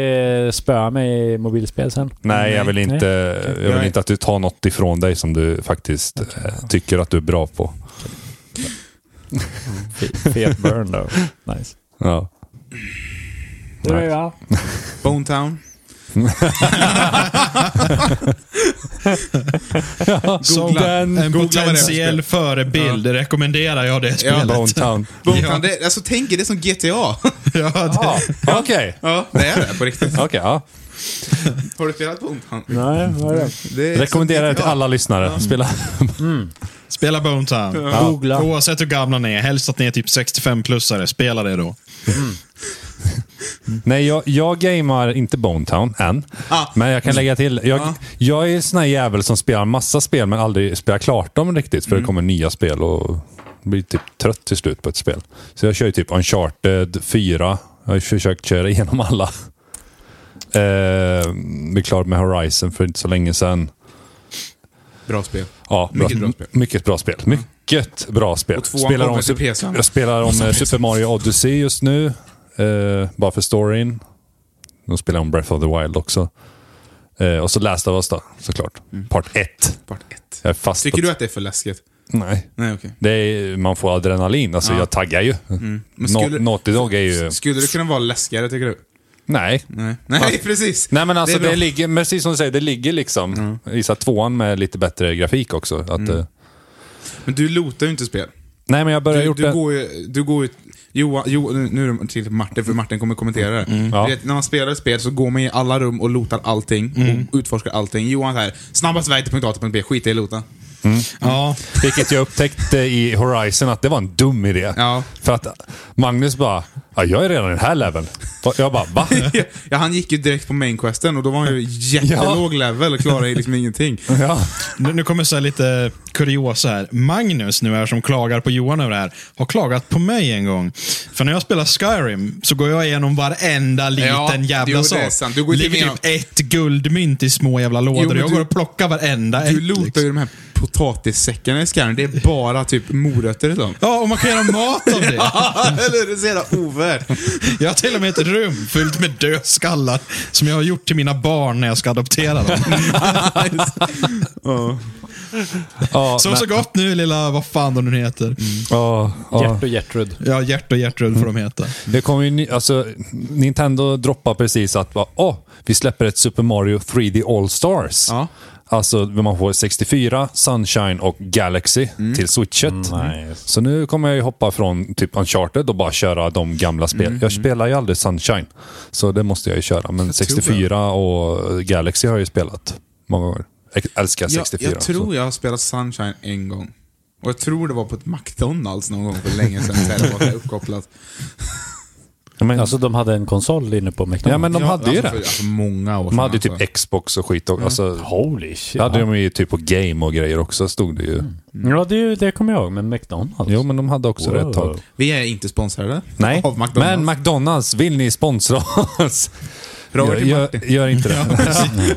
[SPEAKER 2] eh, spöa mig i mobilspel sen?
[SPEAKER 3] Nej, jag vill, inte, jag vill inte att du tar något ifrån dig som du faktiskt eh, tycker att du är bra på.
[SPEAKER 2] Fe- Fet burn då. Nice.
[SPEAKER 3] Ja.
[SPEAKER 2] Det var jag.
[SPEAKER 1] Bone Town. Googla.
[SPEAKER 4] En
[SPEAKER 1] Googla vad det är för
[SPEAKER 4] potentiell
[SPEAKER 1] spel.
[SPEAKER 4] förebild rekommenderar jag det spelet.
[SPEAKER 3] Bone Town.
[SPEAKER 1] Bone
[SPEAKER 4] Ja.
[SPEAKER 1] Town, det, alltså tänk er det som GTA.
[SPEAKER 4] [laughs] Ja, det,
[SPEAKER 3] Ah, Okej.
[SPEAKER 1] ja, det är det på riktigt.
[SPEAKER 3] Okej, ja.
[SPEAKER 1] Har du spelat Bone Town?
[SPEAKER 2] Nej, vad är det?
[SPEAKER 1] Det är
[SPEAKER 3] Rekommenderar det till alla lyssnare. Spela.
[SPEAKER 4] Spela Bone Town.
[SPEAKER 2] Googla.
[SPEAKER 4] Oavsett hur gamla ni är, helst att ni är typ 65-plussare, spela det då.
[SPEAKER 3] Nej, jag, jag gamar inte Bone Town än.
[SPEAKER 1] Ah.
[SPEAKER 3] Men jag kan lägga till. Jag, jag är en sån här jävel som spelar massa spel men aldrig spelar klart dem riktigt. För det kommer nya spel och blir typ trött till slut på ett spel. Så jag kör ju typ Uncharted 4. Jag har ju försökt köra igenom alla. Eh, blir klar med Horizon för inte så länge sedan.
[SPEAKER 1] bra spel.
[SPEAKER 3] Ja, bra,
[SPEAKER 1] Mycket bra spel. Mm.
[SPEAKER 3] Mycket bra spel. Mycket bra spel.
[SPEAKER 1] Och tvåan kommer till PS5.
[SPEAKER 3] jag spelar om eh, Super Mario Odyssey just nu. Eh, bara för storyn. De spelar om Breath of the Wild också. Eh, och så Last of Us då, såklart. Part 1.
[SPEAKER 1] Part 1.
[SPEAKER 3] Jag är fast
[SPEAKER 1] Mm. Tycker
[SPEAKER 3] på-
[SPEAKER 1] du att det är för läskigt?
[SPEAKER 3] Nej.
[SPEAKER 1] Nej, okej.
[SPEAKER 3] Det är, man får adrenalin. Alltså jag taggar ju.
[SPEAKER 1] Mm. Men
[SPEAKER 3] Nå-
[SPEAKER 1] skulle-
[SPEAKER 3] Naughty Dog är ju...
[SPEAKER 1] Skulle det kunna vara läskigare tycker du?
[SPEAKER 3] Nej.
[SPEAKER 1] Nej, Nej [laughs] precis.
[SPEAKER 3] Nej men
[SPEAKER 1] Det
[SPEAKER 3] alltså
[SPEAKER 1] är
[SPEAKER 3] det,
[SPEAKER 1] bra. Mm.
[SPEAKER 3] ligger, men precis som du säger, det ligger liksom i så här tvåan med lite bättre grafik också. Att, eh,
[SPEAKER 1] Men du lotar ju inte spel.
[SPEAKER 3] Nej men jag började
[SPEAKER 1] Du,
[SPEAKER 3] gjort
[SPEAKER 1] du,
[SPEAKER 3] det.
[SPEAKER 1] går ju, du går ju... Johan, jo, nu- nu är det till Martin, för Martin kommer kommentera det.
[SPEAKER 3] Ja.
[SPEAKER 1] Du vet, när man spelar ett spel så går man i alla rum och lotar allting. Och utforskar allting. Johan här, snabbast väg till punkt A till punkt B, skit i att [laughs] lota.
[SPEAKER 4] Ja,
[SPEAKER 3] Vilket jag upptäckte i Horizon att det var en dum idé.
[SPEAKER 1] Ja.
[SPEAKER 3] För att Magnus bara, ja, jag är redan i den här leveln. Jag bara, va?
[SPEAKER 1] ja, han gick ju direkt på mainquesten och då var han ju jättelåg level och klarade liksom [laughs] ingenting.
[SPEAKER 3] ja.
[SPEAKER 4] nu, nu kommer så här lite kuriosa här. Magnus nu här som klagar på Johan över det här, har klagat på mig en gång. För när jag spelar Skyrim så går jag igenom varenda liten
[SPEAKER 1] Ja,
[SPEAKER 4] jävla
[SPEAKER 1] jo, det
[SPEAKER 4] sak.
[SPEAKER 1] är sant. Du går ju
[SPEAKER 4] ligger
[SPEAKER 1] igenom-
[SPEAKER 4] typ ett guldmynt i små jävla lådor.
[SPEAKER 1] men
[SPEAKER 4] jag
[SPEAKER 1] du-
[SPEAKER 4] går och plockar varenda
[SPEAKER 1] Du
[SPEAKER 4] ett. liksom.
[SPEAKER 1] lotar ju de här potatissäckarna i Skyrim. Det är bara typ morötter i dem.
[SPEAKER 4] Ja, och man kan göra mat av
[SPEAKER 1] [laughs]
[SPEAKER 4] det.
[SPEAKER 1] Eller hur? Det är så jävla ovärt. [laughs]
[SPEAKER 4] Jag har till och med ett rum fyllt med dödskallar som jag har gjort till mina barn när jag ska adoptera dem.
[SPEAKER 3] Ja,
[SPEAKER 4] Så
[SPEAKER 3] men-
[SPEAKER 4] så gott nu lilla, vad fan de nu heter.
[SPEAKER 1] Mm.
[SPEAKER 3] ja, ja.
[SPEAKER 2] Gert och Gertrud.
[SPEAKER 4] Ja, Gert och Gertrud får de heta.
[SPEAKER 1] Mm.
[SPEAKER 3] Det kom ju, ny- alltså, Nintendo droppar precis att bara, åh, vi släpper ett Super Mario 3D All-Stars.
[SPEAKER 1] Ja.
[SPEAKER 3] Alltså man får 64, Sunshine och Galaxy
[SPEAKER 1] Mm.
[SPEAKER 3] till switchet. Mm.
[SPEAKER 2] Nice.
[SPEAKER 3] Så nu kommer jag ju hoppa från typ Uncharted och bara köra de gamla
[SPEAKER 1] Mm,
[SPEAKER 3] spel. Jag spelar ju aldrig Sunshine, så det måste jag ju köra. Men 64 och Galaxy har jag ju spelat många gånger. Jag älskar
[SPEAKER 1] Jag,
[SPEAKER 3] 64.
[SPEAKER 1] jag tror jag har spelat Sunshine en gång. Och jag tror det var på ett McDonalds någon gång för länge sedan. Så här, det var så här uppkopplat.
[SPEAKER 3] så. Men,
[SPEAKER 2] Alltså de hade en konsol inne på McDonalds.
[SPEAKER 3] ja, men de hade ju
[SPEAKER 1] alltså, För,
[SPEAKER 3] det.
[SPEAKER 1] alltså, många år
[SPEAKER 3] De hade ju
[SPEAKER 1] sedan, alltså.
[SPEAKER 3] typ Xbox och skit. Och, alltså,
[SPEAKER 2] Holy shit.
[SPEAKER 3] det hade
[SPEAKER 2] Ja,
[SPEAKER 3] de ju typ på Game och grejer också, stod det ju.
[SPEAKER 1] Mm.
[SPEAKER 2] ja det, är ju- det kommer jag ihåg med McDonalds.
[SPEAKER 3] Jo, men de hade också det ett tag.
[SPEAKER 2] Wow.
[SPEAKER 1] Vi är inte sponsrade
[SPEAKER 3] Nej,
[SPEAKER 1] av McDonalds.
[SPEAKER 3] men McDonalds, vill ni sponsra oss?
[SPEAKER 1] Robert
[SPEAKER 3] Gör,
[SPEAKER 1] är
[SPEAKER 3] gör,
[SPEAKER 1] Martin.
[SPEAKER 3] gör inte [laughs] det.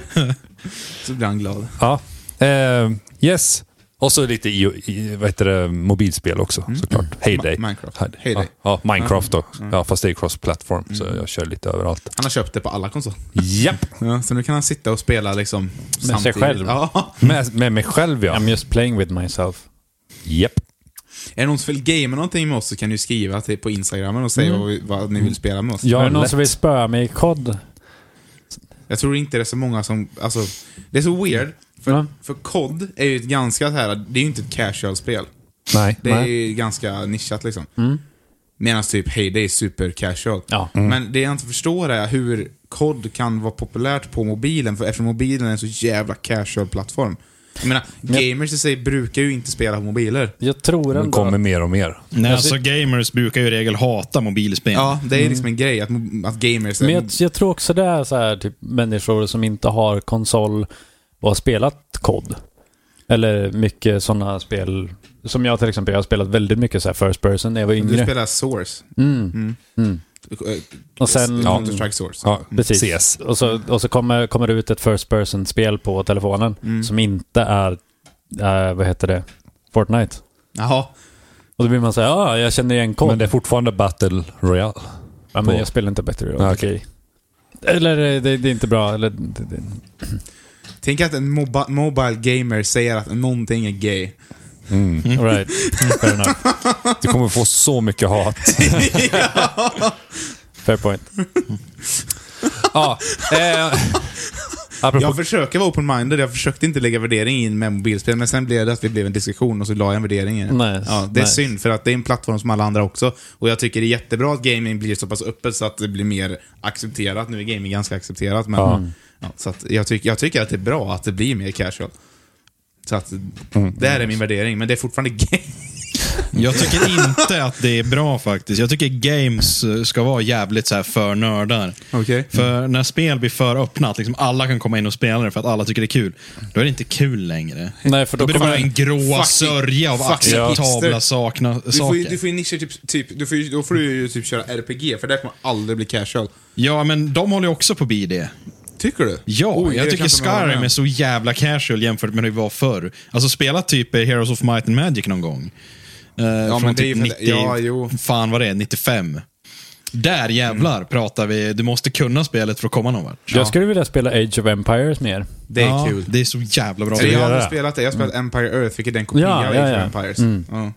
[SPEAKER 1] Så blir han glad.
[SPEAKER 3] Ja. Eh, yes. Och så lite i, i, vad heter det, mobilspel också såklart. Heyday.
[SPEAKER 1] Ma- Mm. Minecraft.
[SPEAKER 3] Heyday.
[SPEAKER 1] Heyday. Mm.
[SPEAKER 3] Ja, ja, Minecraft då. Ja, fast det är cross-platform så jag kör lite överallt.
[SPEAKER 1] Han har köpt det på alla konsoler.
[SPEAKER 3] Japp!
[SPEAKER 1] Ja, så nu kan han sitta och spela liksom Med
[SPEAKER 2] sig själv.
[SPEAKER 1] Ja.
[SPEAKER 3] Med, med mig själv ja.
[SPEAKER 2] I'm just playing with myself.
[SPEAKER 3] Japp.
[SPEAKER 1] Är det någon som vill gamea någonting med oss så kan du skriva till, på Instagramen och säga
[SPEAKER 3] Mm.
[SPEAKER 1] vad, vi, vad ni vill spela med oss.
[SPEAKER 2] är det någon
[SPEAKER 3] lätt.
[SPEAKER 2] som vill spöa mig i kod?
[SPEAKER 1] Jag tror inte det är så många som... Alltså, det är så weird. För,
[SPEAKER 2] Ja.
[SPEAKER 3] Mm.
[SPEAKER 1] för COD är ju ett ganska så här... Det är ju inte ett casual-spel.
[SPEAKER 3] Nej.
[SPEAKER 1] Det är
[SPEAKER 3] nej.
[SPEAKER 1] ju ganska nischat liksom. Medan typ Heyday är super casual.
[SPEAKER 2] Mm. Ja.
[SPEAKER 1] Men det jag inte förstår är hur COD kan vara populärt på mobilen, för eftersom mobilen är en så jävla casual plattform. Jag menar, gamers i sig brukar ju inte spela på mobiler.
[SPEAKER 2] Jag tror
[SPEAKER 3] Det
[SPEAKER 2] ändå...
[SPEAKER 3] kommer mer och mer.
[SPEAKER 4] Nej, alltså gamers brukar ju i regel hata mobilspel.
[SPEAKER 1] Ja, det är liksom en grej att, mo- att gamers... är-
[SPEAKER 2] Mm. Men jag, jag tror också det är så här, typ, människor som inte har konsol och har spelat kod. Eller mycket sådana spel. Som jag till exempel, jag har spelat väldigt mycket så här first person när jag var
[SPEAKER 1] du
[SPEAKER 2] yngre.
[SPEAKER 1] spelar Source.
[SPEAKER 2] Mm.
[SPEAKER 1] Mm. Eh,
[SPEAKER 2] Och sen-
[SPEAKER 1] Counter-Strike Source.
[SPEAKER 3] Ja,
[SPEAKER 2] Precis.
[SPEAKER 3] CS.
[SPEAKER 2] Och så, och så kommer, kommer det ut ett first person-spel på telefonen
[SPEAKER 3] Mm.
[SPEAKER 2] som inte är, eh, vad heter det, Fortnite.
[SPEAKER 1] Jaha.
[SPEAKER 2] Och då blir man så här, ja, ah, jag känner igen kod.
[SPEAKER 3] Men det är fortfarande Battle Royale.
[SPEAKER 2] ja,
[SPEAKER 3] på-
[SPEAKER 2] men jag spelar inte bättre idag.
[SPEAKER 3] Ah,
[SPEAKER 2] Okej. Eller eh, det, det är inte bra. Eller, det, det.
[SPEAKER 1] Tänk att en mobi mobile gamer säger att någonting är gay.
[SPEAKER 2] All
[SPEAKER 3] [laughs]
[SPEAKER 2] right. Fair enough.
[SPEAKER 3] Mm. Du kommer få så
[SPEAKER 2] [laughs]
[SPEAKER 3] mycket hat.
[SPEAKER 2] Fair point.
[SPEAKER 3] ja. Eh, apropå
[SPEAKER 1] Jag försöker vara open-minded, jag försökte inte lägga värdering in med mobilspel, men sen blev det att vi blev en diskussion och så la jag en värdering i det.
[SPEAKER 2] Nice,
[SPEAKER 1] ja, det är
[SPEAKER 2] nice.
[SPEAKER 1] synd, för att det är en plattform som alla andra också. Och jag tycker det är jättebra att gaming blir så pass öppet så att det blir mer accepterat. Nu är gaming ganska accepterat, men... Ja. så att jag, tyck, jag tycker att det är bra att det blir mer casual. Så att, det här är min värdering, men det är fortfarande [laughs] gay.
[SPEAKER 4] Jag tycker inte att det är bra faktiskt. Jag tycker games eh, ska vara jävligt så här för nördar.
[SPEAKER 1] Okej.
[SPEAKER 4] För när spel blir för öppna, att liksom alla kan komma in och spela det för att alla tycker det är kul, då är det inte kul längre.
[SPEAKER 2] Nej, för
[SPEAKER 4] Då
[SPEAKER 2] då
[SPEAKER 4] blir det
[SPEAKER 2] kommer
[SPEAKER 4] bara en grå
[SPEAKER 1] fucking-
[SPEAKER 4] sörja av
[SPEAKER 1] fucking hipster.
[SPEAKER 4] acceptabla sakna,
[SPEAKER 1] Du får, ju,
[SPEAKER 4] saker.
[SPEAKER 1] du får ju nischa typ, typ du får ju, då får du ju typ köra RPG, för det här kommer aldrig bli casual.
[SPEAKER 4] Ja, men de håller ju också på BD.
[SPEAKER 1] Tycker du?
[SPEAKER 4] Ja,
[SPEAKER 1] Oj,
[SPEAKER 4] jag
[SPEAKER 1] det
[SPEAKER 4] tycker
[SPEAKER 1] kanske man håller
[SPEAKER 4] Skyrim
[SPEAKER 1] med
[SPEAKER 4] är
[SPEAKER 1] om.
[SPEAKER 4] så jävla casual jämfört med hur det var förr. Alltså spela typ eh, Heroes of Might and Magic någon gång. Eh, från
[SPEAKER 1] men det är ju
[SPEAKER 4] typ
[SPEAKER 1] för-
[SPEAKER 4] 90,
[SPEAKER 1] ja, jo. Mm.
[SPEAKER 4] fan vad det är, 95. Där jävlar pratar vi, du måste kunna spelet för att komma någon vart.
[SPEAKER 2] Jag skulle vilja spela Age of Empires mer.
[SPEAKER 1] Det är
[SPEAKER 4] Ja,
[SPEAKER 1] kul.
[SPEAKER 4] Det är så jävla bra.
[SPEAKER 1] jag har
[SPEAKER 3] göra Mm.
[SPEAKER 1] aldrig
[SPEAKER 3] det?
[SPEAKER 1] spelat det. Jag har spelat Empire Earth, vilket är en kopia
[SPEAKER 2] Ja, Mm.
[SPEAKER 1] av
[SPEAKER 2] ja,
[SPEAKER 1] Age
[SPEAKER 2] ja.
[SPEAKER 1] of Empires. Ja.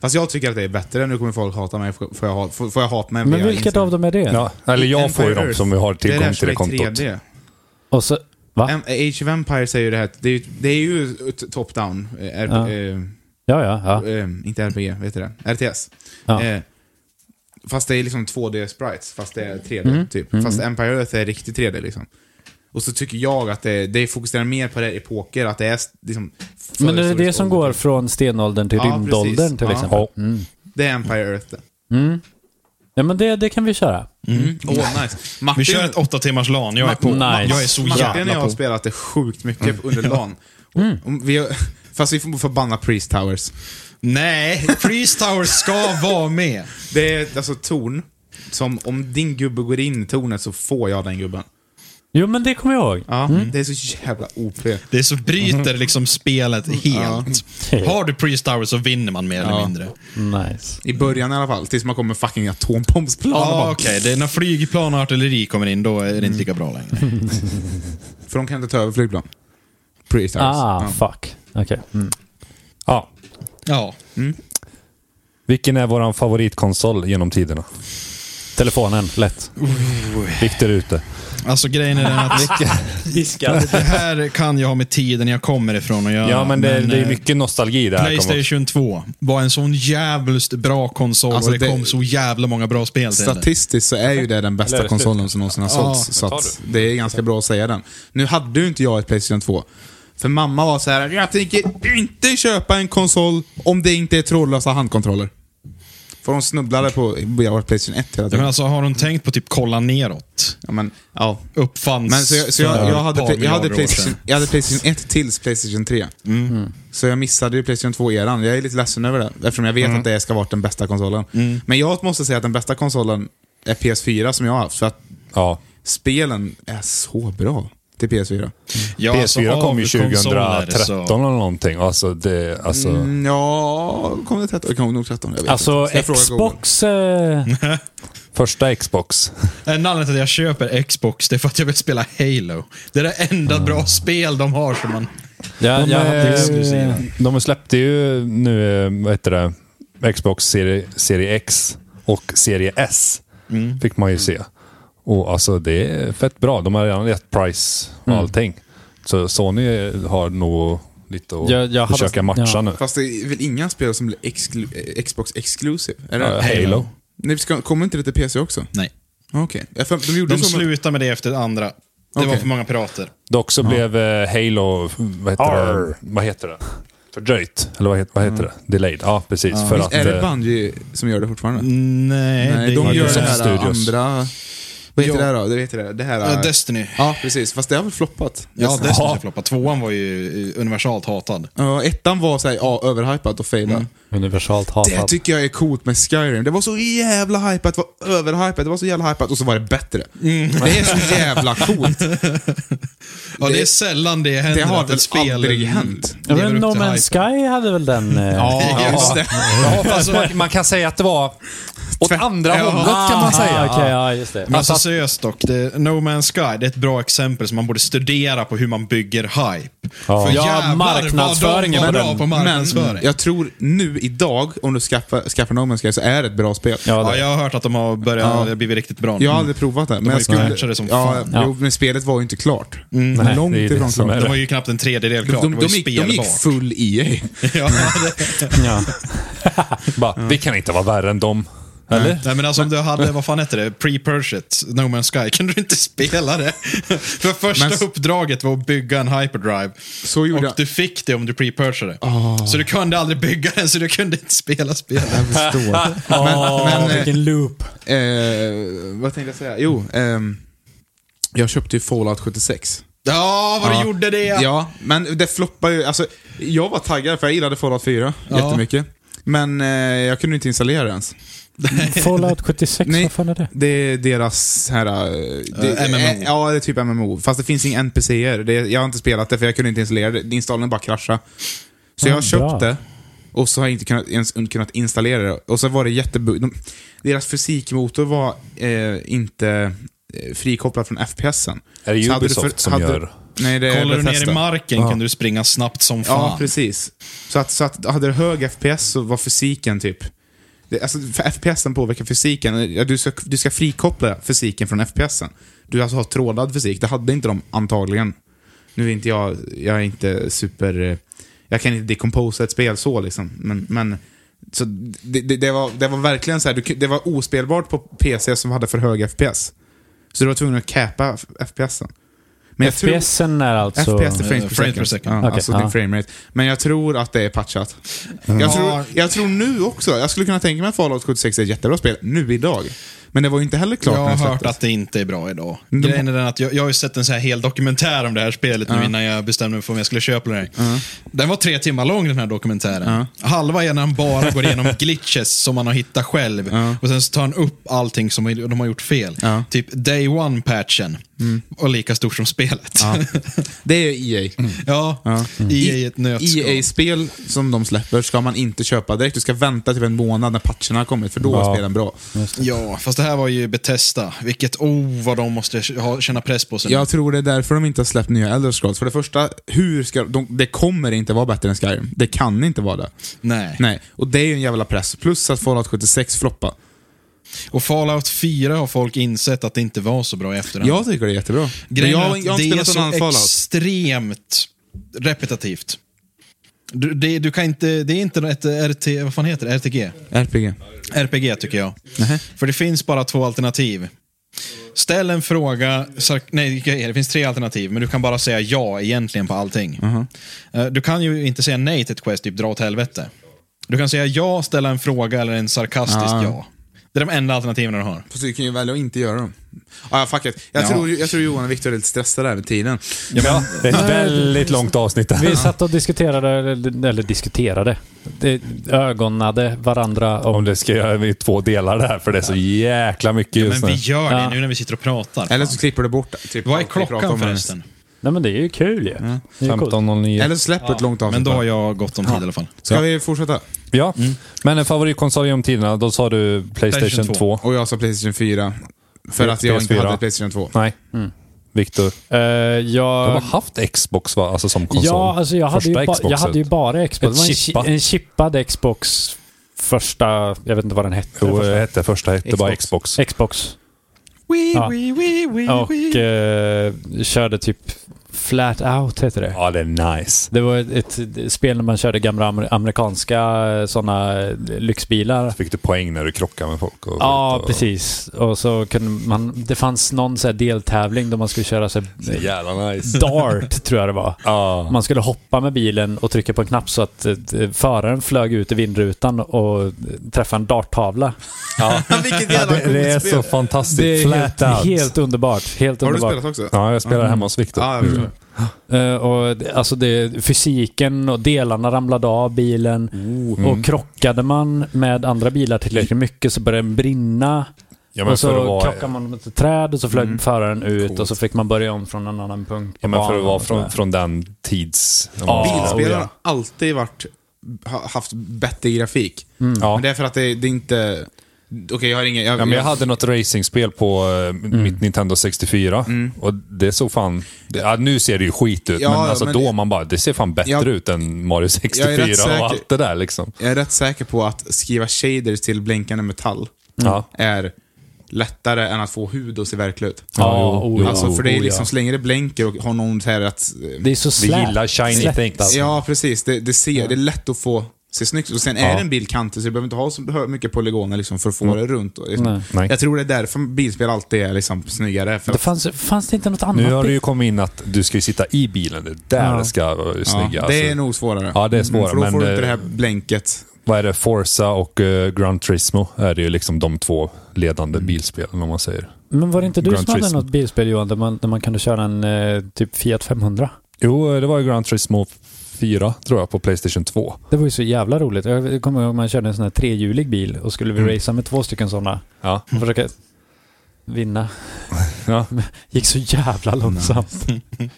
[SPEAKER 1] Fast jag tycker att det är bättre. Nu kommer folk hata mig. Får får jag, ha- får får jag hat mig
[SPEAKER 2] Men
[SPEAKER 1] via
[SPEAKER 2] vilket
[SPEAKER 1] Instagram?
[SPEAKER 2] av dem är det?
[SPEAKER 3] Ja, eller jag får ju
[SPEAKER 1] Empire
[SPEAKER 3] dem som vi har
[SPEAKER 1] Earth. det
[SPEAKER 3] tillgång
[SPEAKER 1] där
[SPEAKER 3] till det
[SPEAKER 1] som är
[SPEAKER 3] kontot.
[SPEAKER 1] 3D.
[SPEAKER 2] Och så, va?
[SPEAKER 1] Em- Age of Empires säger ju det här. Det är ju, det är ju t- top-down. eh, R-
[SPEAKER 2] Ja.
[SPEAKER 1] eh,
[SPEAKER 2] Ja, ja. ja.
[SPEAKER 1] eh, inte RPG, vet du det? RTS.
[SPEAKER 2] Ja.
[SPEAKER 1] Eh, fast det är liksom 2D-sprites, fast det är 3D
[SPEAKER 2] Mm.
[SPEAKER 1] typ. Fast Empire Earth är riktigt 3D liksom. Och så tycker jag att det, det fokuserar mer på det här epoker, att det är s- liksom...
[SPEAKER 2] Men är det det
[SPEAKER 1] förhistorisk
[SPEAKER 2] som
[SPEAKER 1] ålder.
[SPEAKER 2] går från stenåldern till
[SPEAKER 1] Ja, precis.
[SPEAKER 2] rymdåldern till
[SPEAKER 1] Ja.
[SPEAKER 2] exempel?
[SPEAKER 1] Ja.
[SPEAKER 2] Mm.
[SPEAKER 1] Det är Empire Earth det.
[SPEAKER 4] Mm.
[SPEAKER 2] Ja, men det, det kan vi köra.
[SPEAKER 1] Mm. Åh, nice. Martin,
[SPEAKER 4] Vi kör ett åtta timmars LAN, jag är på.
[SPEAKER 2] Nice.
[SPEAKER 4] Jag är så
[SPEAKER 1] Martin och jag
[SPEAKER 4] jävla Mm.
[SPEAKER 1] har
[SPEAKER 4] på.
[SPEAKER 1] spelat det sjukt mycket under LAN. Och- och Vi, fast vi får förbanna Priest Towers.
[SPEAKER 4] Nej, Freeze
[SPEAKER 1] [laughs]
[SPEAKER 4] Tower ska vara med.
[SPEAKER 1] Det är alltså torn, som om din gubbe går in i tornet så får jag den gubben.
[SPEAKER 2] Jo, men det kommer jag ihåg.
[SPEAKER 1] Ja,
[SPEAKER 4] Mm.
[SPEAKER 1] Det är så jävla OP.
[SPEAKER 4] Det är så bryter liksom spelet
[SPEAKER 1] [laughs]
[SPEAKER 4] helt. Har du Priest Tower så vinner man mer eller mindre.
[SPEAKER 2] Nice.
[SPEAKER 1] I början i alla fall, tills man kommer fucking atombombsplan. och
[SPEAKER 4] Ja,
[SPEAKER 1] bara-
[SPEAKER 4] okej. Det är När flygplan och artilleri kommer in, då är det inte lika bra längre.
[SPEAKER 1] För de kan inte ta över flygplan. Priest Towers.
[SPEAKER 2] Ah,
[SPEAKER 1] Ja.
[SPEAKER 2] fuck. Okej. Mm.
[SPEAKER 3] Ja.
[SPEAKER 4] Ja.
[SPEAKER 3] Vilken är vår favoritkonsol genom tiderna?
[SPEAKER 2] Telefonen, lätt.
[SPEAKER 3] Fick där ute.
[SPEAKER 4] Alltså grejen är den att det här kan jag ha med tiden jag kommer ifrån att göra.
[SPEAKER 3] Ja, men det, det är
[SPEAKER 4] eh,
[SPEAKER 3] mycket nostalgi där.
[SPEAKER 4] Playstation 2 var en sån jävligt bra konsol
[SPEAKER 1] Alltså,
[SPEAKER 4] och det,
[SPEAKER 1] det-
[SPEAKER 4] kom så jävla många bra spel till den.
[SPEAKER 1] Statistiskt så är ju det den bästa
[SPEAKER 3] Eller
[SPEAKER 1] konsolen som någonsin har sålts. så att det är ganska bra att säga den. Nu hade ju inte jag ett Playstation 2. För mamma var så här, jag tänker inte köpa en konsol om det inte är trådlösa handkontroller. För hon snubblade på jag har ett Playstation 1 hela
[SPEAKER 4] Men
[SPEAKER 1] tiden.
[SPEAKER 4] alltså har de tänkt på typ kolla neråt?
[SPEAKER 1] Ja, men, ja.
[SPEAKER 4] Uppfanns
[SPEAKER 1] Men så jag, så
[SPEAKER 4] för
[SPEAKER 1] jag, jag,
[SPEAKER 4] ett
[SPEAKER 1] hade,
[SPEAKER 4] par
[SPEAKER 1] jag, hade
[SPEAKER 4] miljarder år
[SPEAKER 1] Playstation,
[SPEAKER 4] sedan.
[SPEAKER 1] jag hade Playstation 1 tills Playstation 3.
[SPEAKER 3] Mm.
[SPEAKER 1] Så jag missade ju Playstation 2-eran. Jag är lite ledsen över det, eftersom jag vet
[SPEAKER 3] Mm.
[SPEAKER 1] att det ska vara den bästa konsolen. Men jag måste säga att den bästa konsolen är PS4 som jag har haft. För att
[SPEAKER 3] Ja.
[SPEAKER 1] spelen är så bra till PS4.
[SPEAKER 4] Ja, alltså,
[SPEAKER 3] PS4 kom ju
[SPEAKER 4] av konsoler
[SPEAKER 3] 2013 eller
[SPEAKER 4] så-
[SPEAKER 3] någonting. Alltså, det, alltså,
[SPEAKER 1] Mm, ja, kom det 13? Kom det nog 13? Jag vet
[SPEAKER 2] Alltså,
[SPEAKER 1] inte. Jag frågar Google.
[SPEAKER 2] Xbox... Eh,
[SPEAKER 3] Första Xbox.
[SPEAKER 4] Eh, En anledning till att jag köper Xbox det är för att jag vill spela Halo. Det är det
[SPEAKER 1] Mm.
[SPEAKER 4] enda bra spel de har som man...
[SPEAKER 2] ja,
[SPEAKER 3] De,
[SPEAKER 2] jag
[SPEAKER 3] eh,
[SPEAKER 2] hade ju,
[SPEAKER 4] exklusiva.
[SPEAKER 3] de släppte ju nu, eh, vad heter det, Xbox serie, serie X och serie S. Fick man ju se. Och alltså det är fett bra. De har redan gett price och allting. Så Sony har nog lite att
[SPEAKER 2] Jag- jag hade-
[SPEAKER 3] försöka matcha
[SPEAKER 2] ja.
[SPEAKER 3] nu.
[SPEAKER 1] Fast det är väl inga spel som blir exklu eh, Xbox exclusive? Är det?
[SPEAKER 3] Ja, Halo.
[SPEAKER 1] Nej, ska- Kommer inte det till PC också?
[SPEAKER 4] Nej.
[SPEAKER 1] Okej. Ja, för De gjorde
[SPEAKER 4] De
[SPEAKER 1] så med-
[SPEAKER 4] slutade med det efter andra. Det var
[SPEAKER 1] Okej.
[SPEAKER 4] för många pirater.
[SPEAKER 3] Dock så blev eh, Halo, vad heter, det?
[SPEAKER 2] Arr.
[SPEAKER 3] vad heter det? Fördröjt. Eller vad heter, vad heter det? Delayed. Ja, precis. För att,
[SPEAKER 1] Är det
[SPEAKER 3] eh,
[SPEAKER 1] Bungie som gör det fortfarande?
[SPEAKER 4] Nej,
[SPEAKER 1] Nej, de
[SPEAKER 4] är-
[SPEAKER 1] gör det
[SPEAKER 3] Ubisoft
[SPEAKER 1] här
[SPEAKER 3] Studios.
[SPEAKER 1] andra... Vad heter
[SPEAKER 4] Ja.
[SPEAKER 1] det här då? Det heter det. det här,
[SPEAKER 4] Eh, Destiny.
[SPEAKER 1] Ja, precis. Fast det har väl floppat?
[SPEAKER 4] Ja,
[SPEAKER 1] Destiny.
[SPEAKER 4] Destiny ska floppa. Tvåan var ju eh, universalt hatad.
[SPEAKER 1] Ja, ettan var såhär, ja, överhypat och failad.
[SPEAKER 2] universalt
[SPEAKER 1] Det
[SPEAKER 2] hatad.
[SPEAKER 1] tycker jag är coolt med Skyrim. Det var så jävla hypat, det var överhypat, det var så jävla hypat och så var det bättre. Det är så jävla coolt.
[SPEAKER 4] Ja, det,
[SPEAKER 1] Det-
[SPEAKER 4] är sällan det händer
[SPEAKER 1] det har
[SPEAKER 4] att ett
[SPEAKER 1] väl
[SPEAKER 4] spel
[SPEAKER 1] aldrig hänt.
[SPEAKER 2] Ja,
[SPEAKER 4] lever
[SPEAKER 2] men
[SPEAKER 4] upp
[SPEAKER 2] No
[SPEAKER 4] till hypen.
[SPEAKER 2] Man's Sky hade väl den... Eh,
[SPEAKER 1] Ja, just det.
[SPEAKER 3] ja,
[SPEAKER 2] [laughs]
[SPEAKER 3] fast man, man kan säga att det var åt andra hållet kan man säga.
[SPEAKER 2] Ah, okej, ja, just det.
[SPEAKER 4] Men alltså,
[SPEAKER 3] Alltså
[SPEAKER 4] seriöst dock, det, No Man's Sky det är ett bra exempel som man borde studera på hur man bygger hype. För
[SPEAKER 2] Ja,
[SPEAKER 4] jävlar
[SPEAKER 2] marknadsföringen
[SPEAKER 4] vad
[SPEAKER 2] på
[SPEAKER 4] de var bra
[SPEAKER 2] den.
[SPEAKER 4] på
[SPEAKER 1] Men
[SPEAKER 4] marknadsföring.
[SPEAKER 1] jag tror nu idag, om du skaffar, skaffar No Man's Sky, så är det ett bra spel.
[SPEAKER 2] Ja,
[SPEAKER 4] ja,
[SPEAKER 2] det.
[SPEAKER 4] jag har hört att de har börjat,
[SPEAKER 1] Ja.
[SPEAKER 4] det har blivit riktigt bra nu.
[SPEAKER 1] Jag har aldrig provat det. Men
[SPEAKER 4] har
[SPEAKER 1] jag
[SPEAKER 4] ju patchat
[SPEAKER 1] skulle,
[SPEAKER 4] det som
[SPEAKER 1] ja,
[SPEAKER 4] fan.
[SPEAKER 1] jo, men spelet var ju inte klart.
[SPEAKER 3] Nej,
[SPEAKER 1] Långt
[SPEAKER 3] det är ju det
[SPEAKER 1] ifrån
[SPEAKER 3] som
[SPEAKER 1] klart.
[SPEAKER 3] är
[SPEAKER 4] De var ju knappt en tredjedel klar,
[SPEAKER 1] De,
[SPEAKER 4] det
[SPEAKER 1] de,
[SPEAKER 4] var ju
[SPEAKER 1] gick, de gick
[SPEAKER 4] spelbart.
[SPEAKER 1] full E EA.
[SPEAKER 4] [laughs] ja, det,
[SPEAKER 2] Ja.
[SPEAKER 3] Bara, Vi kan inte vara värre än dem. Eller?
[SPEAKER 4] nej men alltså om du hade, vad fan hette det, pre-purchase, No Man's Sky, kunde du inte spela det? För första
[SPEAKER 1] Men-
[SPEAKER 4] uppdraget var att bygga en hyperdrive.
[SPEAKER 1] Så gjorde
[SPEAKER 4] och
[SPEAKER 1] jag. Ah.
[SPEAKER 4] du fick det om du pre-purchade. Så du kunde aldrig bygga den, så du kunde inte spela spelet.
[SPEAKER 1] Jag förstår.
[SPEAKER 2] Åh,
[SPEAKER 1] men, eh, [laughs]
[SPEAKER 2] vilken loop.
[SPEAKER 1] Eh, vad tänkte jag säga? Jo, ehm, jag köpte ju Fallout 76.
[SPEAKER 4] Ja, vad du gjorde det!
[SPEAKER 1] Ah.
[SPEAKER 4] [laughs]
[SPEAKER 1] Ja, men det floppar ju. Alltså, jag var taggad för jag gillade Fallout 4
[SPEAKER 4] Ja.
[SPEAKER 1] jättemycket. Men eh, jag kunde inte installera det ens.
[SPEAKER 2] Fallout 76,
[SPEAKER 1] Nej.
[SPEAKER 2] vad fan är det?
[SPEAKER 1] Det är deras här... eh, Det,
[SPEAKER 4] Eh, MMO.
[SPEAKER 1] eh, ja, det är typ MMO. Fast det finns inga NPCer. Det, jag har inte spelat det för jag kunde inte installera det. Installen bara kraschade. Så
[SPEAKER 2] Ja,
[SPEAKER 1] jag köpte
[SPEAKER 2] bra.
[SPEAKER 1] och så har jag inte kunnat, ens kunnat installera det. Och så var det jättebu... De, deras fysikmotor var eh, inte eh, frikopplad från FPSen.
[SPEAKER 3] Är det
[SPEAKER 1] Så hade du
[SPEAKER 3] Ubisoft som
[SPEAKER 1] hade-
[SPEAKER 3] gör
[SPEAKER 1] Nej, det är
[SPEAKER 4] Kollar du ner
[SPEAKER 1] Bethesda.
[SPEAKER 4] i marken kan du springa snabbt som
[SPEAKER 1] Ah. Ja,
[SPEAKER 4] fan.
[SPEAKER 1] precis. Så att, så att hade du hög FPS så var fysiken typ... Det, alltså, för FPSen påverkar fysiken. Ja, Du ska, du ska frikoppla fysiken från FPSen. Du alltså har trådad fysik. Det hade inte de antagligen. Nu är inte jag... Jag är inte super... eh, Jag kan inte decomposa ett spel så liksom. Men... men så det, det, det, var, det var verkligen så här, du, ku- det var ospelbart på PC som hade för hög FPS. Så du var tvungen att capa FPSen. Men jag tror-
[SPEAKER 2] FPSen är alltså...
[SPEAKER 1] FPS är frames per
[SPEAKER 4] Eh, frame
[SPEAKER 1] second.
[SPEAKER 4] per second.
[SPEAKER 1] Ja,
[SPEAKER 2] Okej,
[SPEAKER 1] alltså
[SPEAKER 2] ja.
[SPEAKER 1] din framerate. Men jag tror att det är patchat.
[SPEAKER 4] Mm.
[SPEAKER 1] Jag, tror, jag tror nu också, jag skulle kunna tänka mig att Fallout 76 är ett jättebra spel nu idag. Men det var ju inte heller klart
[SPEAKER 4] Jag
[SPEAKER 1] när
[SPEAKER 4] har
[SPEAKER 1] det
[SPEAKER 4] hört
[SPEAKER 1] släpptes.
[SPEAKER 4] att det inte är bra idag. Grejen är den att jag, jag har ju sett en så här hel dokumentär om det här spelet nu innan jag bestämde mig för om jag skulle köpa den. här. Den var tre timmar lång den här dokumentären. Halva är när han bara går igenom [laughs] glitches som han har hittat själv. Och sen så tar han upp allting som de har gjort fel. Typ Day One-patchen var lika stor som spelet. Mm. [laughs] Ja,
[SPEAKER 1] Det är E ju EA.
[SPEAKER 4] Mm. EA i E ett
[SPEAKER 1] E
[SPEAKER 4] nötskal.
[SPEAKER 1] EA-spel som de släpper ska man inte köpa direkt. Du ska vänta typ en månad när patcherna har kommit, för då är spelen bra.
[SPEAKER 4] Ja, fast det här var ju Bethesda. Vilket, oh vad de måste ha, känna press på sig. nu.
[SPEAKER 1] Jag tror det är därför de inte har släppt nya Elder Scrolls. För det första, hur ska de, det kommer inte vara bättre än Skyrim. Det kan inte vara det.
[SPEAKER 4] Nej.
[SPEAKER 1] Nej. Och det är ju en jävla press. Plus att Fallout 76 floppar.
[SPEAKER 4] Och Fallout 4 har folk insett att det inte var så bra i efterhand.
[SPEAKER 1] Jag tycker det är jättebra.
[SPEAKER 4] Grejen
[SPEAKER 1] jag,
[SPEAKER 4] är
[SPEAKER 1] har-
[SPEAKER 4] att
[SPEAKER 1] jag har inte
[SPEAKER 4] det är
[SPEAKER 1] spelat någon
[SPEAKER 4] så
[SPEAKER 1] annan Fallout.
[SPEAKER 4] extremt repetitivt. Du, det, du kan inte, det är inte ett RT, vad fan heter det? RTG?
[SPEAKER 1] RPG.
[SPEAKER 4] RPG tycker jag. För det finns bara två alternativ. Ställ en fråga, sar- nej vilka är det? det finns tre alternativ, men du kan bara säga ja egentligen på allting. Eh, Du kan ju inte säga nej till ett quest, typ dra åt helvete. Du kan säga ja, ställa en fråga eller en sarkastisk
[SPEAKER 1] Ah.
[SPEAKER 4] ja. Det är de enda alternativen du har.
[SPEAKER 1] Fast du kan ju välja att inte göra dem. Ah, ja, fuck it. Jag,
[SPEAKER 4] Ja.
[SPEAKER 1] tror, jag tror Johan och Viktor är lite stressade här med tiden.
[SPEAKER 3] Ja, det är ett väldigt långt avsnitt
[SPEAKER 2] Vi
[SPEAKER 3] där.
[SPEAKER 2] satt och diskuterade, eller, eller diskuterade, det, ögonade varandra om
[SPEAKER 3] Om det ska göra i två delar det här, för det är så jäkla mycket
[SPEAKER 4] Men
[SPEAKER 3] just
[SPEAKER 4] vi
[SPEAKER 3] nu.
[SPEAKER 4] gör det
[SPEAKER 2] Ja.
[SPEAKER 4] nu när vi sitter och pratar.
[SPEAKER 1] Eller så klipper du bort typ,
[SPEAKER 4] Vad är
[SPEAKER 1] allt vi pratar
[SPEAKER 4] klockan
[SPEAKER 1] om här.
[SPEAKER 4] förresten?
[SPEAKER 2] Nej men det är ju kul ju.
[SPEAKER 3] Mm.
[SPEAKER 2] Det är ju coolt.
[SPEAKER 3] 15.09.
[SPEAKER 1] Eller så släpper du ett långt
[SPEAKER 4] Men
[SPEAKER 1] avsnitt.
[SPEAKER 4] då har
[SPEAKER 1] bara.
[SPEAKER 4] jag gått om tid i alla fall.
[SPEAKER 1] Ska vi fortsätta?
[SPEAKER 3] Ja, men en favoritkonsol genom tiderna, då sa du Playstation
[SPEAKER 4] Playstation
[SPEAKER 3] 2.
[SPEAKER 1] Och jag sa Playstation 4. För att jag inte
[SPEAKER 3] PS4.
[SPEAKER 1] hade Playstation [laughs] 2.
[SPEAKER 3] Nej. Viktor.
[SPEAKER 2] Eh,
[SPEAKER 3] Du har
[SPEAKER 2] jag...
[SPEAKER 3] haft Xbox va? Alltså som konsol?
[SPEAKER 2] Ja, alltså jag hade, ju
[SPEAKER 3] Första
[SPEAKER 2] ba, jag
[SPEAKER 3] Xboxet.
[SPEAKER 2] hade ju bara Xbox. Det var en,
[SPEAKER 3] chippat.
[SPEAKER 2] chi- en chippad Xbox första... Jag vet inte vad den hette.
[SPEAKER 3] Jo, eh,
[SPEAKER 2] första.
[SPEAKER 3] det hette första hette bara Xbox.
[SPEAKER 2] Xbox. Ja. Och eh, körde typ Flat Out heter det.
[SPEAKER 3] Ja, det är nice.
[SPEAKER 2] Det var ett, ett spel när man körde gamla amer- amerikanska sådana lyxbilar.
[SPEAKER 3] Fick du poäng när du krockade med folk? Och
[SPEAKER 2] Ja,
[SPEAKER 3] och,
[SPEAKER 2] precis. Och så kunde man... Det fanns någon så här deltävling då man skulle köra så
[SPEAKER 3] Så
[SPEAKER 2] här,
[SPEAKER 3] jävla nice.
[SPEAKER 2] Dart tror jag det var.
[SPEAKER 3] Ja.
[SPEAKER 2] Man skulle hoppa med bilen och trycka på en knapp så att eh, föraren flög ut i vindrutan och eh, träffade en darttavla.
[SPEAKER 1] Vilket jävla
[SPEAKER 3] Det, det är så fantastiskt. Flat
[SPEAKER 2] helt,
[SPEAKER 3] out.
[SPEAKER 2] helt underbart. Helt
[SPEAKER 1] Har du
[SPEAKER 2] underbart.
[SPEAKER 1] spelat också?
[SPEAKER 3] Ja, jag spelar hemma hos Viktor.
[SPEAKER 1] Ja, jag förstår.
[SPEAKER 2] Eh, och det- alltså det, fysiken och delarna ramlade av bilen. Och krockade man med andra bilar tillräckligt mycket så började den brinna.
[SPEAKER 3] Ja, men
[SPEAKER 2] och så
[SPEAKER 3] för att vara- Mm.
[SPEAKER 2] krockade man mot ett träd och så flög föraren ut och så fick man börja om från en annan punkt. på
[SPEAKER 3] Ja, men för
[SPEAKER 2] banan
[SPEAKER 3] att vara
[SPEAKER 2] och sådär.
[SPEAKER 3] från, från den tids...
[SPEAKER 2] Ja.
[SPEAKER 1] Bilspelare
[SPEAKER 2] Oh,
[SPEAKER 1] har alltid varit, ha, haft bättre grafik.
[SPEAKER 3] Ja.
[SPEAKER 1] Men det är för att det, det är inte... Okej, Mm. jag har ingen...
[SPEAKER 3] Ja, men jag hade något racingspel på eh, mitt Nintendo 64 och det såg fan... det- Ja, nu ser det ju skit ut,
[SPEAKER 1] Ja,
[SPEAKER 3] men, alltså
[SPEAKER 1] men-
[SPEAKER 3] då man bara, det ser fan bättre
[SPEAKER 1] Jag-
[SPEAKER 3] ut än Mario
[SPEAKER 1] Jag är rätt
[SPEAKER 3] 64
[SPEAKER 1] säker-
[SPEAKER 3] och allt det där liksom.
[SPEAKER 1] Jag är rätt säker på att skriva shaders till blinkande metall
[SPEAKER 3] Ja.
[SPEAKER 1] är lättare än att få hud att se verklig ut.
[SPEAKER 2] Ja,
[SPEAKER 3] jo,
[SPEAKER 2] oh, ja.
[SPEAKER 1] alltså, för det är
[SPEAKER 2] Oh,
[SPEAKER 1] liksom,
[SPEAKER 2] ja.
[SPEAKER 1] så länge det blänker och har någon så här att...
[SPEAKER 2] Det är så
[SPEAKER 3] Vi
[SPEAKER 2] slät.
[SPEAKER 3] gillar shiny
[SPEAKER 2] slätt,
[SPEAKER 3] things.
[SPEAKER 2] alltså.
[SPEAKER 1] Ja, precis. Det, det, ser, det är lätt att få se snyggt ut. Och sen är det en bil kantig, så du behöver inte ha så hö- mycket polygoner liksom, för att få det runt. Och, liksom.
[SPEAKER 2] Nej.
[SPEAKER 3] Mm. Nej.
[SPEAKER 1] Jag tror det är därför bilspel alltid är liksom, snyggare. För
[SPEAKER 2] Det
[SPEAKER 1] att,
[SPEAKER 2] fanns, fanns det inte något annat?
[SPEAKER 3] Nu har det
[SPEAKER 2] bil?
[SPEAKER 3] ju kommit in att du ska ju sitta i bilen, det är där
[SPEAKER 2] Ja.
[SPEAKER 3] det ska vara snygga.
[SPEAKER 1] ja,
[SPEAKER 3] alltså.
[SPEAKER 1] det är nog svårare.
[SPEAKER 3] Ja, det är svårare,
[SPEAKER 1] Mm, För då
[SPEAKER 3] men,
[SPEAKER 1] får du inte
[SPEAKER 3] eh,
[SPEAKER 1] det här blänket.
[SPEAKER 3] Vad är det? Forza och uh, Gran Turismo är det ju liksom de två ledande
[SPEAKER 1] Mm.
[SPEAKER 3] bilspelen om man säger.
[SPEAKER 2] Men var det inte du
[SPEAKER 3] Gran
[SPEAKER 2] som hade
[SPEAKER 3] Turismo.
[SPEAKER 2] något bilspel Johan, där man, där man kunde köra en eh, typ Fiat 500?
[SPEAKER 3] Jo, eh, det var ju Gran Turismo 4 tror jag på Playstation 2.
[SPEAKER 2] Det var ju så jävla roligt. Jag kommer ihåg man körde en sån här trehjulig bil och skulle
[SPEAKER 3] Mm.
[SPEAKER 2] vi racea med två stycken sådana.
[SPEAKER 3] Ja.
[SPEAKER 2] Och försöka vinna.
[SPEAKER 3] Mm. Ja.
[SPEAKER 2] [laughs] Gick så jävla långsamt.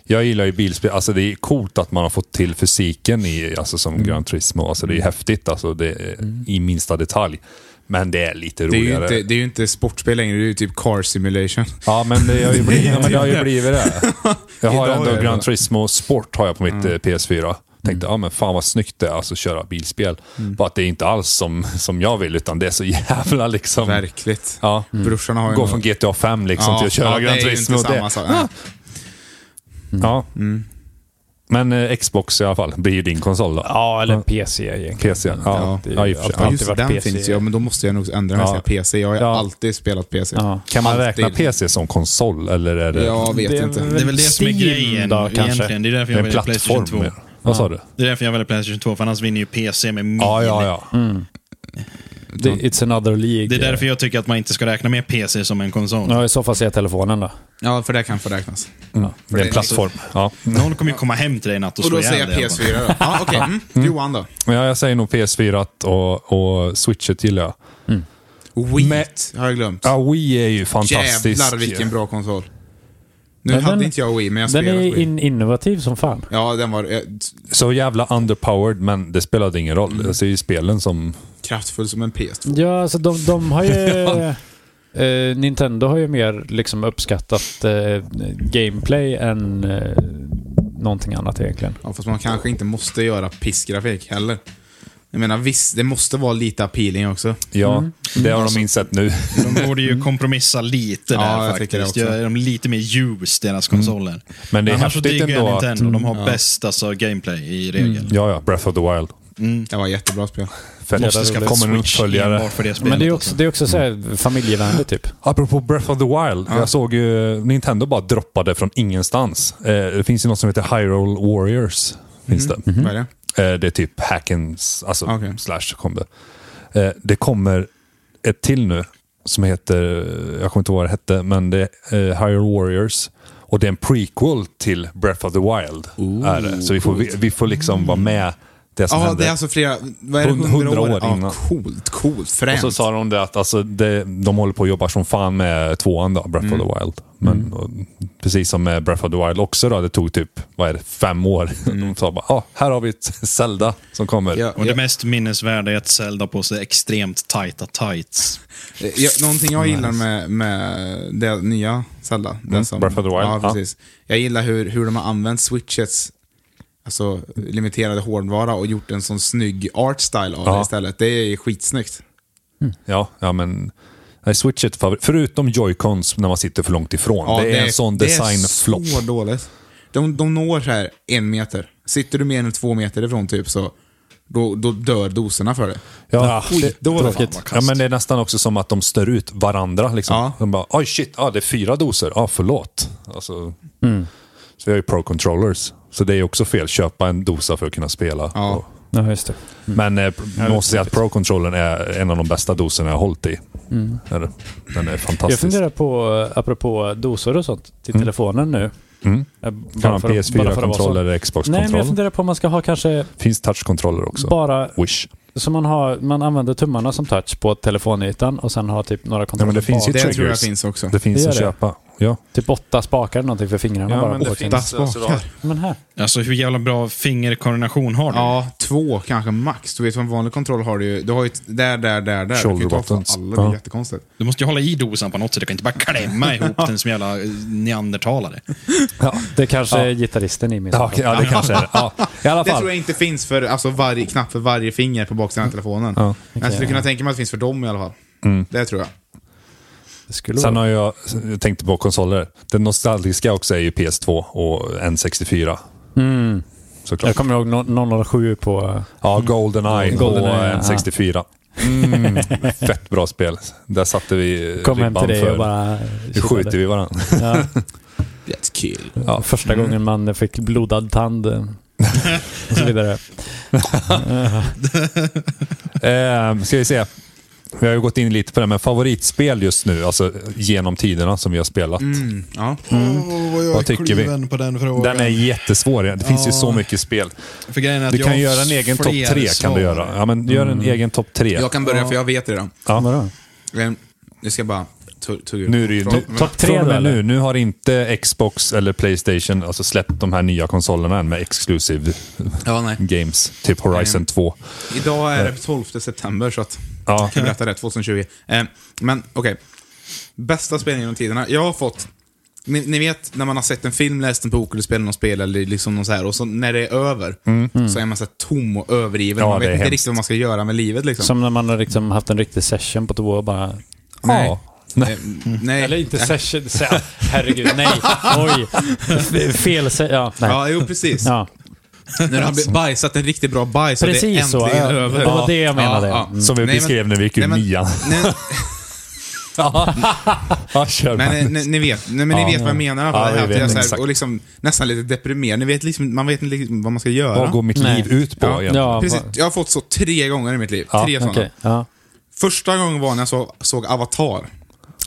[SPEAKER 3] Jag gillar ju bilspel. Alltså det är coolt att man har fått till
[SPEAKER 1] Mm.
[SPEAKER 3] fysiken i, alltså som Gran Turismo. Alltså det är häftigt alltså det, är- i minsta detalj. Men det är lite
[SPEAKER 1] Det är, ju
[SPEAKER 3] roligare. Mm.
[SPEAKER 1] inte, det är ju inte sportspel längre, det är ju typ car simulation.
[SPEAKER 3] Ja, men det har ju blivit, ja, men det, har ju blivit det. Jag har
[SPEAKER 1] Idag är
[SPEAKER 3] ändå
[SPEAKER 1] det
[SPEAKER 3] Gran
[SPEAKER 1] det.
[SPEAKER 3] Turismo Sport har jag på mitt eh, PS4. Tänkte, ja men fan vad snyggt det är alltså, att köra bilspel. Bara att det är inte alls som, som jag vill, utan det är så jävla liksom...
[SPEAKER 1] Verkligt.
[SPEAKER 3] Ja.
[SPEAKER 1] Brorsan har ju
[SPEAKER 3] Gå
[SPEAKER 1] något-
[SPEAKER 3] från GTA 5 liksom till att köra Gran
[SPEAKER 1] Mm. det är ju
[SPEAKER 3] Turismo.
[SPEAKER 1] inte
[SPEAKER 3] och
[SPEAKER 1] samma
[SPEAKER 3] Det.
[SPEAKER 1] sak. Nej.
[SPEAKER 3] Ja. Men eh, Xbox i alla fall, blir ju din konsol då.
[SPEAKER 2] Ja, eller PC egentligen.
[SPEAKER 3] PC, ja. Ja,
[SPEAKER 2] Det är
[SPEAKER 3] i och för sig.
[SPEAKER 2] alltid
[SPEAKER 1] Ja, just
[SPEAKER 2] varit
[SPEAKER 1] den
[SPEAKER 2] PC.
[SPEAKER 1] finns ju. Ja, men då måste jag nog ändra mig och
[SPEAKER 3] Ja.
[SPEAKER 1] säga PC. Jag har ju
[SPEAKER 3] Ja.
[SPEAKER 1] alltid spelat PC.
[SPEAKER 2] Ja.
[SPEAKER 3] Kan man räkna
[SPEAKER 1] Alltid.
[SPEAKER 3] PC som konsol eller är det
[SPEAKER 1] Jag vet
[SPEAKER 2] Det är
[SPEAKER 1] inte.
[SPEAKER 2] väl-
[SPEAKER 4] Det är väl det som är
[SPEAKER 2] Steam
[SPEAKER 4] grejen
[SPEAKER 2] då, kanske?
[SPEAKER 4] egentligen. Det är därför jag
[SPEAKER 3] en
[SPEAKER 4] väljer Playstation 2.
[SPEAKER 3] plattform? Vad sa du?
[SPEAKER 4] Det är därför jag väljer Playstation 2, för annars vinner ju PC med mil.
[SPEAKER 3] Ja, ja, ja.
[SPEAKER 2] Det, it's another League.
[SPEAKER 4] Det är därför jag tycker att man inte ska räkna med PC som en konsol.
[SPEAKER 2] Ja, i så fall ser jag telefonen då.
[SPEAKER 1] Ja, för det kan få räknas.
[SPEAKER 2] Mm.
[SPEAKER 3] Det är en plattform. Ja.
[SPEAKER 4] Någon kommer ju komma hem till dig i natt och
[SPEAKER 1] Och
[SPEAKER 4] slå
[SPEAKER 1] då
[SPEAKER 4] ihjäl
[SPEAKER 1] säger jag
[SPEAKER 4] dig.
[SPEAKER 1] PS4 då. Ja, okej. Mm. Johan då?
[SPEAKER 3] Ja, jag säger nog PS4 och, och Switchet gillar jag.
[SPEAKER 1] Wii har jag glömt.
[SPEAKER 3] Ja, Wii är ju fantastisk.
[SPEAKER 1] Jävlar vilken bra konsol. Nu
[SPEAKER 2] Men
[SPEAKER 1] hade
[SPEAKER 2] den-
[SPEAKER 1] inte jag Wii, men jag
[SPEAKER 2] Den
[SPEAKER 1] spelade
[SPEAKER 2] är
[SPEAKER 1] Wii.
[SPEAKER 2] in, innovativ som fan.
[SPEAKER 1] Ja, den var eh,
[SPEAKER 3] Så jävla underpowered, men det spelade ingen roll.
[SPEAKER 4] Mm.
[SPEAKER 3] Alltså, det är ju spelen som...
[SPEAKER 1] kraftfull som en PS2.
[SPEAKER 2] Ja, alltså de, de [laughs] har ju... eh, Nintendo har ju mer liksom uppskattat eh, gameplay än eh, någonting annat egentligen.
[SPEAKER 1] Ja, fast man kanske inte måste göra pissgrafik heller. Jag menar visst, det måste vara lite appealing också.
[SPEAKER 3] Ja,
[SPEAKER 4] Mm.
[SPEAKER 3] det har
[SPEAKER 4] Alltså-
[SPEAKER 3] de insett nu. [laughs]
[SPEAKER 4] De borde
[SPEAKER 3] Mm.
[SPEAKER 4] ju kompromissa lite
[SPEAKER 1] Ja,
[SPEAKER 4] där
[SPEAKER 1] jag tycker det
[SPEAKER 4] faktiskt.
[SPEAKER 1] också.
[SPEAKER 4] Göra dem lite mer used, deras konsoler.
[SPEAKER 3] Men Mm. det är
[SPEAKER 4] Annars så
[SPEAKER 3] häftigt
[SPEAKER 4] diggar jag
[SPEAKER 3] ändå att- Mm.
[SPEAKER 4] Nintendo. De har bäst alltså, gameplay i regel. Mm.
[SPEAKER 3] Ja, ja. Breath of the Wild.
[SPEAKER 1] Det var jättebra spel.
[SPEAKER 3] Fett.
[SPEAKER 4] Måste skaffa
[SPEAKER 3] Det kommer en
[SPEAKER 4] Switch
[SPEAKER 3] uppföljare.
[SPEAKER 4] enbart för det spelet.
[SPEAKER 2] Men det är också, det är också så här familjevänligt typ.
[SPEAKER 3] Apropå Breath of the Wild. Jag såg ju Nintendo bara droppade från ingenstans. Eh, det finns ju något som heter Hyrule Warriors. Finns
[SPEAKER 4] Mm.
[SPEAKER 3] det.
[SPEAKER 1] Vad är det?
[SPEAKER 3] Eh, det är typ hackens, alltså
[SPEAKER 1] Okej.
[SPEAKER 3] slash kom det. Eh, det kommer ett till nu som heter, jag kommer inte ihåg vad det hette, men det är eh, Hyrule Warriors. Och det är en prequel till Breath of the Wild. är det. Så vi får, vi, vi får liksom vara med det som
[SPEAKER 1] Mm. Ja,
[SPEAKER 3] hände.
[SPEAKER 1] det är alltså flera... Vad är det?
[SPEAKER 3] Hund-
[SPEAKER 1] 100 år,
[SPEAKER 3] innan.
[SPEAKER 1] Ja, coolt, coolt.
[SPEAKER 3] och
[SPEAKER 1] Fränt.
[SPEAKER 3] så sa de det att alltså, det, de håller på och jobbar som fan med tvåan då, Breath
[SPEAKER 1] Mm.
[SPEAKER 3] of the Wild. Men och, precis som med Breath of the Wild också då, det tog typ, vad är det, fem år. [laughs] De sa bara, ah, här har vi ett Zelda som kommer.
[SPEAKER 1] Mm. Ja,
[SPEAKER 4] Och
[SPEAKER 1] ja.
[SPEAKER 4] det mest minnesvärda är att Zelda har på sig extremt tajta tights.
[SPEAKER 1] Ja, någonting jag gillar med, med det nya Zelda. Det som,
[SPEAKER 3] Mm, Breath of the Wild,
[SPEAKER 1] Ja,
[SPEAKER 3] ja.
[SPEAKER 1] precis. Jag gillar hur, hur de har använt switchets alltså, limiterade hårdvara och gjort en sån snygg art style av
[SPEAKER 3] Ja.
[SPEAKER 1] det istället. Det är skitsnyggt.
[SPEAKER 3] Ja, ja men... Nej, Switch är ett favorit. Förutom Joy-Cons när man sitter för långt ifrån.
[SPEAKER 1] Ja,
[SPEAKER 3] det, är en sån designflopp.
[SPEAKER 1] Det är så dåligt. De, de når så här en meter. Sitter du mer än två meter ifrån typ så då, då dör doserna för det.
[SPEAKER 3] Ja,
[SPEAKER 1] Oj,
[SPEAKER 3] det-
[SPEAKER 1] då var det
[SPEAKER 3] tråkigt.
[SPEAKER 1] fan vad
[SPEAKER 3] Ja,
[SPEAKER 1] kast.
[SPEAKER 3] men det är nästan också som att de stör ut varandra. Liksom.
[SPEAKER 1] Ja.
[SPEAKER 3] De bara, oj shit, ah, det är fyra doser. Ja, ah, förlåt. Alltså,
[SPEAKER 2] Mm.
[SPEAKER 3] Så vi har ju pro-controllers. Så det är ju också fel. Köpa en dosa för att kunna spela.
[SPEAKER 1] Ja.
[SPEAKER 3] Och,
[SPEAKER 2] Ja, just Mm. det.
[SPEAKER 3] men eh, man måste säga att pro-controllern är en av de bästa doserna jag har hållit i. Är det? Den är
[SPEAKER 2] Mm. Jag
[SPEAKER 3] fantastisk.
[SPEAKER 2] funderar på, eh, apropå dosor och sånt, till telefonen nu.
[SPEAKER 3] Mm.
[SPEAKER 2] Eh,
[SPEAKER 3] Kan
[SPEAKER 2] bara
[SPEAKER 3] man
[SPEAKER 2] för att- bara för att vara så.
[SPEAKER 3] PS4-kontroll eller
[SPEAKER 2] Nej, men jag
[SPEAKER 3] Xbox-kontroll?
[SPEAKER 2] funderar på om man ska ha kanske
[SPEAKER 3] Finns touch-kontroller också?
[SPEAKER 2] bara
[SPEAKER 3] Wish.
[SPEAKER 2] Så man, har, man använder tummarna som touch på telefonytan och sen har typ några
[SPEAKER 3] Ja,
[SPEAKER 2] kontroller
[SPEAKER 3] men det finns ju
[SPEAKER 1] Det
[SPEAKER 2] bak.
[SPEAKER 1] tror jag
[SPEAKER 3] triggers.
[SPEAKER 1] finns också.
[SPEAKER 3] Det finns
[SPEAKER 2] Det gör
[SPEAKER 3] att
[SPEAKER 2] det.
[SPEAKER 3] köpa. Ja.
[SPEAKER 2] Typ åtta spakar eller någonting för fingrarna bara. på. Men här.
[SPEAKER 4] Alltså hur jävla bra fingerkoordination har du?
[SPEAKER 1] Ja, två kanske max. Du vet, på en vanlig kontroll har du ju... Du har ju ett där, där, där, där.
[SPEAKER 3] Shoulder
[SPEAKER 1] du kan ju ta
[SPEAKER 3] buttons.
[SPEAKER 1] från alla. Det är
[SPEAKER 3] Ja.
[SPEAKER 1] jättekonstigt.
[SPEAKER 4] Du måste ju hålla i dosan på något sätt. Du kan inte bara
[SPEAKER 3] [laughs]
[SPEAKER 4] klämma ihop den som jävla eh, neandertalare.
[SPEAKER 2] Det kanske är gitarristen i min.
[SPEAKER 3] Ja, okej, ja, det kanske är det. [laughs] ja. I alla
[SPEAKER 1] Det tror
[SPEAKER 3] fall.
[SPEAKER 1] jag inte finns för alltså, varje knapp för varje finger på baksidan av telefonen.
[SPEAKER 3] Ja. Mm.
[SPEAKER 1] Men jag skulle kunna tänka mig att det finns för dem i alla fall. Det tror jag.
[SPEAKER 2] Det skulle
[SPEAKER 3] Sen
[SPEAKER 2] vara.
[SPEAKER 3] har jag, jag tänkte på konsoler. Den nostalgiska också är ju PS2 och N64. Såklart.
[SPEAKER 2] Jag kommer ihåg no- 007 på... eh,
[SPEAKER 3] Ja, Goldeneye
[SPEAKER 2] Goldeneye,
[SPEAKER 3] och
[SPEAKER 2] ja.
[SPEAKER 3] N64. Mm, [laughs] fett bra spel. Där satte vi eh,
[SPEAKER 2] Kom hem till
[SPEAKER 3] ribban
[SPEAKER 2] dig
[SPEAKER 3] för
[SPEAKER 2] och bara...
[SPEAKER 3] hur skjuter vi varandra.
[SPEAKER 2] Ja,
[SPEAKER 1] That's kul.
[SPEAKER 2] ja, första
[SPEAKER 3] Mm.
[SPEAKER 2] gången man fick blodad tand. eh, Och så vidare.
[SPEAKER 3] Eh, ska vi se. Vi har ju gått in lite på det, men favoritspel just nu, alltså genom tiderna som vi har spelat.
[SPEAKER 1] Ja.
[SPEAKER 3] Vad tycker vi?
[SPEAKER 4] På den, frågan.
[SPEAKER 3] Den är jättesvår. Det finns ju så mycket spel.
[SPEAKER 4] För grejen är att
[SPEAKER 3] Du
[SPEAKER 4] jag
[SPEAKER 3] kan
[SPEAKER 4] har
[SPEAKER 3] göra en egen
[SPEAKER 4] fler
[SPEAKER 3] topp tre. Kan
[SPEAKER 4] svar.
[SPEAKER 3] du göra. Ja, men gör en egen topp tre.
[SPEAKER 1] Jag kan börja för jag vet redan.
[SPEAKER 3] Ja.
[SPEAKER 1] Eh, Nu ska jag bara... tu- tugga
[SPEAKER 3] Nu är det ju
[SPEAKER 1] från-
[SPEAKER 3] nu-
[SPEAKER 2] Topp tre
[SPEAKER 3] från och
[SPEAKER 2] då,
[SPEAKER 3] med
[SPEAKER 2] eller?
[SPEAKER 3] nu, nu har inte Xbox eller Playstation alltså släppt de här nya konsolerna än med
[SPEAKER 1] [laughs]
[SPEAKER 3] exclusive
[SPEAKER 1] Ja, nej.
[SPEAKER 3] games. Typ Horizon
[SPEAKER 1] Nej.
[SPEAKER 3] 2.
[SPEAKER 1] Idag är det 12 september, så att
[SPEAKER 3] Ja.
[SPEAKER 1] jag kan berätta det, 2020. Eh, men okej. Bästa spelen genom tiderna. Jag har fått... Ni, ni vet när man har sett en film, läst en bok eller spelat något spel eller liksom något så här och så när det är över så är man så här tom och övergiven.
[SPEAKER 3] Mm, Ja,
[SPEAKER 1] man
[SPEAKER 3] det
[SPEAKER 1] vet
[SPEAKER 3] är
[SPEAKER 1] inte
[SPEAKER 3] hemskt.
[SPEAKER 1] riktigt vad man ska göra med livet liksom.
[SPEAKER 2] Som när man har liksom haft en riktig session på två och bara...
[SPEAKER 1] Nej.
[SPEAKER 3] Ja. Nej.
[SPEAKER 1] Eh, nej.
[SPEAKER 2] Eller inte session, se- herregud,
[SPEAKER 3] [laughs]
[SPEAKER 2] nej, oj. F- Fel se- ja, nej.
[SPEAKER 1] Ja, jo precis.
[SPEAKER 2] Ja,
[SPEAKER 1] När du har bl- bajsat en riktigt bra bajs och det är
[SPEAKER 2] Precis så,
[SPEAKER 1] äntligen
[SPEAKER 2] ja.
[SPEAKER 1] över.
[SPEAKER 2] Det var det jag menade.
[SPEAKER 3] mm. Som vi
[SPEAKER 1] Nej, men-
[SPEAKER 3] beskrev när vi gick ur
[SPEAKER 1] nej, men-
[SPEAKER 3] nian.
[SPEAKER 1] [laughs] nej,
[SPEAKER 3] Ja, kör
[SPEAKER 1] Men eh,
[SPEAKER 3] Magnus.
[SPEAKER 1] ni, ni vet, nej, men ni
[SPEAKER 3] Ja.
[SPEAKER 1] vet vad jag menar. i alla fall.
[SPEAKER 3] Ja, vi
[SPEAKER 1] Det här att
[SPEAKER 3] vet
[SPEAKER 1] jag är så här-
[SPEAKER 3] exakt.
[SPEAKER 1] och liksom, nästan lite deprimerad. Ni vet liksom, man vet inte liksom vad man ska göra.
[SPEAKER 3] Vad går mitt
[SPEAKER 2] Nej.
[SPEAKER 3] liv ut på
[SPEAKER 1] Ja.
[SPEAKER 3] egentligen?
[SPEAKER 2] Ja.
[SPEAKER 1] Precis,
[SPEAKER 2] vad-
[SPEAKER 1] jag har fått så tre gånger i mitt liv.
[SPEAKER 3] Ja,
[SPEAKER 1] tre sådana.
[SPEAKER 2] okej. Ja.
[SPEAKER 1] Första gången var när jag så, såg Avatar.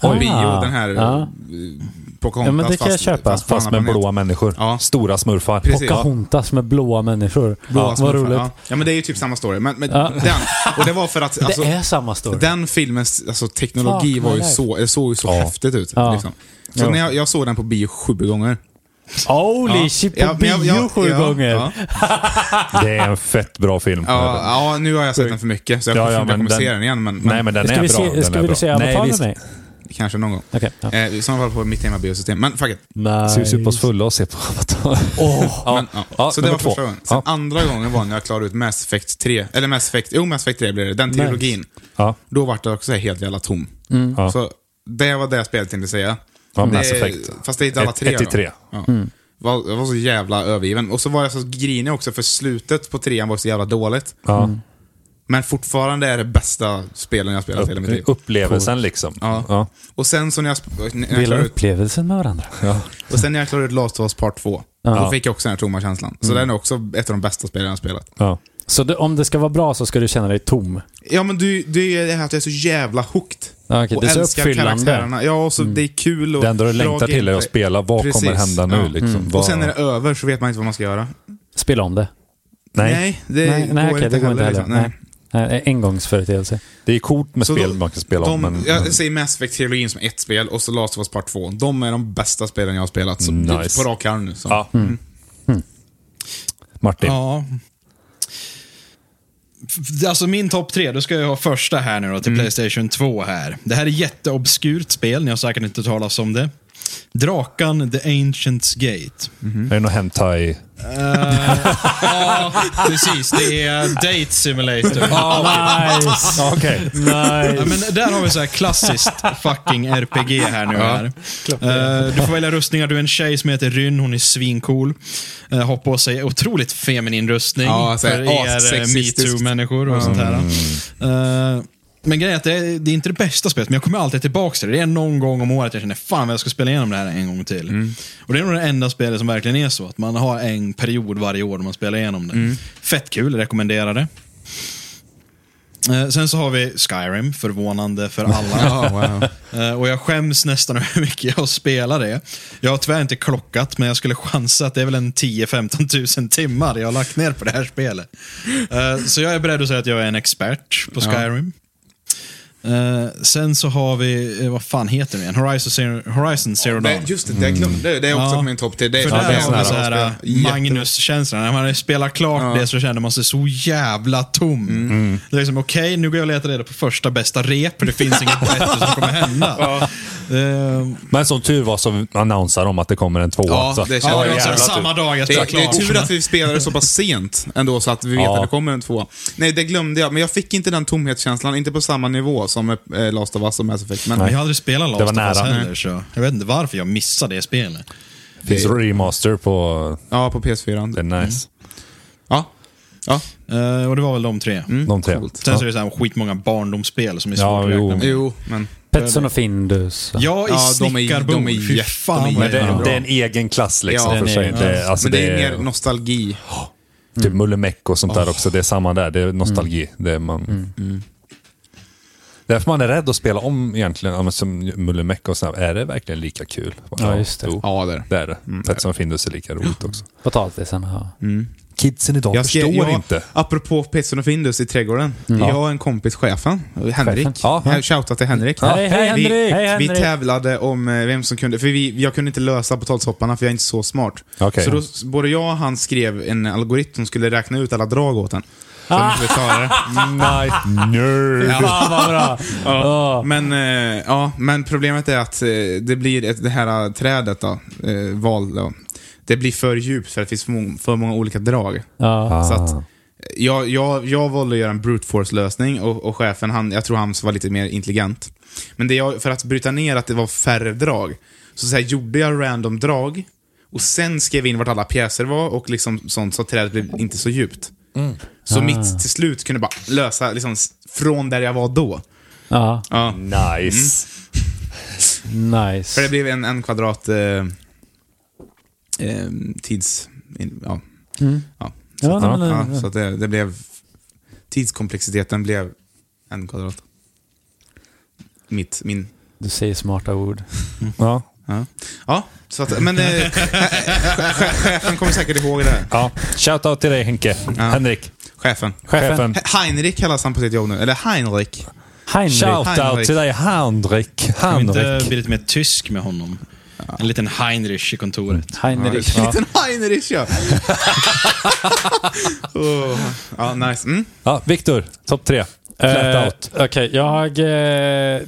[SPEAKER 2] Oj.
[SPEAKER 1] På bio, den här
[SPEAKER 2] Ah.
[SPEAKER 1] eh,
[SPEAKER 2] Ja.
[SPEAKER 1] ja. Pocahontas.
[SPEAKER 2] Ja, men det kan jag köpa.
[SPEAKER 1] på
[SPEAKER 3] Fast
[SPEAKER 1] en
[SPEAKER 3] med
[SPEAKER 1] annan
[SPEAKER 3] blåa
[SPEAKER 1] planet.
[SPEAKER 3] människor.
[SPEAKER 1] Ja.
[SPEAKER 3] Stora smurfar.
[SPEAKER 1] Precis.
[SPEAKER 2] Pocahontas med blåa människor.
[SPEAKER 1] Blåa
[SPEAKER 2] ja, vad
[SPEAKER 1] smurfar,
[SPEAKER 2] roligt.
[SPEAKER 1] Ja. ja, men det är ju typ samma story. Men, men
[SPEAKER 2] Ja.
[SPEAKER 1] den, och det var för att... Alltså,
[SPEAKER 2] [laughs] det är samma story.
[SPEAKER 1] Den filmens alltså, teknologi
[SPEAKER 2] Fuck my
[SPEAKER 1] var ju
[SPEAKER 2] life.
[SPEAKER 1] så, det såg ju så
[SPEAKER 3] Ja.
[SPEAKER 1] häftigt ut.
[SPEAKER 2] Ja.
[SPEAKER 1] Liksom. Så när jag, jag såg den på bio sju gånger.
[SPEAKER 2] Holy
[SPEAKER 1] Ja.
[SPEAKER 2] shit, på
[SPEAKER 1] Ja, men
[SPEAKER 2] bio
[SPEAKER 1] jag- jag-
[SPEAKER 2] sju
[SPEAKER 1] ja,
[SPEAKER 2] gånger.
[SPEAKER 1] ja.
[SPEAKER 3] Det är en fett bra film.
[SPEAKER 1] Ja, ja, nu har jag sett den för mycket så jag
[SPEAKER 3] Ja,
[SPEAKER 1] ja,
[SPEAKER 3] ja,
[SPEAKER 1] inte
[SPEAKER 3] men
[SPEAKER 1] kommer
[SPEAKER 3] den-
[SPEAKER 1] se den igen. Men,
[SPEAKER 3] Nej, men den
[SPEAKER 2] Ska
[SPEAKER 3] är
[SPEAKER 2] vi
[SPEAKER 3] bra.
[SPEAKER 2] se,
[SPEAKER 3] den
[SPEAKER 2] ska
[SPEAKER 3] är
[SPEAKER 2] vi
[SPEAKER 3] bra.
[SPEAKER 2] se
[SPEAKER 3] Nej,
[SPEAKER 2] Avatar med
[SPEAKER 3] visst.
[SPEAKER 2] mig?
[SPEAKER 1] kanske någon gång.
[SPEAKER 2] Okej, ja.
[SPEAKER 1] Eh, I sådana fall på mitt hemmabiosystem. Men fuck it.
[SPEAKER 3] Ska vi supa oss
[SPEAKER 2] Nice.
[SPEAKER 3] fulla och se på Avatar?
[SPEAKER 2] Åh,
[SPEAKER 1] Men, ja.
[SPEAKER 3] Ja,
[SPEAKER 1] så det var
[SPEAKER 3] nummer två.
[SPEAKER 1] första gången. Sen
[SPEAKER 3] Ja.
[SPEAKER 1] andra gången var när jag klarade ut Mass Effect 3. Eller Mass Effect, jo Mass Effect 3 blev det. Den trilogin.
[SPEAKER 3] Ja.
[SPEAKER 1] Då var det också helt jävla tom.
[SPEAKER 3] Mm. Ja.
[SPEAKER 1] Så det var det spelet tänkte säga.
[SPEAKER 3] Ja,
[SPEAKER 1] Det-
[SPEAKER 3] Mass Effect.
[SPEAKER 1] Fast det är inte alla
[SPEAKER 3] Ett-
[SPEAKER 1] tre.
[SPEAKER 3] ett till
[SPEAKER 1] då.
[SPEAKER 3] tre. Mm.
[SPEAKER 1] Ja. Var, jag var så jävla övergiven. Och så var jag så grinig också för slutet på trean var så jävla dåligt.
[SPEAKER 3] Ja.
[SPEAKER 1] Men fortfarande är det bästa spelen jag spelat i hela mitt liv.
[SPEAKER 3] Upp, upplevelsen liksom.
[SPEAKER 1] Ja.
[SPEAKER 3] Ja.
[SPEAKER 1] Och sen så när jag, sp- när jag
[SPEAKER 2] Dela
[SPEAKER 1] klarade ut,
[SPEAKER 2] upplevelsen med varandra.
[SPEAKER 1] och sen när jag klarade ut Last of Us Part 2,
[SPEAKER 2] Ja.
[SPEAKER 1] då fick jag också den här tomma känslan.
[SPEAKER 3] Mm.
[SPEAKER 1] Så den är också ett av de bästa spelen jag har spelat.
[SPEAKER 3] Ja.
[SPEAKER 2] Så det, om det ska vara bra så ska du känna dig tom.
[SPEAKER 1] Ja men du, det är det här att jag är så jävla hooked.
[SPEAKER 2] Ja, okej,
[SPEAKER 1] och
[SPEAKER 2] det är så
[SPEAKER 1] älskar
[SPEAKER 2] uppfyllande.
[SPEAKER 1] karaktärerna. Ja, och så det är kul och
[SPEAKER 3] Mm. Det enda du
[SPEAKER 1] bra
[SPEAKER 3] längtar till är att
[SPEAKER 1] gameplay.
[SPEAKER 3] spela. Vad kommer
[SPEAKER 1] Precis.
[SPEAKER 3] hända nu?
[SPEAKER 1] Ja. Mm.
[SPEAKER 3] Liksom? Vad...
[SPEAKER 1] Och sen när det är över så vet man inte vad man ska göra.
[SPEAKER 2] Spela om det.
[SPEAKER 3] Nej.
[SPEAKER 1] Nej, det går
[SPEAKER 2] okej,
[SPEAKER 1] inte heller. Liksom. Nej.
[SPEAKER 2] Nej. Nej, engångsföreteelse.
[SPEAKER 3] Det är coolt med
[SPEAKER 1] Så
[SPEAKER 3] spel
[SPEAKER 1] då-
[SPEAKER 3] man kan spela om,
[SPEAKER 1] De,
[SPEAKER 3] men... Mm.
[SPEAKER 1] Jag säger Mass Effect-trilogin som ett spel och så Last of Us Part 2. De är de bästa spelen jag har spelat. Så
[SPEAKER 3] Nice.
[SPEAKER 1] På rak arm nu. Så.
[SPEAKER 3] Ja. Mm. Martin.
[SPEAKER 4] Ja. F- Alltså min topp tre, då ska jag ha första här nu då till
[SPEAKER 3] Mm.
[SPEAKER 4] Playstation 2 här. Det här är jätteobskurt spel, ni har säkert inte talat om det. Drakan The Ancients Gate.
[SPEAKER 3] Är det någon hentai?
[SPEAKER 4] Ja, precis. Det är Date Simulator.
[SPEAKER 2] Ah,
[SPEAKER 1] [laughs]
[SPEAKER 2] nice!
[SPEAKER 3] Ja, Okej.
[SPEAKER 4] Ja,
[SPEAKER 2] nice.
[SPEAKER 4] men där har vi så här klassiskt fucking RPG här nu. Här. Eh, du får välja rustningar. Du är en tjej som heter Ryn. Hon är svincool. Uh, har på sig otroligt feminin rustning.
[SPEAKER 1] Ja, så här
[SPEAKER 4] för er eh,
[SPEAKER 1] assexistiskt.
[SPEAKER 4] metoo-människor och sånt här.
[SPEAKER 1] Mm.
[SPEAKER 4] Eh, men grejen är att det är, det är inte det bästa spelet, men jag kommer alltid tillbaka till det. Det är någon gång om året jag känner fan vad jag ska spela igenom det här en gång till.
[SPEAKER 1] Mm.
[SPEAKER 4] Och Det är nog det enda spelet som verkligen är så. Att man har en period varje år då man spelar igenom det.
[SPEAKER 1] Mm.
[SPEAKER 4] Fett kul, rekommenderar det. Eh, Sen så har vi Skyrim, förvånande
[SPEAKER 1] [laughs]
[SPEAKER 4] för alla.
[SPEAKER 1] [laughs] Ja,
[SPEAKER 3] [laughs]
[SPEAKER 1] wow.
[SPEAKER 4] Eh, Och jag skäms nästan [laughs] över hur mycket jag spelar det. Jag har tyvärr inte klockat, men jag skulle chansa att det är väl en 10-15 tusen timmar jag har lagt ner på det här spelet. Eh, Så jag är beredd att säga att jag är en expert på Skyrim. Eh, Sen så har vi, eh, vad fan heter det igen? Horizon Zero, Horizon Zero Dawn.
[SPEAKER 1] Men just det, det glömde jag. Det är också
[SPEAKER 4] Ja.
[SPEAKER 1] på min topp 10. Det är
[SPEAKER 4] För
[SPEAKER 1] det
[SPEAKER 4] där
[SPEAKER 1] är äh,
[SPEAKER 4] har man så
[SPEAKER 1] sådana
[SPEAKER 4] här eh,
[SPEAKER 1] spel. Jätte-
[SPEAKER 4] Magnus-känslan. När man spelar klart det så känner man sig så jävla tom.
[SPEAKER 1] Mm.
[SPEAKER 4] Det är liksom, okej, nu går jag och letar reda på första bästa rep, för det finns inget bättre som kommer hända. Ehm,
[SPEAKER 3] [laughs] Men som tur var så annonserar de att det kommer en tvåa.
[SPEAKER 1] Ja,
[SPEAKER 3] så.
[SPEAKER 1] det känns-
[SPEAKER 4] Ja, det var
[SPEAKER 1] jävla
[SPEAKER 4] också
[SPEAKER 3] tur.
[SPEAKER 4] samma dag jag
[SPEAKER 1] Det
[SPEAKER 4] spelade
[SPEAKER 1] är, det är
[SPEAKER 4] klart.
[SPEAKER 1] tur att vi spelade så pass sent ändå så att vi vet
[SPEAKER 3] Ja.
[SPEAKER 1] att det kommer en tvåa. Nej, det glömde jag. Men jag fick inte den tomhetskänslan. Inte på samma nivå som eh, Last of Us och Mass Effect. Men
[SPEAKER 4] Men jag har aldrig spelat Last
[SPEAKER 3] Det var
[SPEAKER 4] of Us
[SPEAKER 3] nära.
[SPEAKER 4] heller, så jag vet inte varför jag missade det spelet.
[SPEAKER 3] Det typ. finns remaster på...
[SPEAKER 1] ja, på PS4.
[SPEAKER 3] Det är nice.
[SPEAKER 1] Mm. Ja. ja.
[SPEAKER 4] Ehm, och det var väl de tre.
[SPEAKER 1] Mm.
[SPEAKER 3] De tre.
[SPEAKER 4] Sen så är det så här skitmånga barndomsspel som är
[SPEAKER 3] Ja,
[SPEAKER 4] svårt att
[SPEAKER 3] jo.
[SPEAKER 4] räkna med.
[SPEAKER 1] Jo, men...
[SPEAKER 2] Petson och Findus.
[SPEAKER 4] Ja, i
[SPEAKER 1] Ja, de är- de är
[SPEAKER 4] snickarbo. Fy
[SPEAKER 1] jätte- de
[SPEAKER 4] fan
[SPEAKER 1] är
[SPEAKER 4] vad
[SPEAKER 3] Men
[SPEAKER 4] jag
[SPEAKER 3] det,
[SPEAKER 1] Ja.
[SPEAKER 3] det är en egen klass liksom.
[SPEAKER 1] Ja,
[SPEAKER 3] för
[SPEAKER 2] den
[SPEAKER 3] sig.
[SPEAKER 2] är-
[SPEAKER 3] Det, alltså,
[SPEAKER 1] men det är
[SPEAKER 3] det
[SPEAKER 1] mer nostalgi.
[SPEAKER 3] Typ Mulle Meck och sånt där också. Det är samma där. Det är nostalgi.
[SPEAKER 2] Mm.
[SPEAKER 3] Det är man... Därför man är rädd att spela om egentligen. Ja, men Som Mulle Meck och sånt. där. Är det verkligen lika kul?
[SPEAKER 2] Ja, just det.
[SPEAKER 3] Jo,
[SPEAKER 1] Ja, det är det.
[SPEAKER 3] det är det. Petsson och Findus är lika roligt också.
[SPEAKER 1] Mm.
[SPEAKER 2] Potatisen. Ja.
[SPEAKER 3] Kidsen idag
[SPEAKER 1] Jag skrev,
[SPEAKER 3] förstår
[SPEAKER 1] jag,
[SPEAKER 3] inte. Mm.
[SPEAKER 1] Apropå Petson och Findus i trädgården. Jag och en kompis, chefen, Henrik.
[SPEAKER 3] Ja.
[SPEAKER 1] Ja. Shoutout till Henrik.
[SPEAKER 2] Hej, hej,
[SPEAKER 1] vi,
[SPEAKER 2] Henrik! Hej,
[SPEAKER 1] Vi
[SPEAKER 2] Henrik!
[SPEAKER 1] tävlade om eh, vem som kunde, för vi, jag kunde inte lösa potatishopparna för jag är inte så smart.
[SPEAKER 3] Okej.
[SPEAKER 1] Så då, s- både jag och han skrev en algoritm som skulle räkna ut alla drag åt en. Så de skulle klara
[SPEAKER 2] [laughs]
[SPEAKER 1] det.
[SPEAKER 3] Nice. Nerd.
[SPEAKER 2] Fan vad bra. Ja.
[SPEAKER 1] Men, eh, ja, men problemet är att eh, det blir ett, det här trädet då, eh, val då. Det blir för djupt för att det finns för, mång- för många olika drag.
[SPEAKER 2] Ja.
[SPEAKER 1] Så att, eh, jag, jag, jag valde att göra en brute force-lösning och, och chefen, han, jag tror han var lite mer intelligent. Men det jag, för att bryta ner att det var färre drag, så, så här, gjorde jag random drag och sen skrev jag in vart alla pjäser var och liksom sånt så att trädet blev inte så djupt. Så mitt till slut kunde bara lösa liksom, s- från där jag var då.
[SPEAKER 2] ja.
[SPEAKER 1] Ja.
[SPEAKER 3] Nice.
[SPEAKER 1] För det
[SPEAKER 2] Nice.
[SPEAKER 1] blev en, en kvadrat eh, eh, tids... In, ja. Ja. Så,
[SPEAKER 2] Mm. Ja,
[SPEAKER 1] att,
[SPEAKER 2] nej,
[SPEAKER 1] ja,
[SPEAKER 2] men det-
[SPEAKER 1] så att det, det blev... Tidskomplexiteten blev en kvadrat. Mitt, min...
[SPEAKER 2] Du säger smarta ord.
[SPEAKER 3] Ja.
[SPEAKER 1] Ja, ja så att, men eh,
[SPEAKER 2] [laughs]
[SPEAKER 1] che- che- chefen kommer säkert ihåg det här.
[SPEAKER 3] Ja. Shoutout till dig Henke. Henrik.
[SPEAKER 1] Chefen.
[SPEAKER 3] Chefen.
[SPEAKER 1] He- Heinrich kallas han på sitt jobb nu. Eller Heinrich.
[SPEAKER 2] Heinrich.
[SPEAKER 3] Shoutout till dig Henrik.
[SPEAKER 4] Kan vi inte
[SPEAKER 3] Henrik.
[SPEAKER 4] bli lite mer tysk med honom? En liten Heinrich i kontoret.
[SPEAKER 2] Heinrich. Ja.
[SPEAKER 1] Liten Heinrich
[SPEAKER 2] [laughs]
[SPEAKER 1] ja. oh. Ja, nice. Mm.
[SPEAKER 3] Ja, Viktor. Topp tre.
[SPEAKER 2] Eh,
[SPEAKER 3] Flat out.
[SPEAKER 2] Okej, jag... Eh,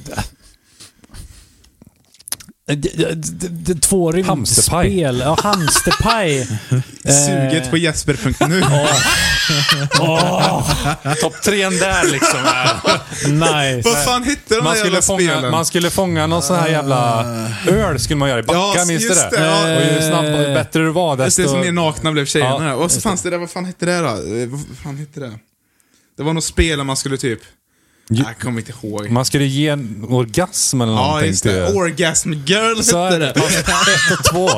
[SPEAKER 2] d- d- d- d- två
[SPEAKER 3] Hamsterpaj.
[SPEAKER 2] rymdspel. Ja, [laughs] hamsterpaj. Eh,
[SPEAKER 1] Suget på jesper.nu.
[SPEAKER 2] [laughs]
[SPEAKER 3] Topp trean där liksom.
[SPEAKER 1] Vad
[SPEAKER 2] Nice.
[SPEAKER 1] fan hette de
[SPEAKER 3] Man
[SPEAKER 1] där
[SPEAKER 3] skulle,
[SPEAKER 1] jävla
[SPEAKER 3] fånga,
[SPEAKER 1] spelen? Ah.
[SPEAKER 3] man skulle fånga någon sån här jävla öl skulle man göra i
[SPEAKER 1] Ja,
[SPEAKER 3] Backa, minns du
[SPEAKER 1] just
[SPEAKER 3] det?
[SPEAKER 1] det, ja.
[SPEAKER 3] Och ju snabbare, ju bättre du var
[SPEAKER 1] Desto...
[SPEAKER 3] desto...
[SPEAKER 1] Det som är nakna blev tjejerna.
[SPEAKER 3] Ja,
[SPEAKER 1] och så fanns det där, vad fan hette det då? Eh, Vad fan hette det? Det var något spel där man skulle typ... Jag kommer inte ihåg.
[SPEAKER 3] Man skulle ge en orgasm eller
[SPEAKER 1] ja,
[SPEAKER 3] någonting
[SPEAKER 1] just det. Orgasm girl
[SPEAKER 3] Så
[SPEAKER 1] hette
[SPEAKER 3] är det.
[SPEAKER 1] det.
[SPEAKER 3] [laughs] Ett och två.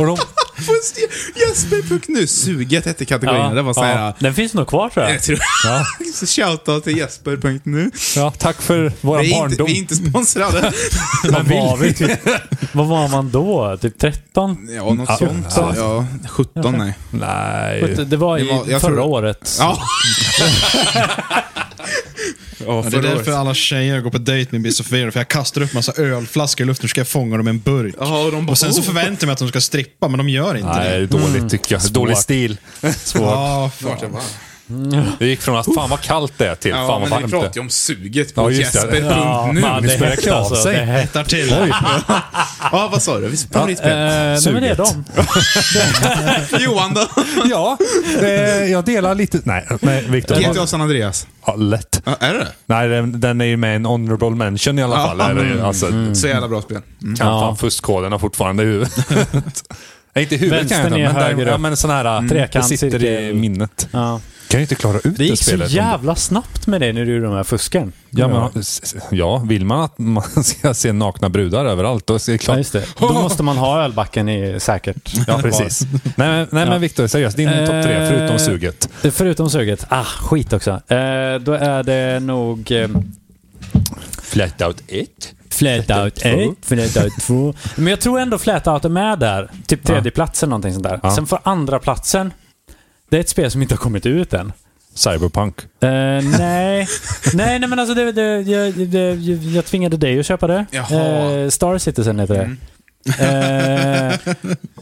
[SPEAKER 3] Och de,
[SPEAKER 1] Fast je- Jesper Puck nu. Suget hette kategorin.
[SPEAKER 2] Ja,
[SPEAKER 1] det var så
[SPEAKER 2] ja.
[SPEAKER 1] här...
[SPEAKER 2] Den finns nog kvar tror jag.
[SPEAKER 1] Jag tror...
[SPEAKER 3] Ja.
[SPEAKER 1] [laughs] så shoutout till Jesper.nu.
[SPEAKER 3] ja, tack för våra
[SPEAKER 1] Vi är, inte,
[SPEAKER 3] barndom.
[SPEAKER 1] vi är inte sponsrade.
[SPEAKER 3] [laughs]
[SPEAKER 2] Vad var vi? Typ,
[SPEAKER 1] [laughs]
[SPEAKER 2] vad var man då? Typ 13?
[SPEAKER 1] ja, något
[SPEAKER 3] Ja.
[SPEAKER 1] sånt. så. Ja, 17 nej.
[SPEAKER 3] Nej.
[SPEAKER 2] Det var i
[SPEAKER 1] Det var- jag
[SPEAKER 2] förra
[SPEAKER 1] tror-
[SPEAKER 2] året.
[SPEAKER 1] Ja. ja,
[SPEAKER 4] Ja, det är
[SPEAKER 1] förra året.
[SPEAKER 4] därför alla tjejer går på dejt med Miss Sofia, för jag kastar upp massa ölflaskor i luften och ska jag fånga dem i en burk.
[SPEAKER 1] Ja, och de bara,
[SPEAKER 4] och sen så
[SPEAKER 1] "Oh."
[SPEAKER 4] förväntar jag mig att de ska strippa, men de gör inte
[SPEAKER 3] Nej, det
[SPEAKER 4] det.
[SPEAKER 3] är dåligt tycker jag. Mm. Dålig stil. Svårt.
[SPEAKER 4] Ja, fan.
[SPEAKER 1] Vart jag var.
[SPEAKER 3] Det gick från att fan vad kallt det är till
[SPEAKER 1] Ja,
[SPEAKER 3] fan vad
[SPEAKER 1] men vi
[SPEAKER 3] varmt det
[SPEAKER 1] pratar
[SPEAKER 3] är.
[SPEAKER 1] ju om suget på
[SPEAKER 3] Ja, just det.
[SPEAKER 1] Jesper.
[SPEAKER 2] Ja,
[SPEAKER 1] nu.
[SPEAKER 2] fan,
[SPEAKER 1] vi
[SPEAKER 2] det
[SPEAKER 1] spelar
[SPEAKER 2] hette
[SPEAKER 1] klart.
[SPEAKER 2] alltså. Det hette.
[SPEAKER 4] Hettar till. Oj.
[SPEAKER 1] Ja, vad sa du? Vi spelar ditt
[SPEAKER 2] Eh,
[SPEAKER 1] spel.
[SPEAKER 2] nej, men det är
[SPEAKER 3] Suget.
[SPEAKER 2] de.
[SPEAKER 1] Eh, Johan då?
[SPEAKER 3] Ja, det- jag delar lite. Nej, nej Viktor.
[SPEAKER 1] GTA San Andreas.
[SPEAKER 3] Ja, lätt.
[SPEAKER 1] Ja, är det
[SPEAKER 3] Nej, den, den är ju med i en honorable mention i alla
[SPEAKER 1] Ja.
[SPEAKER 3] fall. Eller, alltså,
[SPEAKER 1] Mm. Så jävla bra spel. Mm.
[SPEAKER 3] Kan fan fuskkoderna fortfarande
[SPEAKER 2] [laughs]
[SPEAKER 3] i huvudet. Nej, inte i huvudet kan jag
[SPEAKER 2] Vänstern
[SPEAKER 3] inte,
[SPEAKER 2] är höger
[SPEAKER 3] men, där,
[SPEAKER 2] upp. Mm.
[SPEAKER 3] ja, men sån här, det
[SPEAKER 2] Trekant,
[SPEAKER 3] sitter i
[SPEAKER 2] cirkel.
[SPEAKER 3] minnet.
[SPEAKER 2] Ja.
[SPEAKER 3] Kan ju inte klara ut
[SPEAKER 2] Det
[SPEAKER 3] det
[SPEAKER 2] gick så
[SPEAKER 3] spelet.
[SPEAKER 2] jävla snabbt med det när du gjorde de här fusken.
[SPEAKER 3] Ja, men, ja, vill man att man [laughs] ska se nakna brudar överallt, då är det klart.
[SPEAKER 2] Ja, just det.
[SPEAKER 3] [laughs]
[SPEAKER 2] Då måste man ha ölbacken i säkert.
[SPEAKER 3] Ja, precis. nej, men, nej, men Viktor, seriöst. Din
[SPEAKER 2] Eh,
[SPEAKER 3] topp tre, förutom suget.
[SPEAKER 2] Eh, Förutom suget. Ah, skit också. Eh, då är det nog eh,
[SPEAKER 3] Flat out 1.
[SPEAKER 2] Flat Out 1, Flat Out 2. Men jag tror ändå Flat Out är med där. Typ tredje platsen någonting sånt där.
[SPEAKER 3] Ja.
[SPEAKER 2] Sen för andra platsen det är ett spel som inte har kommit ut än.
[SPEAKER 3] Cyberpunk.
[SPEAKER 2] Eh, nej. nej, nej men alltså det, det, jag, det, jag, jag tvingade dig att köpa det.
[SPEAKER 1] Jaha. Mm.
[SPEAKER 2] Eh, Star Citizen heter det. Eh,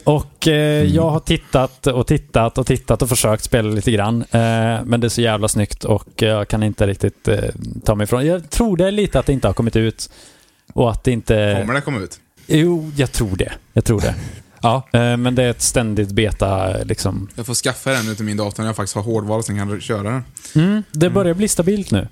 [SPEAKER 2] och eh,
[SPEAKER 1] Mm.
[SPEAKER 2] jag har tittat och tittat och tittat och försökt spela lite grann. Eh, men det är så jävla snyggt och jag kan inte riktigt eh, ta mig ifrån. Jag tror det är lite att det inte har kommit ut. Och att det inte...
[SPEAKER 1] Kommer det komma ut?
[SPEAKER 2] Jo, jag tror det. Jag
[SPEAKER 1] [laughs]
[SPEAKER 2] tror det.
[SPEAKER 3] Ja.
[SPEAKER 2] Eh, men det är ett ständigt beta liksom.
[SPEAKER 1] Jag får skaffa den nu till min dator när jag faktiskt har hårdvara så jag kan köra den.
[SPEAKER 2] Mm, det börjar bli stabilt nu.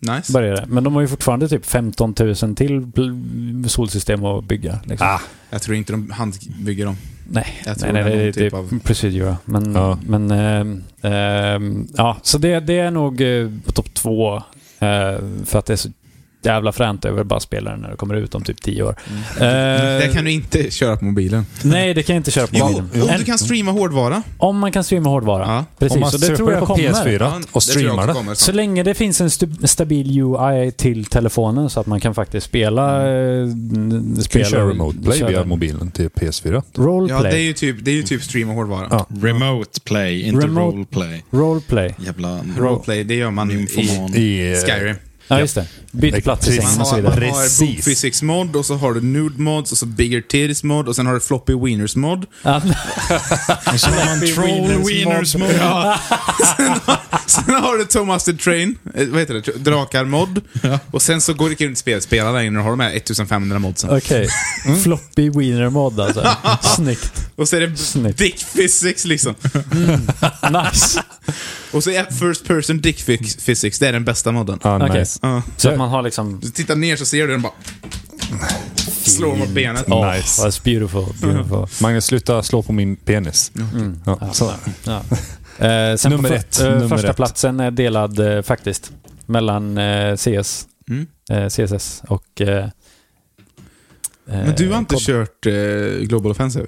[SPEAKER 1] Nice.
[SPEAKER 2] började det. Men de har ju fortfarande typ 15 000 till bl- solsystem att bygga. Liksom.
[SPEAKER 3] Ah,
[SPEAKER 1] Jag tror inte de handbygger dem.
[SPEAKER 2] nej,
[SPEAKER 1] jag tror
[SPEAKER 2] nej, nej,
[SPEAKER 1] det är
[SPEAKER 2] det,
[SPEAKER 1] någon
[SPEAKER 2] det,
[SPEAKER 1] typ
[SPEAKER 2] är
[SPEAKER 1] av-
[SPEAKER 2] procedural. Men,
[SPEAKER 3] Ja.
[SPEAKER 2] men ehm, ehm, ja, så det, det är nog eh, på topp två. eh, för att det är så jävla fränt över bara spela den när det kommer ut om typ 10 år. Eh,
[SPEAKER 1] Mm. Det kan du inte köra på mobilen.
[SPEAKER 2] Nej, det kan jag inte köra på
[SPEAKER 1] Jo,
[SPEAKER 2] mobilen.
[SPEAKER 1] om
[SPEAKER 2] En-
[SPEAKER 1] du kan streama hårdvara.
[SPEAKER 2] Om man kan streama hårdvara.
[SPEAKER 1] Ja.
[SPEAKER 2] Precis,
[SPEAKER 3] Om man
[SPEAKER 2] och det
[SPEAKER 3] köper
[SPEAKER 2] tror jag
[SPEAKER 3] det på
[SPEAKER 2] kommer.
[SPEAKER 3] PS4
[SPEAKER 1] Ja,
[SPEAKER 3] och
[SPEAKER 1] det tror jag
[SPEAKER 3] streamar
[SPEAKER 1] också
[SPEAKER 3] det.
[SPEAKER 1] kommer
[SPEAKER 2] Så
[SPEAKER 1] snart.
[SPEAKER 2] länge det finns en stu- stabil UI till telefonen så att man kan faktiskt spela eh, n-
[SPEAKER 3] Kan
[SPEAKER 2] spel.
[SPEAKER 3] ju köra
[SPEAKER 2] och-
[SPEAKER 3] Mm. remote play
[SPEAKER 2] köra
[SPEAKER 3] via
[SPEAKER 2] den.
[SPEAKER 3] mobilen till PS4.
[SPEAKER 1] Ja, det är
[SPEAKER 2] Roleplay.
[SPEAKER 1] ju typ, det är ju typ streama hårdvara.
[SPEAKER 3] Ja.
[SPEAKER 4] Remote play, inte
[SPEAKER 2] Remote-
[SPEAKER 4] roleplay.
[SPEAKER 2] Roleplay.
[SPEAKER 4] Jävla
[SPEAKER 1] Roleplay, det gör man ju i
[SPEAKER 4] Infoman.
[SPEAKER 3] Mm, I, eh,
[SPEAKER 1] Skyrim.
[SPEAKER 2] Ja, just det. Byt plats i
[SPEAKER 3] Precis.
[SPEAKER 2] sängen
[SPEAKER 1] Man
[SPEAKER 2] och så
[SPEAKER 1] har, [laughs]
[SPEAKER 2] vidare.
[SPEAKER 1] man har
[SPEAKER 3] Precis.
[SPEAKER 1] boob physics mod och så har du nude mods och så bigger titties mod och sen har du floppy wieners mod.
[SPEAKER 2] Ja,
[SPEAKER 4] Och [laughs] så har man troll wieners mode.
[SPEAKER 1] Ja. [laughs] sen, sen har du Thomas the Train, eh, vad heter det, drakar mod. Och sen så går det runt spel, spela längre och har de här 1500 modsen.
[SPEAKER 2] [laughs] Okej.
[SPEAKER 1] Mm.
[SPEAKER 2] Floppy wiener
[SPEAKER 1] [laughs]
[SPEAKER 2] mod alltså. Snyggt.
[SPEAKER 1] Och så är det b-
[SPEAKER 2] Snyggt.
[SPEAKER 1] dick physics liksom.
[SPEAKER 2] Nice.
[SPEAKER 1] Och så är first person dick fi- physics, det är den bästa modden.
[SPEAKER 3] Ah,
[SPEAKER 2] Okej.
[SPEAKER 3] nice.
[SPEAKER 1] Ja.
[SPEAKER 2] Så att man har liksom...
[SPEAKER 1] Så titta ner så ser du den bara slår mot benet.
[SPEAKER 2] Oh,
[SPEAKER 3] Nice.
[SPEAKER 2] That's beautiful. beautiful.
[SPEAKER 3] Magnus, sluta slå på min penis. Ja, så.
[SPEAKER 2] Mm. Ja. [laughs] Eh, sen
[SPEAKER 3] Nummer
[SPEAKER 2] på för,
[SPEAKER 3] ett,
[SPEAKER 2] Eh,
[SPEAKER 3] nummer
[SPEAKER 2] första
[SPEAKER 3] ett.
[SPEAKER 2] platsen är delad eh, faktiskt mellan eh, CS,
[SPEAKER 1] Mm.
[SPEAKER 2] eh, CSS och... Eh,
[SPEAKER 1] Men du har inte
[SPEAKER 2] kört?
[SPEAKER 1] kört eh, Global Offensive?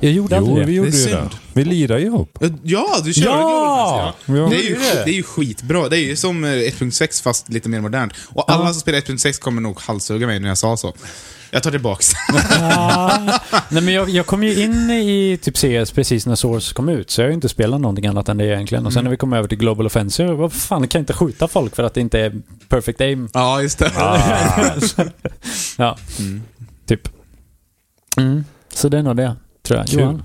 [SPEAKER 2] Jag gjorde
[SPEAKER 3] Jo,
[SPEAKER 2] aldrig det.
[SPEAKER 3] vi gjorde ju
[SPEAKER 1] synd.
[SPEAKER 3] det. Vi lirade ju ihop.
[SPEAKER 1] Ja, du körde
[SPEAKER 2] Ja!
[SPEAKER 1] Global Offensive.
[SPEAKER 3] Ja,
[SPEAKER 1] Det är, ju,
[SPEAKER 3] det är det.
[SPEAKER 1] det är ju skitbra. Det är ju som eh, 1.6 fast lite mer modernt. Och alla som spelar 1.6 kommer nog halshugga mig när jag sa så. Jag tar tillbaks.
[SPEAKER 2] Ja. Nej, men jag, jag kom ju in i typ CS precis när Source kom ut, så jag har ju inte spelat någonting annat än det egentligen. Och sen när vi kom över till Global Offensive, vad fan, jag kan inte skjuta folk för att det inte är perfect aim?
[SPEAKER 1] ja, just det.
[SPEAKER 2] [laughs] ja, typ. Mm. Så det är nog det, tror jag.
[SPEAKER 3] Kul.
[SPEAKER 2] Johan?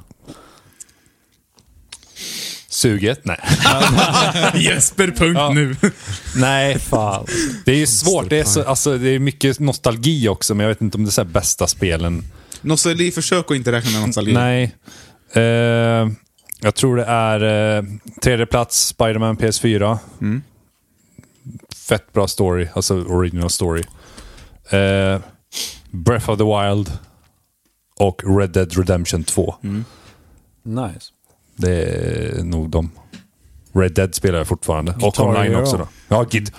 [SPEAKER 3] Suget? Nej.
[SPEAKER 1] [laughs] Jesper.
[SPEAKER 3] Ja.
[SPEAKER 1] Nu.
[SPEAKER 2] [laughs] Nej, fan.
[SPEAKER 3] Det är ju svårt. Det är, så, alltså, det är mycket nostalgi också, men jag vet inte om det är så här bästa spelen.
[SPEAKER 1] Nostalgi, försök att inte räkna med nostalgi.
[SPEAKER 3] Nej. Eh, jag tror det är eh, tredje plats, Spiderman PS4. Fett bra story, alltså original story. Eh, Breath of the Wild och Red Dead Redemption 2.
[SPEAKER 2] Nice.
[SPEAKER 3] Det är nog de. Red Dead spelar jag fortfarande. och
[SPEAKER 2] Guitar
[SPEAKER 3] online
[SPEAKER 2] Hero.
[SPEAKER 3] också då. Ja, gid...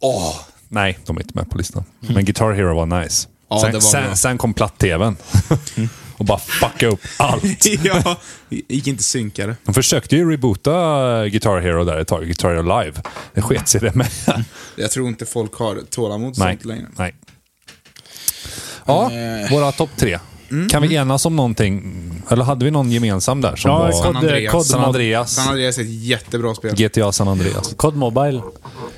[SPEAKER 3] Åh! nej, de är inte med på listan. Men Guitar Hero var nice.
[SPEAKER 1] Ja,
[SPEAKER 3] sen,
[SPEAKER 1] det var bra.
[SPEAKER 3] sen, sen kom platt-tvn. [laughs] och bara fucka upp allt.
[SPEAKER 1] [laughs] ja, gick inte synkare.
[SPEAKER 3] De försökte ju reboota Guitar Hero där ett tag, Guitar Hero Live. Det sket sig det med.
[SPEAKER 1] Jag tror inte folk har tålamod
[SPEAKER 3] nej,
[SPEAKER 1] sånt längre.
[SPEAKER 3] nej. Ja, våra topp tre. Kan vi enas om någonting? Eller hade vi någon gemensam där? Som
[SPEAKER 2] Ja,
[SPEAKER 3] var
[SPEAKER 2] San
[SPEAKER 1] Andreas.
[SPEAKER 2] Cod,
[SPEAKER 3] San
[SPEAKER 2] Cod,
[SPEAKER 3] Andreas.
[SPEAKER 1] San Andreas är ett jättebra spel.
[SPEAKER 3] GTA San Andreas.
[SPEAKER 2] Cod Mobile.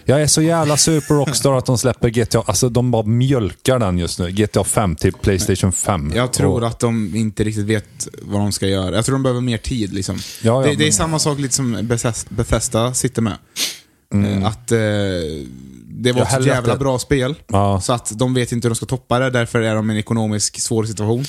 [SPEAKER 3] Jag är så jävla sur på Rockstar att de släpper GTA. Alltså de bara mjölkar den just nu. GTA 5 till Playstation 5.
[SPEAKER 1] Jag tror
[SPEAKER 3] Och-
[SPEAKER 1] att de inte riktigt vet vad de ska göra. Jag tror de behöver mer tid. Liksom.
[SPEAKER 3] Ja, ja,
[SPEAKER 1] det, det är
[SPEAKER 3] men-
[SPEAKER 1] samma sak lite som Bethes- Bethesda sitter med.
[SPEAKER 3] Mm.
[SPEAKER 1] Eh, Att eh, det var
[SPEAKER 3] Jag
[SPEAKER 1] ett så
[SPEAKER 3] hellre
[SPEAKER 1] jävla
[SPEAKER 3] att det-
[SPEAKER 1] bra spel,
[SPEAKER 3] Ja.
[SPEAKER 1] så att de vet inte hur de ska toppa det. Därför är de i en ekonomisk svår situation.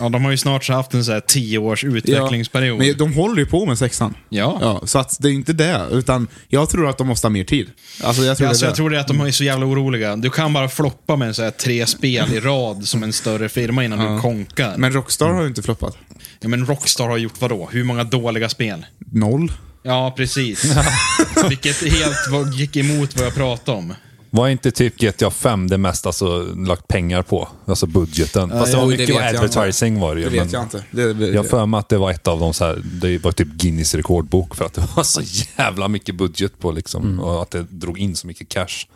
[SPEAKER 4] Ja, de har ju snart så haft en så här tio års utvecklingsperiod.
[SPEAKER 1] men de håller ju på med sexan.
[SPEAKER 4] Ja.
[SPEAKER 1] så att det är inte det. Utan jag tror att de måste ha mer tid. Alltså, jag tror
[SPEAKER 4] Alltså,
[SPEAKER 1] det är
[SPEAKER 4] jag
[SPEAKER 1] det.
[SPEAKER 4] tror det är att de är så jävla oroliga. Du kan bara floppa med så här tre spel i rad som en större firma innan du konkar. Men,
[SPEAKER 1] Men Rockstar har ju inte floppat.
[SPEAKER 4] ja, men Rockstar har gjort vadå? Hur många dåliga spel?
[SPEAKER 1] Noll.
[SPEAKER 4] Ja, [laughs] precis. Vilket helt var, gick emot vad jag pratade om.
[SPEAKER 3] Var inte typ GTA 5 det mest alltså, lagt pengar på? Alltså budgeten. Fast det var
[SPEAKER 1] jo, det
[SPEAKER 3] mycket
[SPEAKER 1] vet jag inte.
[SPEAKER 3] advertising var det ju.
[SPEAKER 1] Det vet
[SPEAKER 3] men-
[SPEAKER 1] jag inte. Det, det,
[SPEAKER 3] Jag har för mig att det var ett av de så här, det var typ Guinness rekordbok för att det var så jävla mycket budget på liksom.
[SPEAKER 1] Mm.
[SPEAKER 3] Och att det drog in så mycket cash.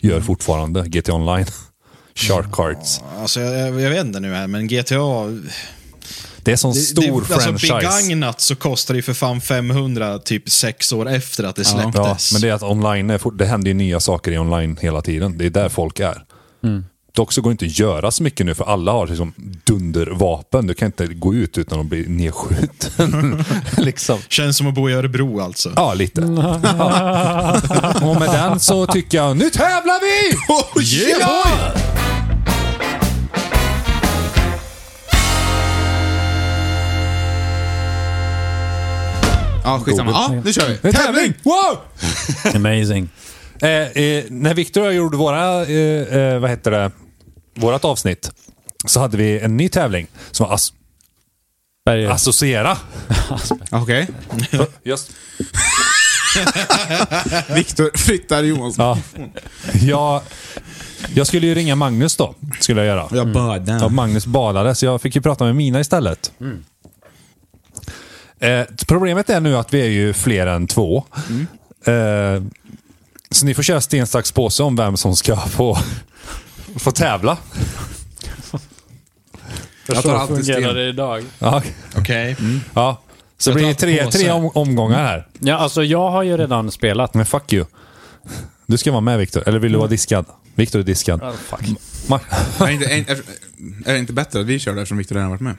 [SPEAKER 3] Gör fortfarande GTA
[SPEAKER 1] [laughs]
[SPEAKER 3] Online. Shark Cards.
[SPEAKER 4] Alltså, jag, jag vet inte nu här, men GTA...
[SPEAKER 3] Det är sån stor
[SPEAKER 4] det, alltså,
[SPEAKER 3] franchise.
[SPEAKER 4] Begagnat så kostar det ju för fan 500 typ sex år efter att det släpptes.
[SPEAKER 3] Ja, men det är att online, är fort- det händer ju nya saker i online hela tiden. Det är där folk är. Dock så går det inte att göra så mycket nu för alla har liksom dundervapen. Du kan inte gå ut utan att bli nedskjuten. [laughs] liksom.
[SPEAKER 4] Känns som att bo i Örebro alltså.
[SPEAKER 3] Ja, lite. Ja. Och med den så tycker jag, nu tävlar vi! Ja!
[SPEAKER 1] ja, skitsamma. Ja, nu kör
[SPEAKER 3] [laughs]
[SPEAKER 1] vi.
[SPEAKER 3] Nu tävling! Wow!
[SPEAKER 2] Amazing.
[SPEAKER 3] Eh, eh, när Victor och jag gjorde våra, eh, eh, vad heter det, vårat avsnitt så hade vi en ny tävling som var as-
[SPEAKER 2] Berger.
[SPEAKER 3] Alltså, associera.
[SPEAKER 1] Okej.
[SPEAKER 3] Just.
[SPEAKER 1] Viktor flyttar Johansson.
[SPEAKER 3] Ja. Jag, jag skulle ju ringa Magnus då. Skulle jag göra.
[SPEAKER 1] Jag bad
[SPEAKER 3] Ja, Mm. Magnus badade, så jag fick ju prata med Mina istället. Eh, problemet är nu att vi är ju fler än två. Eh, så ni får köra sten, sax, påse om vem som ska få, få tävla.
[SPEAKER 1] Jag tar alltid
[SPEAKER 2] fungerar
[SPEAKER 1] sten.
[SPEAKER 2] det idag?
[SPEAKER 3] Ja,
[SPEAKER 4] Okej.
[SPEAKER 3] ja. Så
[SPEAKER 4] Jag
[SPEAKER 3] det blir
[SPEAKER 4] tar
[SPEAKER 3] tre,
[SPEAKER 4] påse.
[SPEAKER 3] tre om, omgångar här.
[SPEAKER 2] Ja, alltså jag har ju redan spelat.
[SPEAKER 3] Men fuck you. Du ska vara med Viktor, eller vill du vara diskad? Viktor är diskad. Ma-
[SPEAKER 1] Är inte- Är är- är det inte bättre att vi kör det eftersom Viktor redan har varit med?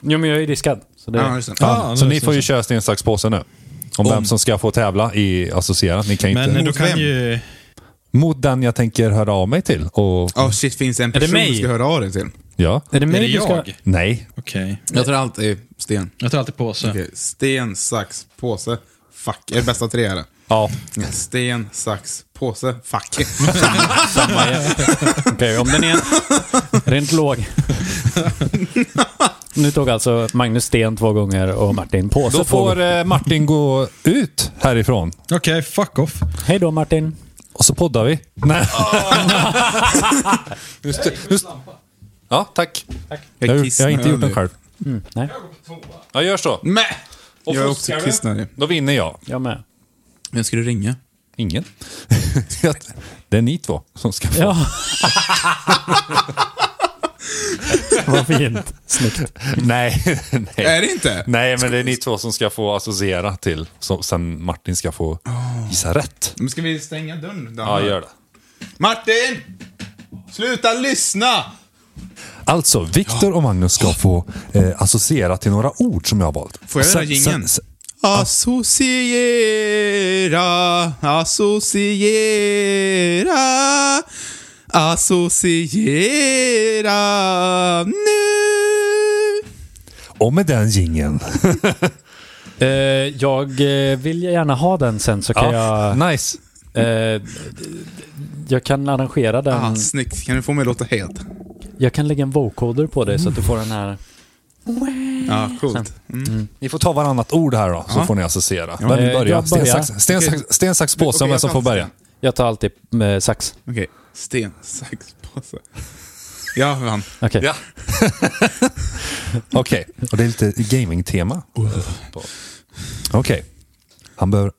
[SPEAKER 2] Jo, men jag är ju diskad. Så det...
[SPEAKER 1] Ja, just det.
[SPEAKER 3] Ja,
[SPEAKER 4] Ah,
[SPEAKER 3] så
[SPEAKER 4] nu
[SPEAKER 3] ni
[SPEAKER 4] ser
[SPEAKER 3] får ju
[SPEAKER 4] jag.
[SPEAKER 3] köra sten, sax, påse nu. Om, vem som ska få tävla i associerat. Ni kan ju inte...
[SPEAKER 4] Men du
[SPEAKER 1] Mot
[SPEAKER 4] kan
[SPEAKER 1] vem?
[SPEAKER 4] ju...
[SPEAKER 3] Mot den jag tänker höra av mig till. Och,
[SPEAKER 1] Ja, Ah, oh, shit, finns det en
[SPEAKER 2] det
[SPEAKER 1] person
[SPEAKER 2] mig?
[SPEAKER 1] du ska höra av dig till?
[SPEAKER 3] ja.
[SPEAKER 2] Är det mig
[SPEAKER 4] Är det
[SPEAKER 2] du ska...
[SPEAKER 4] jag?
[SPEAKER 3] Nej.
[SPEAKER 4] Okej.
[SPEAKER 1] Jag tar alltid sten.
[SPEAKER 4] Jag tar alltid påse.
[SPEAKER 1] Okej, Sten, sax, påse. Fuck. Är det bästa tre eller?
[SPEAKER 3] Ja.
[SPEAKER 1] Sten, sax, påse.
[SPEAKER 3] [laughs]
[SPEAKER 1] Fuck.
[SPEAKER 2] Samma igen. Okej, om den är en... rent låg. Nu tog alltså Magnus Sten två gånger och Martin Påse
[SPEAKER 3] Då
[SPEAKER 2] två
[SPEAKER 3] får
[SPEAKER 2] gånger.
[SPEAKER 3] eh, Martin gå ut härifrån.
[SPEAKER 4] Okej, fuck off.
[SPEAKER 2] Hej då Martin.
[SPEAKER 3] Och så poddar vi. Nej. just, det, just. Ja, tack. Jag, har gjort- jag har inte gjort den själv.
[SPEAKER 2] Mm, Nej,
[SPEAKER 3] Ja, gör så.
[SPEAKER 1] Men!
[SPEAKER 3] Och
[SPEAKER 1] Jag är
[SPEAKER 3] fuskar
[SPEAKER 1] också
[SPEAKER 3] du?
[SPEAKER 1] kissnödig.
[SPEAKER 3] Då vinner jag.
[SPEAKER 2] jag med.
[SPEAKER 1] Vem ska du ringa?
[SPEAKER 3] Ingen. [laughs] det är ni två som ska få.
[SPEAKER 2] Ja. [laughs] Vad fint. Snyggt.
[SPEAKER 3] Nej. [laughs]
[SPEAKER 1] Är
[SPEAKER 3] Nej.
[SPEAKER 1] det inte?
[SPEAKER 3] Nej, men det är ni två som ska få associera till. Som sen Martin ska få gissa rätt.
[SPEAKER 1] Men ska vi stänga dörren? Dan?
[SPEAKER 3] Ja, gör det.
[SPEAKER 1] Martin! Sluta lyssna!
[SPEAKER 3] Alltså, Viktor och Magnus ska få eh, associera till några ord som jag har valt.
[SPEAKER 1] Får jag
[SPEAKER 3] Sen-
[SPEAKER 1] göra jingeln?
[SPEAKER 3] sen- sen-
[SPEAKER 1] Associera, associera, associera nu.
[SPEAKER 3] Och med den jingeln.
[SPEAKER 2] Eh, jag eh, vill gärna ha den sen så kan jag...
[SPEAKER 3] Nice.
[SPEAKER 2] Eh, jag kan arrangera den.
[SPEAKER 1] Ah, snyggt, kan du få mig att låta helt?
[SPEAKER 2] Jag kan lägga en vocoder på det så att du får den här...
[SPEAKER 1] Ja,
[SPEAKER 2] Mm.
[SPEAKER 1] coolt.
[SPEAKER 3] Ni får ta varannat ord här då, så
[SPEAKER 1] Ja.
[SPEAKER 3] får ni associera. Vem vill
[SPEAKER 2] Eh, jag
[SPEAKER 3] börja? Sten,
[SPEAKER 2] börjar.
[SPEAKER 3] sax, sten, sax, sten, sax, påse om
[SPEAKER 1] Okej,
[SPEAKER 3] vem
[SPEAKER 1] jag
[SPEAKER 3] som
[SPEAKER 1] tar
[SPEAKER 3] får börja. [laughs]
[SPEAKER 2] Jag tar alltid eh, sax.
[SPEAKER 1] Okej, sten, sax, påse. Jag vann.
[SPEAKER 2] Okej.
[SPEAKER 3] Ja. Okej, och det är lite gaming-tema. Okej, han, behöver,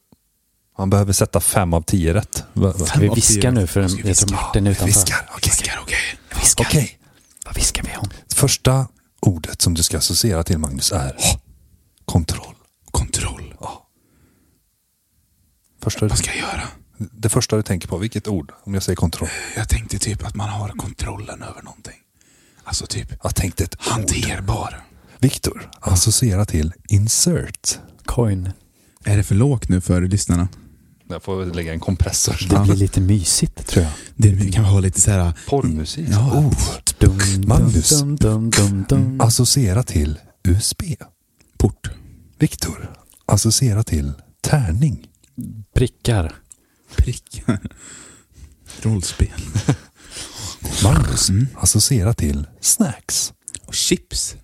[SPEAKER 3] han behöver sätta fem av tio rätt. Va- va-
[SPEAKER 2] Ska vi viska nu för en, jag tror Martin är
[SPEAKER 3] Vi
[SPEAKER 2] utanför?
[SPEAKER 3] viskar, okej.
[SPEAKER 1] okej.
[SPEAKER 3] Okej,
[SPEAKER 2] Vad viskar vi om?
[SPEAKER 3] första ordet som du ska associera till Magnus är kontroll.
[SPEAKER 1] Kontroll.
[SPEAKER 3] Första,
[SPEAKER 1] Vad ska jag göra?
[SPEAKER 3] det första du tänker på, vilket ord? Om jag säger kontroll.
[SPEAKER 1] Jag tänkte typ att man har kontrollen över någonting. Alltså typ
[SPEAKER 3] Jag tänkte ett ord.
[SPEAKER 1] hanterbar.
[SPEAKER 3] Viktor, associera till insert.
[SPEAKER 2] Coin.
[SPEAKER 1] Är det för lågt nu för lyssnarna?
[SPEAKER 3] Jag får lägga en kompressor.
[SPEAKER 2] Det blir lite mysigt tror jag.
[SPEAKER 1] Det kan ha lite så här... eh,
[SPEAKER 3] Porrmusik.
[SPEAKER 1] Ja.
[SPEAKER 3] Oh.
[SPEAKER 2] Dum, dum,
[SPEAKER 3] Magnus. Mm.
[SPEAKER 2] Dum, dum, dum, dum.
[SPEAKER 3] Associera till USB.
[SPEAKER 1] Port.
[SPEAKER 3] Viktor, associera till tärning.
[SPEAKER 2] Prickar.
[SPEAKER 1] Prickar. [laughs] Rollspel.
[SPEAKER 3] Magnus, associera till snacks.
[SPEAKER 1] Och chips.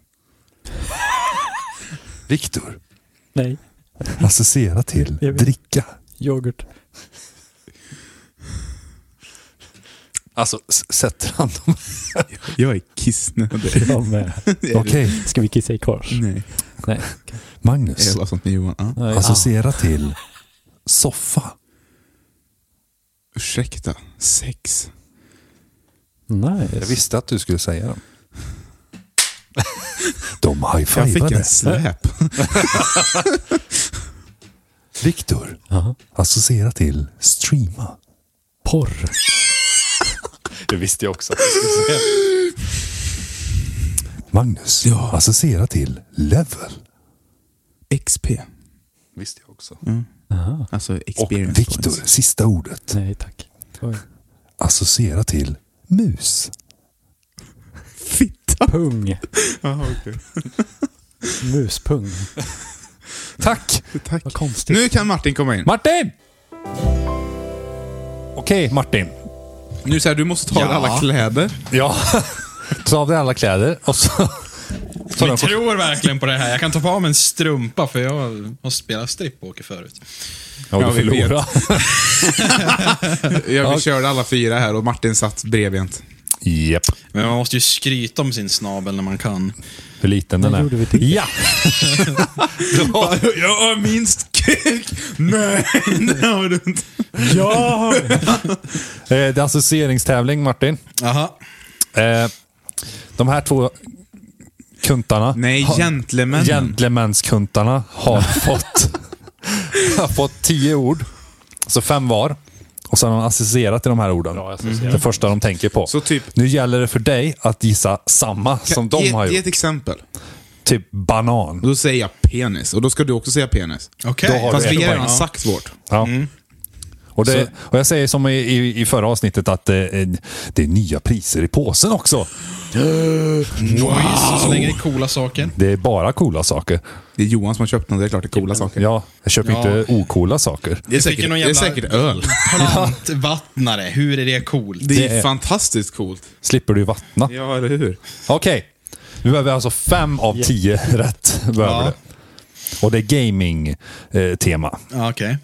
[SPEAKER 3] [laughs] Viktor,
[SPEAKER 2] Nej.
[SPEAKER 3] associera till
[SPEAKER 2] Jag vet.
[SPEAKER 3] dricka.
[SPEAKER 2] Yoghurt.
[SPEAKER 3] Alltså, s- sätter han dem?
[SPEAKER 1] Jag är kissnödig. [laughs]
[SPEAKER 3] [laughs]
[SPEAKER 2] Jag med.
[SPEAKER 3] Okej,
[SPEAKER 2] Ska vi kissa i kors?
[SPEAKER 3] Mm.
[SPEAKER 1] Nej.
[SPEAKER 2] Nej.
[SPEAKER 1] Är
[SPEAKER 3] Magnus,
[SPEAKER 1] det bara sånt med Johan? Ja.
[SPEAKER 2] Nej.
[SPEAKER 3] associera till [laughs] soffa.
[SPEAKER 1] Ursäkta. Sex.
[SPEAKER 3] Jag
[SPEAKER 2] Nice.
[SPEAKER 3] visste att du skulle säga dem. [laughs] De
[SPEAKER 1] Jag fick en
[SPEAKER 3] high-fivade.
[SPEAKER 1] släp.
[SPEAKER 3] Viktor,
[SPEAKER 2] Ja.
[SPEAKER 3] associera till streama.
[SPEAKER 2] Porr.
[SPEAKER 3] [laughs] Det visste jag också. Magnus,
[SPEAKER 1] Ja.
[SPEAKER 3] associera till level.
[SPEAKER 1] XP.
[SPEAKER 3] Visste jag också.
[SPEAKER 1] Alltså
[SPEAKER 3] Och
[SPEAKER 1] experience
[SPEAKER 3] Viktor,
[SPEAKER 1] points.
[SPEAKER 3] sista ordet.
[SPEAKER 2] Nej tack. Oj.
[SPEAKER 3] Associera till mus.
[SPEAKER 1] Fitta.
[SPEAKER 2] Pung.
[SPEAKER 1] Aha, okej.
[SPEAKER 2] Muspung.
[SPEAKER 3] Tack!
[SPEAKER 1] Tack.
[SPEAKER 2] Vad konstigt.
[SPEAKER 1] Nu kan Martin komma in.
[SPEAKER 3] Martin! Okej, Martin.
[SPEAKER 1] Nu
[SPEAKER 3] [laughs]
[SPEAKER 1] säger du måste ta av dig alla kläder.
[SPEAKER 3] Ja. Ta av dig alla kläder och så Så
[SPEAKER 4] Vi
[SPEAKER 3] den får-
[SPEAKER 4] tror verkligen på det här. Jag kan ta på mig en strumpa för jag har spelat strippåker förut.
[SPEAKER 3] Ja,
[SPEAKER 1] Ja,
[SPEAKER 3] du
[SPEAKER 1] vi vet.
[SPEAKER 3] förlorar.
[SPEAKER 1] Ja, vi körde alla fyra här och Martin satt bredbent.
[SPEAKER 3] Japp.
[SPEAKER 4] Men man måste ju skryta om sin snabel när man kan.
[SPEAKER 3] Hur liten den
[SPEAKER 2] gjorde vi
[SPEAKER 3] är.
[SPEAKER 2] till?
[SPEAKER 3] Ja!
[SPEAKER 1] Jag har minst kuk! Nej, [laughs] det har du inte.
[SPEAKER 3] ja! [laughs] Eh, Det är associeringstävling, Martin.
[SPEAKER 4] Aha.
[SPEAKER 3] Eh, De här två kuntarna.
[SPEAKER 1] Nej,
[SPEAKER 3] har-
[SPEAKER 1] gentlemen.
[SPEAKER 3] Gentlemenskuntarna
[SPEAKER 1] [laughs]
[SPEAKER 3] har fått, har fått tio ord. Så fem var. Och sen har de associerat till de här orden. Det första de tänker på.
[SPEAKER 1] Så typ-
[SPEAKER 3] Nu gäller det för dig att gissa samma som de
[SPEAKER 1] ge,
[SPEAKER 3] har
[SPEAKER 1] Ge
[SPEAKER 3] gjort.
[SPEAKER 1] ett exempel.
[SPEAKER 3] Typ banan.
[SPEAKER 1] Och då säger jag penis och då ska du också säga penis.
[SPEAKER 4] Okej.
[SPEAKER 3] Då har
[SPEAKER 1] Fast
[SPEAKER 3] du
[SPEAKER 1] vi
[SPEAKER 3] ett
[SPEAKER 1] har
[SPEAKER 3] poäng.
[SPEAKER 1] redan sagt vårt.
[SPEAKER 3] Ja.
[SPEAKER 1] Mm.
[SPEAKER 3] Och, det, och jag säger som i, i, i förra avsnittet att eh, eh, det är nya priser i påsen också.
[SPEAKER 4] Nice. Så länge det är
[SPEAKER 3] [laughs]
[SPEAKER 4] coola saker.
[SPEAKER 3] Det är bara coola saker.
[SPEAKER 1] Det är Johan som har köpt den, det är klart det är coola saker.
[SPEAKER 3] Ja, jag köper
[SPEAKER 4] Ja.
[SPEAKER 3] inte okola saker.
[SPEAKER 1] Det, är
[SPEAKER 4] Jag fick
[SPEAKER 1] säkert,
[SPEAKER 4] ju någon
[SPEAKER 1] det är
[SPEAKER 4] jävla-
[SPEAKER 1] säkert öl.
[SPEAKER 4] Plantvattnare, hur är det coolt?
[SPEAKER 1] Det är,
[SPEAKER 3] Det är-
[SPEAKER 1] fantastiskt coolt.
[SPEAKER 3] Slipper du vattna.
[SPEAKER 1] Ja, eller hur?
[SPEAKER 3] Okej. Nu behöver vi alltså fem av tio [laughs] rätt. Behöver
[SPEAKER 4] Ja.
[SPEAKER 3] det. Och det är gaming-tema.
[SPEAKER 4] Ja, Okej.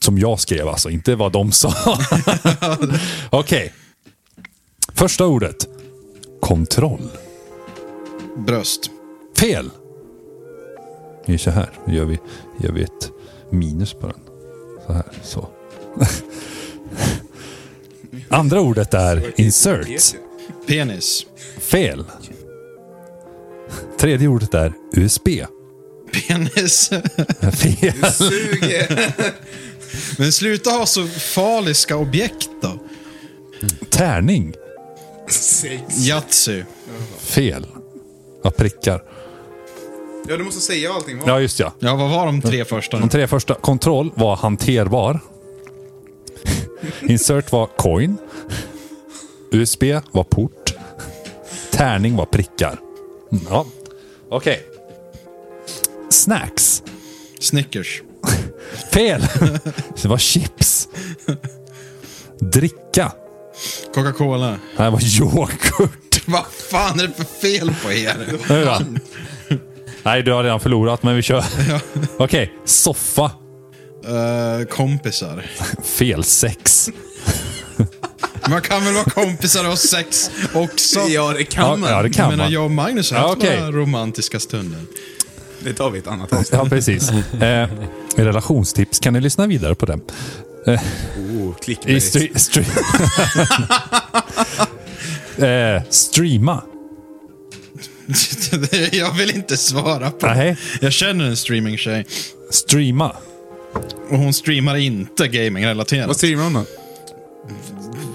[SPEAKER 3] Som jag skrev alltså, inte vad de sa. Okej. Första ordet. Kontroll.
[SPEAKER 4] Bröst.
[SPEAKER 3] Fel! Det är så här. Nu gör vi, gör vi ett minus på den. Så här, så. [laughs] Andra ordet är insert.
[SPEAKER 4] Penis.
[SPEAKER 3] Fel. Tredje ordet är USB.
[SPEAKER 4] Penis.
[SPEAKER 3] Fel.
[SPEAKER 4] Men sluta ha så faliska objekt då.
[SPEAKER 3] Tärning.
[SPEAKER 4] Yatzy.
[SPEAKER 3] Fel. Ja, prickar.
[SPEAKER 1] Ja, du måste säga allting. va?
[SPEAKER 3] Ja, just ja.
[SPEAKER 4] Ja, vad var de tre första?
[SPEAKER 3] De tre första. Kontroll var hanterbar. Insert var coin. USB var port. Tärning var prickar. Mm, Ja. Okej. Snacks.
[SPEAKER 4] Snickers.
[SPEAKER 3] Fel. Det var chips. Dricka.
[SPEAKER 4] Coca-Cola.
[SPEAKER 3] Det här var yoghurt.
[SPEAKER 4] Vad fan är det för fel på er?
[SPEAKER 3] Nu då? Nej, du har redan förlorat, men vi kör. Okej. Soffa.
[SPEAKER 4] Eh, kompisar.
[SPEAKER 3] Fel. Sex.
[SPEAKER 4] Man kan väl vara kompisar och ha sex också?
[SPEAKER 1] Ja, det kan man.
[SPEAKER 3] ja, det kan
[SPEAKER 4] jag menar,
[SPEAKER 3] man.
[SPEAKER 4] jag och Magnus har
[SPEAKER 3] Ja,
[SPEAKER 4] haft
[SPEAKER 3] okej.
[SPEAKER 4] våra romantiska stunder. [laughs]
[SPEAKER 1] Det tar vi ett annat avsnitt.
[SPEAKER 3] Ja, precis. Eh, relationstips kan ni lyssna vidare på den.
[SPEAKER 1] Oh,
[SPEAKER 3] I
[SPEAKER 1] clickbait.
[SPEAKER 3] stre- stre- [laughs] eh, streama.
[SPEAKER 4] jag vill inte svara på det.
[SPEAKER 3] Nej,
[SPEAKER 4] Jag känner en streamingtjej
[SPEAKER 3] streama.
[SPEAKER 4] och hon streamar inte gamingrelaterat.
[SPEAKER 1] Vad streamar hon då?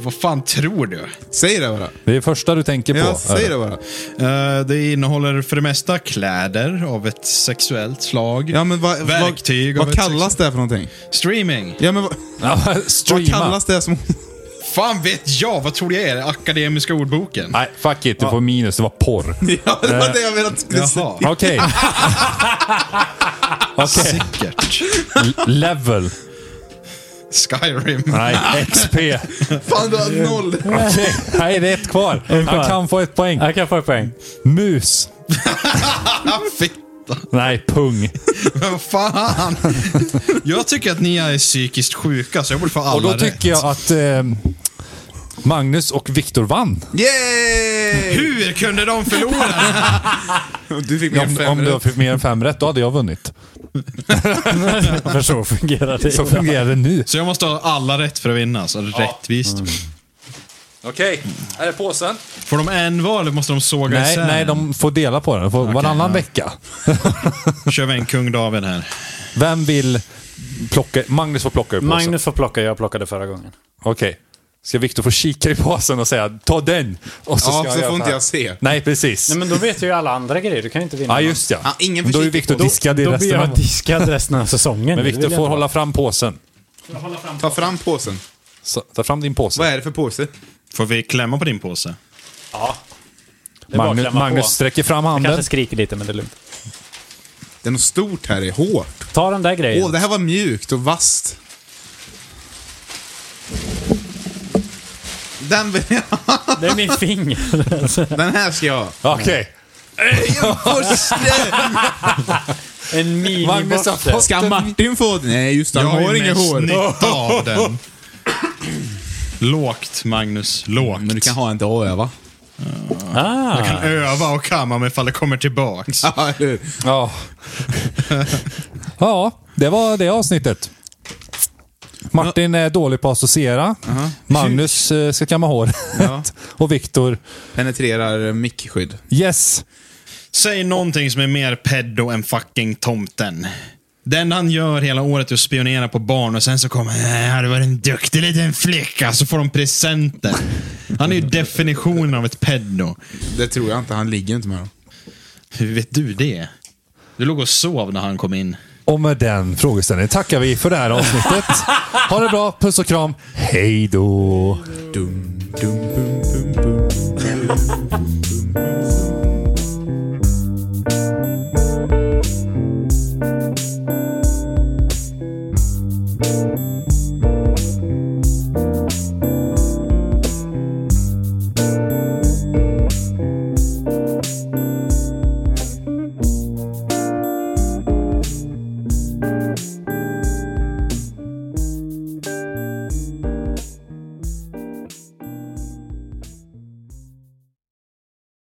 [SPEAKER 4] Vad fan tror du?
[SPEAKER 1] Säg det bara.
[SPEAKER 3] Det är det första du tänker på.
[SPEAKER 1] Ja, säg det bara.
[SPEAKER 4] Eh, det innehåller för det mesta kläder av ett sexuellt slag.
[SPEAKER 1] Ja, men vad,
[SPEAKER 4] Verktyg
[SPEAKER 1] vad,
[SPEAKER 4] av
[SPEAKER 1] vad
[SPEAKER 4] ett
[SPEAKER 1] kallas det här för någonting?
[SPEAKER 4] sexu- Streaming.
[SPEAKER 1] Ja, men vad,
[SPEAKER 3] Ja,
[SPEAKER 1] vad
[SPEAKER 3] streama.
[SPEAKER 1] kallas det som... [laughs]
[SPEAKER 4] Fan vet jag, vad tror du det är? Akademiska ordboken?
[SPEAKER 3] Nej, fuck it. Du får minus. Det var porr.
[SPEAKER 1] Ja, det var det jag ville att du skulle säga. [laughs]
[SPEAKER 4] Jaha,
[SPEAKER 3] Okej. Okej.
[SPEAKER 4] säkert.
[SPEAKER 3] Level.
[SPEAKER 4] Skyrim.
[SPEAKER 3] Nej, XP.
[SPEAKER 1] Fan, du har noll.
[SPEAKER 3] Okej. Nej, det är ett kvar. Han kan få ett poäng.
[SPEAKER 2] Jag kan få ett poäng.
[SPEAKER 3] Mus.
[SPEAKER 4] Fitta.
[SPEAKER 3] Nej, pung.
[SPEAKER 4] Vad fan? Jag tycker att ni är psykiskt sjuka, så jag borde få alla
[SPEAKER 3] Och då
[SPEAKER 4] rätt.
[SPEAKER 3] tycker jag att eh, Magnus och Viktor vann.
[SPEAKER 1] Yay!
[SPEAKER 4] Hur kunde de förlora?
[SPEAKER 1] Du fick mer än
[SPEAKER 3] Om,
[SPEAKER 1] fem
[SPEAKER 3] om du
[SPEAKER 1] rätt.
[SPEAKER 3] fick mer än fem rätt, då hade jag vunnit.
[SPEAKER 2] För så fungerar det.
[SPEAKER 3] Så fungerar det nu.
[SPEAKER 4] Så jag måste ha alla rätt för att vinna, så rättvist.
[SPEAKER 3] Mm. Okej, här är påsen.
[SPEAKER 4] Får de en var eller måste de såga
[SPEAKER 3] Nej,
[SPEAKER 4] isär?
[SPEAKER 3] nej, de får dela på den. De Får varannan
[SPEAKER 4] ja.
[SPEAKER 3] vecka.
[SPEAKER 4] kör vi en kung David här.
[SPEAKER 3] Vem vill plocka? Magnus får plocka ur påsen.
[SPEAKER 2] Magnus får plocka, jag plockade förra gången.
[SPEAKER 3] Okej. Ska Viktor få kika i påsen och säga ta den? Och
[SPEAKER 1] Ja,
[SPEAKER 3] ska
[SPEAKER 1] så
[SPEAKER 3] göra
[SPEAKER 1] får
[SPEAKER 3] så
[SPEAKER 1] inte
[SPEAKER 3] här.
[SPEAKER 1] jag se.
[SPEAKER 3] Nej, precis.
[SPEAKER 2] Nej men då vet ju alla andra grejer, du kan ju inte vinna.
[SPEAKER 3] Ja, just ja.
[SPEAKER 1] Ja, ingen
[SPEAKER 3] Men då är ju
[SPEAKER 1] försiktig
[SPEAKER 3] Viktor
[SPEAKER 1] på-
[SPEAKER 3] diskad i
[SPEAKER 2] Då blir
[SPEAKER 3] resten
[SPEAKER 2] jag
[SPEAKER 3] av...
[SPEAKER 2] diskad resten av säsongen.
[SPEAKER 3] Men Viktor får hålla fram påsen.
[SPEAKER 1] Ta fram påsen.
[SPEAKER 3] Så, ta fram din påse.
[SPEAKER 1] Vad är det för påse?
[SPEAKER 4] Får vi klämma på din påse?
[SPEAKER 3] Magnus, Magnus sträcker fram handen.
[SPEAKER 2] Kanske skriker lite men det är lugnt.
[SPEAKER 1] Det är något stort här, det är hårt.
[SPEAKER 2] Ta den där grejen.
[SPEAKER 1] Åh, det här var mjukt och vasst. Den, vill jag-
[SPEAKER 2] Det är min finger.
[SPEAKER 3] [laughs]
[SPEAKER 1] den här ska jag ha.
[SPEAKER 3] Okej.
[SPEAKER 2] En
[SPEAKER 3] Magnus har
[SPEAKER 2] minibotte.
[SPEAKER 3] fått
[SPEAKER 1] Ska
[SPEAKER 3] en-
[SPEAKER 1] Martin få den? Nej, just det. Han har
[SPEAKER 4] ju
[SPEAKER 1] inga
[SPEAKER 4] mest
[SPEAKER 1] hår.
[SPEAKER 4] nytta av den. [clears throat] Lågt, Magnus. Lågt.
[SPEAKER 1] Men du kan ha en till att öva.
[SPEAKER 2] Ah.
[SPEAKER 4] kan öva och kamma mig ifall det kommer
[SPEAKER 1] [laughs]
[SPEAKER 4] tillbaks.
[SPEAKER 1] Ja, eller hur?
[SPEAKER 3] Ja. ja, det var det avsnittet. Martin är dålig på att associera. Magnus eh, ska kamma håret.
[SPEAKER 1] Ja.
[SPEAKER 3] [laughs] Och Viktor,
[SPEAKER 1] Penetrerar mickskydd.
[SPEAKER 3] yes.
[SPEAKER 4] Säg någonting som är mer peddo än fucking tomten. Den han gör hela året är att spionera på barn och sen så kommer "Äh, här var en duktig liten flicka så får de presenter. Han är ju definitionen av ett peddo.
[SPEAKER 1] Det tror jag inte. Han ligger inte med dem.
[SPEAKER 4] Hur vet du det? Du låg och sov när han kom in.
[SPEAKER 3] Och med den frågeställningen tackar vi för det här avsnittet. Ha det bra, puss och kram. Hej då.
[SPEAKER 1] Dum, dum, bum, bum, bum.